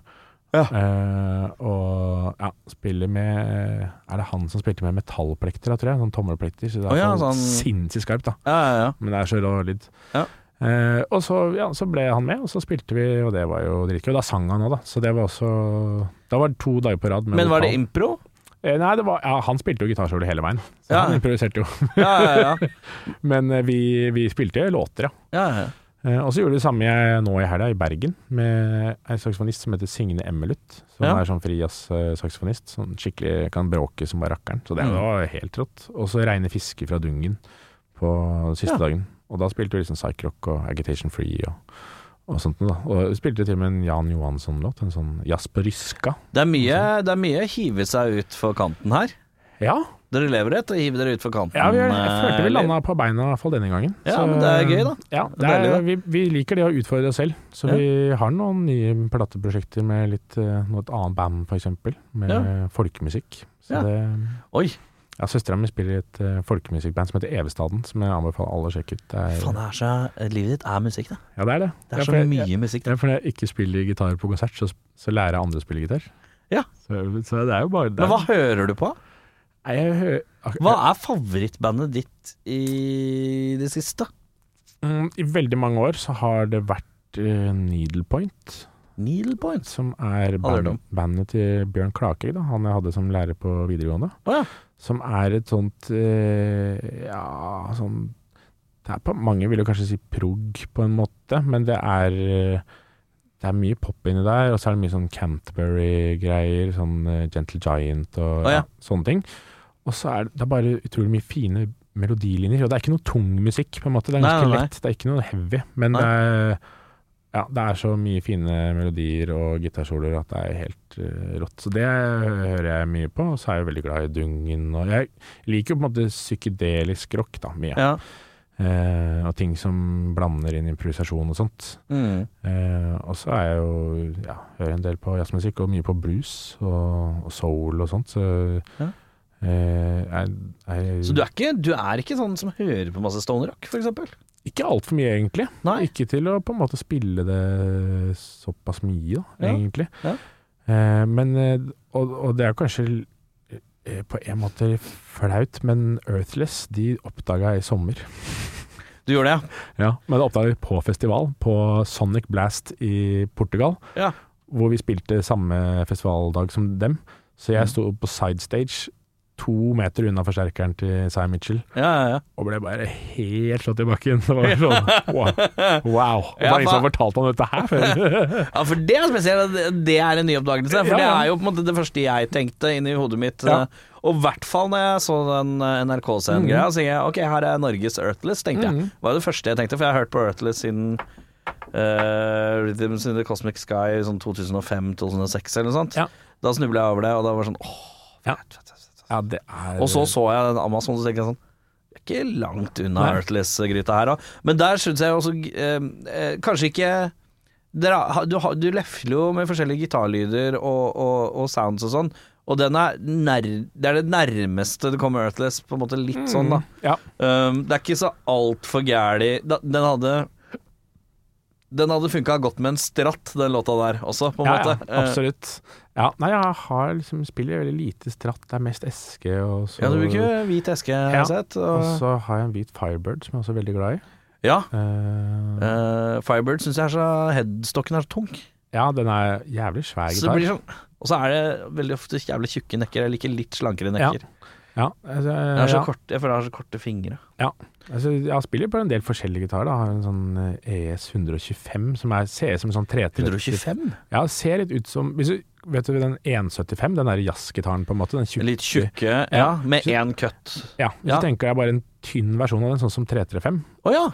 [SPEAKER 2] Ja.
[SPEAKER 3] Eh, og ja, spiller med Er det han som spilte med metallplekter, da, tror jeg? Sånn tommelplekter. Så det er
[SPEAKER 2] Å ja,
[SPEAKER 3] sånn
[SPEAKER 2] sånn-
[SPEAKER 3] sinnssykt skarpt, da.
[SPEAKER 2] ja, ja, ja.
[SPEAKER 3] Men det er så rå lyd.
[SPEAKER 2] Ja.
[SPEAKER 3] Eh, og så, ja, så ble han med, og så spilte vi, og det var jo dritgøy. Og da sang han òg, da. Så det var også Da var det to dager på rad. Med
[SPEAKER 2] Men var det
[SPEAKER 3] vokal.
[SPEAKER 2] impro?
[SPEAKER 3] Eh, Nei, det var, ja, han spilte jo gitarsolo hele veien. Så
[SPEAKER 2] Ja.
[SPEAKER 3] han improviserte jo.
[SPEAKER 2] Ja, ja, ja.
[SPEAKER 3] Men eh, vi, vi spilte låter, ja.
[SPEAKER 2] ja, ja.
[SPEAKER 3] Eh, og så gjorde vi det samme jeg, nå i helga, i Bergen, med ei saksofonist som heter Signe Emmelut. Som
[SPEAKER 2] Ja.
[SPEAKER 3] er sånn frijazz-saksofonist. Sånn skikkelig kan bråke som bare rakkeren. Så det
[SPEAKER 2] Mm.
[SPEAKER 3] var helt rått. Og så Reine Fiske fra Dungen på siste
[SPEAKER 2] Ja.
[SPEAKER 3] dagen. Og da spilte vi liksom psych-rock og Agitation Free og, og sånt noe, da. Og vi spilte til og med en Jan Johansson-låt, en sånn jazz på ryska.
[SPEAKER 2] Det er mye, det er mye å hive seg ut for kanten her.
[SPEAKER 3] Ja,
[SPEAKER 2] Dere lever et å hive dere ut for kanten.
[SPEAKER 3] ja vi, jeg
[SPEAKER 2] eh,
[SPEAKER 3] følte vi
[SPEAKER 2] liv.
[SPEAKER 3] landa på beina i hvert fall denne gangen.
[SPEAKER 2] Ja, men det er gøy, da.
[SPEAKER 3] Ja, det er,
[SPEAKER 2] Deilig, da.
[SPEAKER 3] vi, vi liker det å utfordre oss selv. Så
[SPEAKER 2] Ja.
[SPEAKER 3] vi har noen nye plateprosjekter med litt, eh, noe et annet band, f.eks. Med
[SPEAKER 2] Ja.
[SPEAKER 3] folkemusikk. Så
[SPEAKER 2] Ja.
[SPEAKER 3] det,
[SPEAKER 2] Oi,
[SPEAKER 3] ja, Søstera mi spiller i et eh, folkemusikkband som heter Evestaden, som jeg anbefaler alle å sjekke ut. Det er,
[SPEAKER 2] faen, det er så, livet ditt er musikk, da.
[SPEAKER 3] ja, det er det.
[SPEAKER 2] Det
[SPEAKER 3] Ja,
[SPEAKER 2] er
[SPEAKER 3] for
[SPEAKER 2] så
[SPEAKER 3] jeg-
[SPEAKER 2] mye
[SPEAKER 3] jeg-
[SPEAKER 2] musikk.
[SPEAKER 3] Ja, for når jeg ikke spiller gitar på konsert, så, så lærer jeg andre å spille gitar.
[SPEAKER 2] Ja.
[SPEAKER 3] Så, så det er jo bare det.
[SPEAKER 2] Men hva hører du på?
[SPEAKER 3] Nei, jeg hø- ak-
[SPEAKER 2] Hva er favorittbandet ditt i det siste?
[SPEAKER 3] Mm, I veldig mange år så har det vært eh, Needlepoint.
[SPEAKER 2] Needle Points.
[SPEAKER 3] som er
[SPEAKER 2] hørt
[SPEAKER 3] band,
[SPEAKER 2] om.
[SPEAKER 3] bandet til Bjørn Klakegg, da, han jeg hadde som lærer på videregående.
[SPEAKER 2] Å ja.
[SPEAKER 3] Som er et sånt eh, Ja, sånn det er på, Mange vil jo kanskje si prog, på en måte, men det er eh, det er mye pop inni der, og så er det mye sånn Canterbury-greier. Sånn eh, Gentle Giant og
[SPEAKER 2] Å ja.
[SPEAKER 3] ja, sånne ting. Og så er det, det er bare utrolig mye fine melodilinjer. Og det er ikke noe tung musikk, på en måte. Det er
[SPEAKER 2] Nei,
[SPEAKER 3] ganske
[SPEAKER 2] nei, nei.
[SPEAKER 3] lett. Det er ikke noe heavy. Men
[SPEAKER 2] Nei.
[SPEAKER 3] det er, ja, det er så mye fine melodier og gitarsoloer at det er helt eh, rått. Så det hører jeg mye på. Og så er jeg veldig glad i dungen. Og jeg liker jo på en måte psykedelisk rock da, mye.
[SPEAKER 2] Ja.
[SPEAKER 3] Eh, og ting som blander inn improvisasjon og sånt.
[SPEAKER 2] Mm.
[SPEAKER 3] Eh, og så er jeg jo ja, hører en del på jazzmusikk, og mye på blues og, og soul og sånt. Så
[SPEAKER 2] Ja.
[SPEAKER 3] eh, jeg, jeg,
[SPEAKER 2] Så du er, ikke, du er ikke sånn som hører på masse stoner rock, for eksempel?
[SPEAKER 3] Ikke altfor mye, egentlig.
[SPEAKER 2] Nei.
[SPEAKER 3] Ikke til å på en måte spille det såpass mye, da,
[SPEAKER 2] Ja.
[SPEAKER 3] egentlig.
[SPEAKER 2] Ja.
[SPEAKER 3] Eh, men eh, og, og det er kanskje eh, på en måte flaut, men Earthless de oppdaga jeg i sommer.
[SPEAKER 2] Du gjør det, ja?
[SPEAKER 3] Ja, men det oppdaget vi på festival, på Sonic Blast i Portugal.
[SPEAKER 2] Ja.
[SPEAKER 3] Hvor vi spilte samme festivaldag som dem. Så
[SPEAKER 2] Mm.
[SPEAKER 3] jeg sto på sidestage, to meter unna forsterkeren til Cy Mitchell,
[SPEAKER 2] Ja, ja, ja.
[SPEAKER 3] og ble bare helt slått i bakken. Det var sånn wow. wow. Og det
[SPEAKER 2] Ja,
[SPEAKER 3] var ingen som
[SPEAKER 2] fa-
[SPEAKER 3] fortalte om dette her før.
[SPEAKER 2] Ja, for det er spesielt. at Det er en ny oppdagelse. For
[SPEAKER 3] Ja,
[SPEAKER 2] det
[SPEAKER 3] ja.
[SPEAKER 2] er jo på en måte det første jeg tenkte inni hodet mitt. eh,
[SPEAKER 3] Ja.
[SPEAKER 2] Og i hvert fall når jeg så den eh,
[SPEAKER 3] Mm.
[SPEAKER 2] NRK-scenen-greia, så tenkte jeg ok, her er Norges Earthless, tenkte jeg.
[SPEAKER 3] Mhm.
[SPEAKER 2] Det var det første jeg tenkte, for jeg har hørt på Earthless siden eh, Rhythms in the Cosmic Sky sånn 2005-2006 eller noe sånt.
[SPEAKER 3] Ja.
[SPEAKER 2] Da snubla jeg over det, og da var det sånn åh.
[SPEAKER 3] Ja.
[SPEAKER 2] fett, fett, fett, fett.
[SPEAKER 3] Ja, det er
[SPEAKER 2] Og så så jeg den Amazon, og så tenkte jeg sånn vi er Ikke langt unna
[SPEAKER 3] Nei.
[SPEAKER 2] Earthless-gryta her, da. Men der syns jeg også eh, eh, Kanskje ikke dere, har- du, har- du lefler jo med forskjellige gitarlyder og, og, og sounds og sånn, og den er nær, det er det nærmeste det kommer Earthless, på en måte litt
[SPEAKER 3] Mm.
[SPEAKER 2] sånn, da.
[SPEAKER 3] Ja.
[SPEAKER 2] Um, det er ikke så altfor gæli Da- Den hadde Den hadde funka godt med en stratt, den låta der også, på en
[SPEAKER 3] Ja,
[SPEAKER 2] måte. Eh.
[SPEAKER 3] ja, absolutt. Ja, nei, jeg har liksom spiller veldig lite stratt. Det er mest eske og så
[SPEAKER 2] Ja, du bruker hvit eske, har
[SPEAKER 3] Ja,
[SPEAKER 2] jeg sett.
[SPEAKER 3] Og
[SPEAKER 2] Og,
[SPEAKER 3] så har jeg en hvit Firebird som jeg også er veldig glad i.
[SPEAKER 2] ja.
[SPEAKER 3] Eh,
[SPEAKER 2] eh, Firebird syns jeg er så Headstocken er så tung.
[SPEAKER 3] ja, den er jævlig svær
[SPEAKER 2] Så det
[SPEAKER 3] gitar.
[SPEAKER 2] blir sånn Og så er det veldig ofte jævlig tjukke nekker. Jeg liker litt slankere
[SPEAKER 3] Ja,
[SPEAKER 2] nekker.
[SPEAKER 3] Ja, altså,
[SPEAKER 2] jeg, har så
[SPEAKER 3] ja.
[SPEAKER 2] kort, jeg føler jeg har så korte fingre.
[SPEAKER 3] Altså, jeg spiller på en del forskjellige gitarer. da. Jeg har en sånn eh, ES 125 som er, ser ut som en sånn 330. Ja, ser litt ut som hvis du, Vet du den 175, den der jazzgitaren på en måte? Den tjukke.
[SPEAKER 2] Litt tjukke, ja,
[SPEAKER 3] Ja.
[SPEAKER 2] med
[SPEAKER 3] Så-
[SPEAKER 2] én cut.
[SPEAKER 3] Ja, så
[SPEAKER 2] Ja.
[SPEAKER 3] tenker jeg bare en tynn versjon av den, sånn som 335.
[SPEAKER 2] Å ja!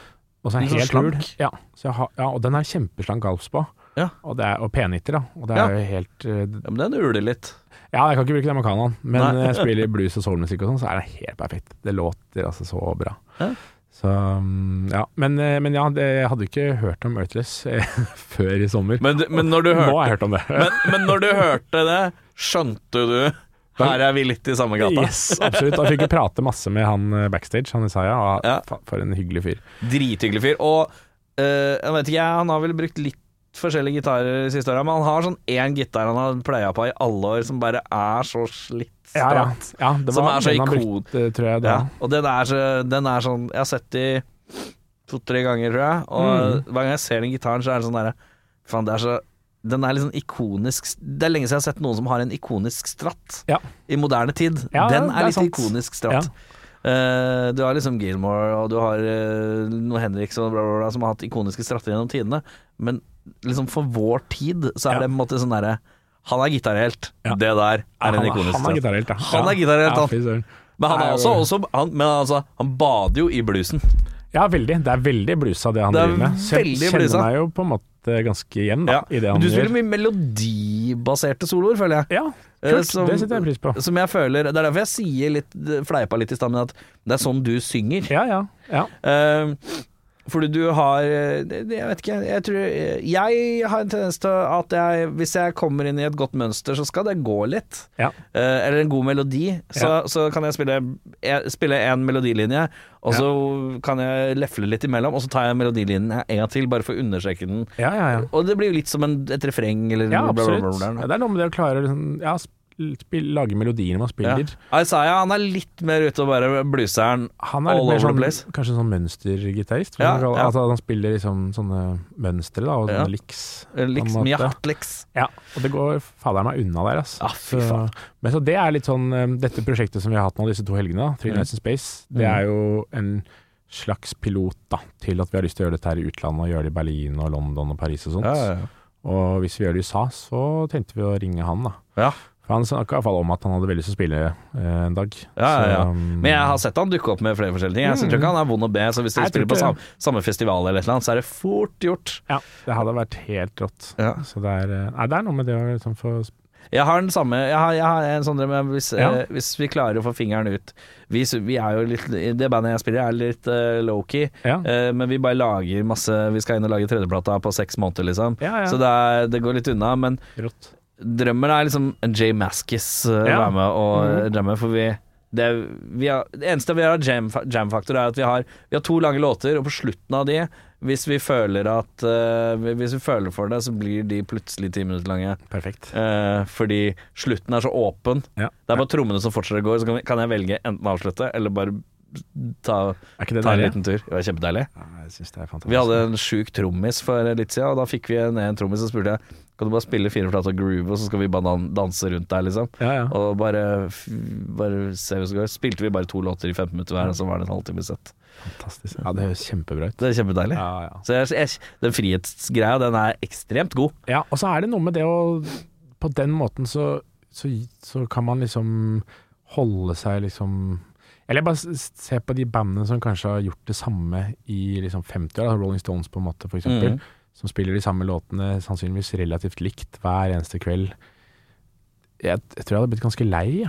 [SPEAKER 3] Og så er
[SPEAKER 2] Litt sånn
[SPEAKER 3] helt hul.
[SPEAKER 2] slank.
[SPEAKER 3] Ja, så jeg har, ja, og den er kjempeslank galps på.
[SPEAKER 2] Ja.
[SPEAKER 3] Og, det er, og penitter, da. Og det
[SPEAKER 2] Ja.
[SPEAKER 3] er jo helt eh,
[SPEAKER 2] ja men den uler litt.
[SPEAKER 3] Ja, jeg kan ikke bruke den makanaen, men
[SPEAKER 2] Nei.
[SPEAKER 3] når jeg spiller blues og soulmusikk og sånn, så er det helt perfekt. Det låter altså så bra.
[SPEAKER 2] Ja.
[SPEAKER 3] Så mm, ja. Men, eh, men ja, det, jeg hadde ikke hørt om Earthless eh, før i sommer.
[SPEAKER 2] Men, men når du
[SPEAKER 3] Nå
[SPEAKER 2] hørte
[SPEAKER 3] har jeg hørt om det.
[SPEAKER 2] Men, men når du hørte det, skjønte du Her er vi litt i samme gata.
[SPEAKER 3] Yes, absolutt. Og Jeg fikk jo prate masse med han eh, backstage, han Isaiah. Og,
[SPEAKER 2] Ja.
[SPEAKER 3] fa- For en hyggelig fyr.
[SPEAKER 2] Drithyggelig fyr. Og eh, jeg vet ikke, jeg, han har vel brukt litt forskjellige gitarer de siste åra, men han har sånn én gitar han har pleia på i alle år, som bare er så slitt
[SPEAKER 3] Ja, ja.
[SPEAKER 2] stratt.
[SPEAKER 3] ja det
[SPEAKER 2] Som
[SPEAKER 3] var
[SPEAKER 2] er så
[SPEAKER 3] den han
[SPEAKER 2] ikon-
[SPEAKER 3] brukte, tror jeg. Da.
[SPEAKER 2] Ja, og den er, så, den er sånn Jeg har sett de to-tre ganger, tror jeg,
[SPEAKER 3] Mm.
[SPEAKER 2] og hver gang jeg ser den gitaren, så er det sånn derre Faen, det er så den er liksom ikonisk Det er lenge siden jeg har sett noen som har en ikonisk stratt
[SPEAKER 3] Ja.
[SPEAKER 2] i moderne tid.
[SPEAKER 3] Ja,
[SPEAKER 2] den
[SPEAKER 3] det
[SPEAKER 2] er,
[SPEAKER 3] er
[SPEAKER 2] litt
[SPEAKER 3] sant.
[SPEAKER 2] ikonisk stratt. Eh, du har liksom Gilmore og du har eh, noe Henriks og bla, bla, bla, som har hatt ikoniske stratter gjennom tidene, men liksom for vår tid så er
[SPEAKER 3] Ja.
[SPEAKER 2] det på en måte sånn derre Han er gitarhelt.
[SPEAKER 3] Ja.
[SPEAKER 2] Det der
[SPEAKER 3] Ja,
[SPEAKER 2] er en
[SPEAKER 3] han,
[SPEAKER 2] ikonisk
[SPEAKER 3] han er
[SPEAKER 2] stratt.
[SPEAKER 3] gitarhelt, da.
[SPEAKER 2] Han er gitarhelt,
[SPEAKER 3] ja,
[SPEAKER 2] han.
[SPEAKER 3] fy søren.
[SPEAKER 2] Men han
[SPEAKER 3] Nei,
[SPEAKER 2] er også,
[SPEAKER 3] det-
[SPEAKER 2] også han, Men altså, han bader jo i bluesen.
[SPEAKER 3] Ja, veldig. Det er veldig blusa det han
[SPEAKER 2] Det er
[SPEAKER 3] driver med. Så jeg
[SPEAKER 2] veldig
[SPEAKER 3] kjenner
[SPEAKER 2] bluesa.
[SPEAKER 3] meg jo på en måte ganske igjen da, i det
[SPEAKER 2] Men
[SPEAKER 3] han
[SPEAKER 2] du spiller
[SPEAKER 3] gjør.
[SPEAKER 2] mye melodibaserte soloer, føler jeg.
[SPEAKER 3] Ja,
[SPEAKER 2] Eh,
[SPEAKER 3] kult.
[SPEAKER 2] som-
[SPEAKER 3] det setter jeg pris på.
[SPEAKER 2] Som jeg føler Det er derfor jeg sier litt fleipa litt i stad, men at det er sånn du synger.
[SPEAKER 3] Ja, ja. ja.
[SPEAKER 2] Eh, fordi du har eh, det- Jeg vet ikke, jeg tror Jeg har en tendens til at jeg Hvis jeg kommer inn i et godt mønster, så skal det gå litt.
[SPEAKER 3] ja.
[SPEAKER 2] Eh, eller en god melodi, så,
[SPEAKER 3] Ja.
[SPEAKER 2] så kan jeg spille, jeg, spille en melodilinje, og så kan jeg lefle litt imellom, og så tar jeg melodilinjen en gang til, bare for å understreke den.
[SPEAKER 3] Ja, ja, ja.
[SPEAKER 2] Og det blir jo litt som en, et refreng, eller
[SPEAKER 3] ja
[SPEAKER 2] bla, bla,
[SPEAKER 3] absolutt.
[SPEAKER 2] bla, bla, bla.
[SPEAKER 3] Ja, det er noe med det å klare å liksom, ja, sp- spill, lage melodier
[SPEAKER 2] Ja.
[SPEAKER 3] man spiller.
[SPEAKER 2] Isaiah han er litt mer ute og bare Ah, blueseren.
[SPEAKER 3] Han er
[SPEAKER 2] All
[SPEAKER 3] litt mer
[SPEAKER 2] over the
[SPEAKER 3] sånn,
[SPEAKER 2] place.
[SPEAKER 3] kanskje sånn mønstergitarist. for
[SPEAKER 2] Ja,
[SPEAKER 3] å kalle-
[SPEAKER 2] ja.
[SPEAKER 3] Altså, han spiller liksom sånne mønstre da, og
[SPEAKER 2] Ja. Eh,
[SPEAKER 3] sånne liks.
[SPEAKER 2] Liks,
[SPEAKER 3] på en måte.
[SPEAKER 2] mye hardt, liks.
[SPEAKER 3] Ja, og det går fader meg unna der, altså.
[SPEAKER 2] Ja, Ah, fy faen.
[SPEAKER 3] Så, men så det er litt sånn um, Dette prosjektet som vi har hatt nå disse to helgene, da, Three
[SPEAKER 2] Mm.
[SPEAKER 3] Nights in Space, det
[SPEAKER 2] Mm.
[SPEAKER 3] er jo en slags pilot da, til at vi har lyst til å gjøre dette her i utlandet, og gjøre det i Berlin og London og Paris og sånt.
[SPEAKER 2] Ja, ja, ja.
[SPEAKER 3] Og hvis vi gjør det i USA, så tenkte vi å ringe han, da.
[SPEAKER 2] Ja.
[SPEAKER 3] For han snakka iallfall om at han hadde veldig lyst til å spille eh, en dag.
[SPEAKER 2] Ja, ja, ja.
[SPEAKER 3] Så, um,
[SPEAKER 2] Mm. Men jeg har sett han dukke opp med flere forskjellige ting. Jeg tror ikke han er vond å be, så hvis dere
[SPEAKER 3] Mm. Jeg tror
[SPEAKER 2] spiller på
[SPEAKER 3] ikke
[SPEAKER 2] samme, samme festival eller et eller annet, så er det fort gjort.
[SPEAKER 3] ja, det hadde vært helt rått.
[SPEAKER 2] Ja.
[SPEAKER 3] Så det er, eh, nei, det er noe med det å liksom få
[SPEAKER 2] Jeg har den samme Jeg har, jeg har en sånn drøm men hvis,
[SPEAKER 3] Ja.
[SPEAKER 2] eh, hvis vi klarer å få fingeren ut vi, s- vi er jo litt Det bandet jeg spiller, er litt eh, low-key,
[SPEAKER 3] Ja.
[SPEAKER 2] eh, men vi bare lager masse Vi skal inn og lage tredjeplata på seks måneder, liksom.
[SPEAKER 3] Ja, ja.
[SPEAKER 2] Så det, er, det går litt unna. Men
[SPEAKER 3] Rått.
[SPEAKER 2] drømmen er liksom Jay Maskis eh,
[SPEAKER 3] Ja. Mhm.
[SPEAKER 2] være med og eh, jamme, for vi det, vi har, det eneste vi har av jam- jam-faktor, er at vi har, vi har to lange låter, og på slutten av de, hvis vi føler at eh, Hvis vi føler for det, så blir de plutselig ti minutter lange.
[SPEAKER 3] Perfekt.
[SPEAKER 2] Eh, fordi slutten er så åpen.
[SPEAKER 3] Ja.
[SPEAKER 2] Det er bare trommene som fortsetter å gå, så kan- kan jeg velge enten å avslutte eller bare ta,
[SPEAKER 3] Er ikke det
[SPEAKER 2] ta en
[SPEAKER 3] deilig?
[SPEAKER 2] liten tur. Det var kjempedeilig.
[SPEAKER 3] Ja, jeg syns det er fantastisk.
[SPEAKER 2] Vi hadde en sjuk trommis for litt siden, og da fikk vi ned en trommis og spurte jeg Kan du bare spille fire flater groove, og så skal vi bare dan- danse rundt der, liksom.
[SPEAKER 3] ja, ja.
[SPEAKER 2] Og bare, f- bare se hvordan det går. Spilte vi bare to låter i 15 minutter hver, og så var det en halvtime sett.
[SPEAKER 3] Fantastisk. Ja, det høres kjempebra ut.
[SPEAKER 2] Det er kjempedeilig.
[SPEAKER 3] Ja, ja.
[SPEAKER 2] Så jeg, jeg, den frihetsgreia, den er ekstremt god.
[SPEAKER 3] ja, og så er det noe med det å På den måten så, så, så kan man liksom holde seg liksom Eller bare s- se på de bandene som kanskje har gjort det samme i liksom 50 år, da, Rolling Stones på en måte, for eksempel.
[SPEAKER 2] Mhm.
[SPEAKER 3] Som spiller de samme låtene sannsynligvis relativt likt hver eneste kveld. Jeg, jeg tror jeg hadde blitt ganske lei. Ja.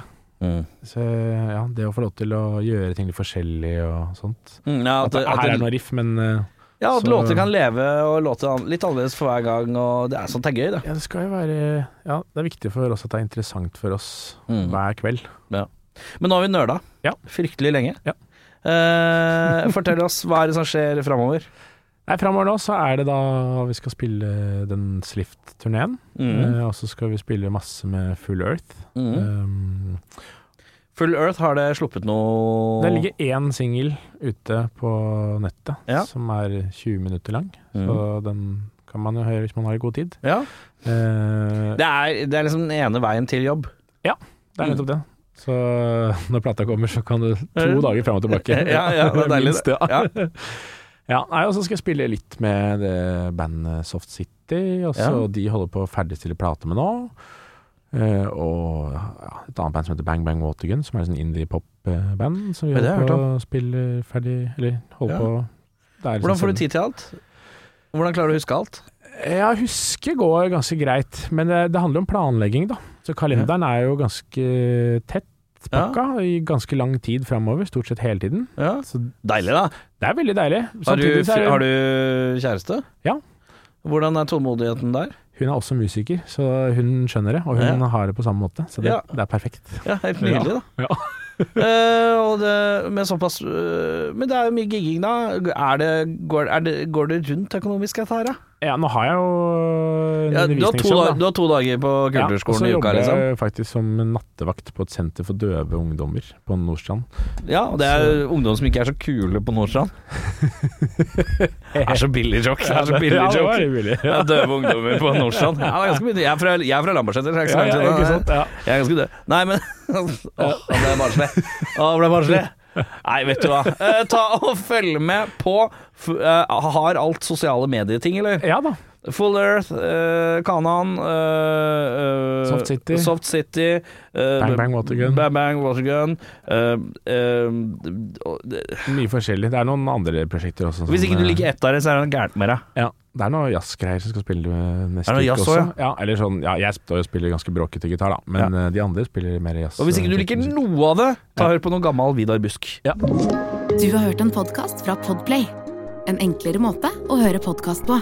[SPEAKER 3] Så ja, det å få lov til å gjøre ting litt forskjellig og sånt.
[SPEAKER 2] Mm, ja,
[SPEAKER 3] At det, her er det noe riff, men eh,
[SPEAKER 2] Ja, at
[SPEAKER 3] Så-
[SPEAKER 2] låter kan leve og låter an litt annerledes for hver gang, og det er sånt det er gøy, det.
[SPEAKER 3] Ja, det skal jo være Ja, det er viktig for oss at det er interessant for oss
[SPEAKER 2] Mm.
[SPEAKER 3] hver kveld.
[SPEAKER 2] Men nå har vi nøla
[SPEAKER 3] Ja.
[SPEAKER 2] fryktelig lenge.
[SPEAKER 3] Ja.
[SPEAKER 2] Eh, fortell oss, hva er det som skjer framover?
[SPEAKER 3] Nei, framover nå så er det da vi skal spille den Slift-turneen. Eh, og så skal vi spille masse med Full Earth.
[SPEAKER 2] Mm.
[SPEAKER 3] Um,
[SPEAKER 2] Full Earth, har det sluppet noe
[SPEAKER 3] det ligger én singel ute på nettet
[SPEAKER 2] Ja.
[SPEAKER 3] som er 20 minutter lang,
[SPEAKER 2] Mm.
[SPEAKER 3] så den kan man jo høre hvis man har god tid.
[SPEAKER 2] Ja.
[SPEAKER 3] Eh,
[SPEAKER 2] Det er, det er liksom den ene veien til jobb.
[SPEAKER 3] Liksom Det er nettopp det. Mm. Så når plata kommer, så kan du to
[SPEAKER 2] Eh,
[SPEAKER 3] dager fram og tilbake.
[SPEAKER 2] ja, ja, det er deilig det.
[SPEAKER 3] Minst, Ja.
[SPEAKER 2] Ja.
[SPEAKER 3] Ja, nei, og så skal jeg spille litt med det bandet Soft City, og så
[SPEAKER 2] Ja.
[SPEAKER 3] de holder på å ferdigstille plate med nå. Eh, og ja, et annet band som heter Bang Bang Watergun, som er et sånn indie-pop-band. Som vi
[SPEAKER 2] Ja, det har jeg hørt
[SPEAKER 3] holder på å spille ferdig, eller holder
[SPEAKER 2] Ja.
[SPEAKER 3] på det er
[SPEAKER 2] Hvordan
[SPEAKER 3] liksom
[SPEAKER 2] får
[SPEAKER 3] sånn-
[SPEAKER 2] du tid til alt? Hvordan klarer du å huske alt?
[SPEAKER 3] Ja, huske går ganske greit, men det, det handler om planlegging, da. Så kalenderen er jo ganske eh, tett pakka i ganske lang tid framover, stort sett hele tiden.
[SPEAKER 2] Ja.
[SPEAKER 3] Så
[SPEAKER 2] Deilig, da.
[SPEAKER 3] det er veldig deilig.
[SPEAKER 2] Har du,
[SPEAKER 3] Samtidig så er det-
[SPEAKER 2] har du kjæreste?
[SPEAKER 3] Ja.
[SPEAKER 2] Hvordan er tålmodigheten der?
[SPEAKER 3] Hun er også musiker, så hun skjønner det, og hun
[SPEAKER 2] Ja.
[SPEAKER 3] har det på samme måte. Så det,
[SPEAKER 2] Ja.
[SPEAKER 3] det er perfekt.
[SPEAKER 2] Ja, Helt nydelig, da.
[SPEAKER 3] Ja.
[SPEAKER 2] Eh, og det, med såpass eh, Men det er jo mye gigging, da. Er det, går, er det, går det rundt økonomisk, dette her, da?
[SPEAKER 3] Ja, nå har jeg jo en
[SPEAKER 2] Ja, du, har to
[SPEAKER 3] undervisningsjobb,
[SPEAKER 2] dag, du har to dager på
[SPEAKER 3] Ja, og så
[SPEAKER 2] kulturskolen i uka,
[SPEAKER 3] jobber
[SPEAKER 2] liksom?
[SPEAKER 3] jeg faktisk som nattevakt på et senter for døve ungdommer på Nordstrand.
[SPEAKER 2] Ja, og det er ungdom som ikke er så kule på Nordstrand. Det er så billig joke. Det er så billig
[SPEAKER 3] Ja, det var
[SPEAKER 2] joke.
[SPEAKER 3] veldig billig.
[SPEAKER 2] Det er døve ungdommer på Nordstrand. Ja, det er ganske mye. Jeg er fra, jeg er fra Lambertseter. så jeg er ikke så
[SPEAKER 3] Ja,
[SPEAKER 2] langt
[SPEAKER 3] ja,
[SPEAKER 2] unna.
[SPEAKER 3] ikke sant? Ja.
[SPEAKER 2] Jeg er ganske død. Nei, men Åh, han ble barnslig. Åh, ble barnslig. Nei, vet du hva. Eh, ta og følg med på f eh, Har alt sosiale medieting, eller?
[SPEAKER 3] ja da.
[SPEAKER 2] Full Earth, eh, Kanan eh, eh,
[SPEAKER 3] Soft City.
[SPEAKER 2] Soft City eh,
[SPEAKER 3] Bang Bang Watergun.
[SPEAKER 2] Bang Bang Watergun. eh, eh, og det-
[SPEAKER 3] Mye forskjellig. Det er noen andre prosjekter også.
[SPEAKER 2] Hvis
[SPEAKER 3] som,
[SPEAKER 2] ikke du
[SPEAKER 3] eh,
[SPEAKER 2] liker ett av det, så er det noe gærent med deg.
[SPEAKER 3] Ja, det er noe jazzgreier som skal spille eh, neste
[SPEAKER 2] Er det noe
[SPEAKER 3] uke
[SPEAKER 2] jazz
[SPEAKER 3] også.
[SPEAKER 2] også,
[SPEAKER 3] Ja, eller sånn, ja, jeg står og spiller ganske bråkete gitar, da, men eh, de andre spiller mer jazz.
[SPEAKER 2] Og hvis ikke du
[SPEAKER 3] eh,
[SPEAKER 2] liker
[SPEAKER 3] musikk.
[SPEAKER 2] noe av det, ta og hør på noe gammel Vidar Busk.
[SPEAKER 1] Du har hørt en podkast fra Podplay. En enklere måte å høre podkast på.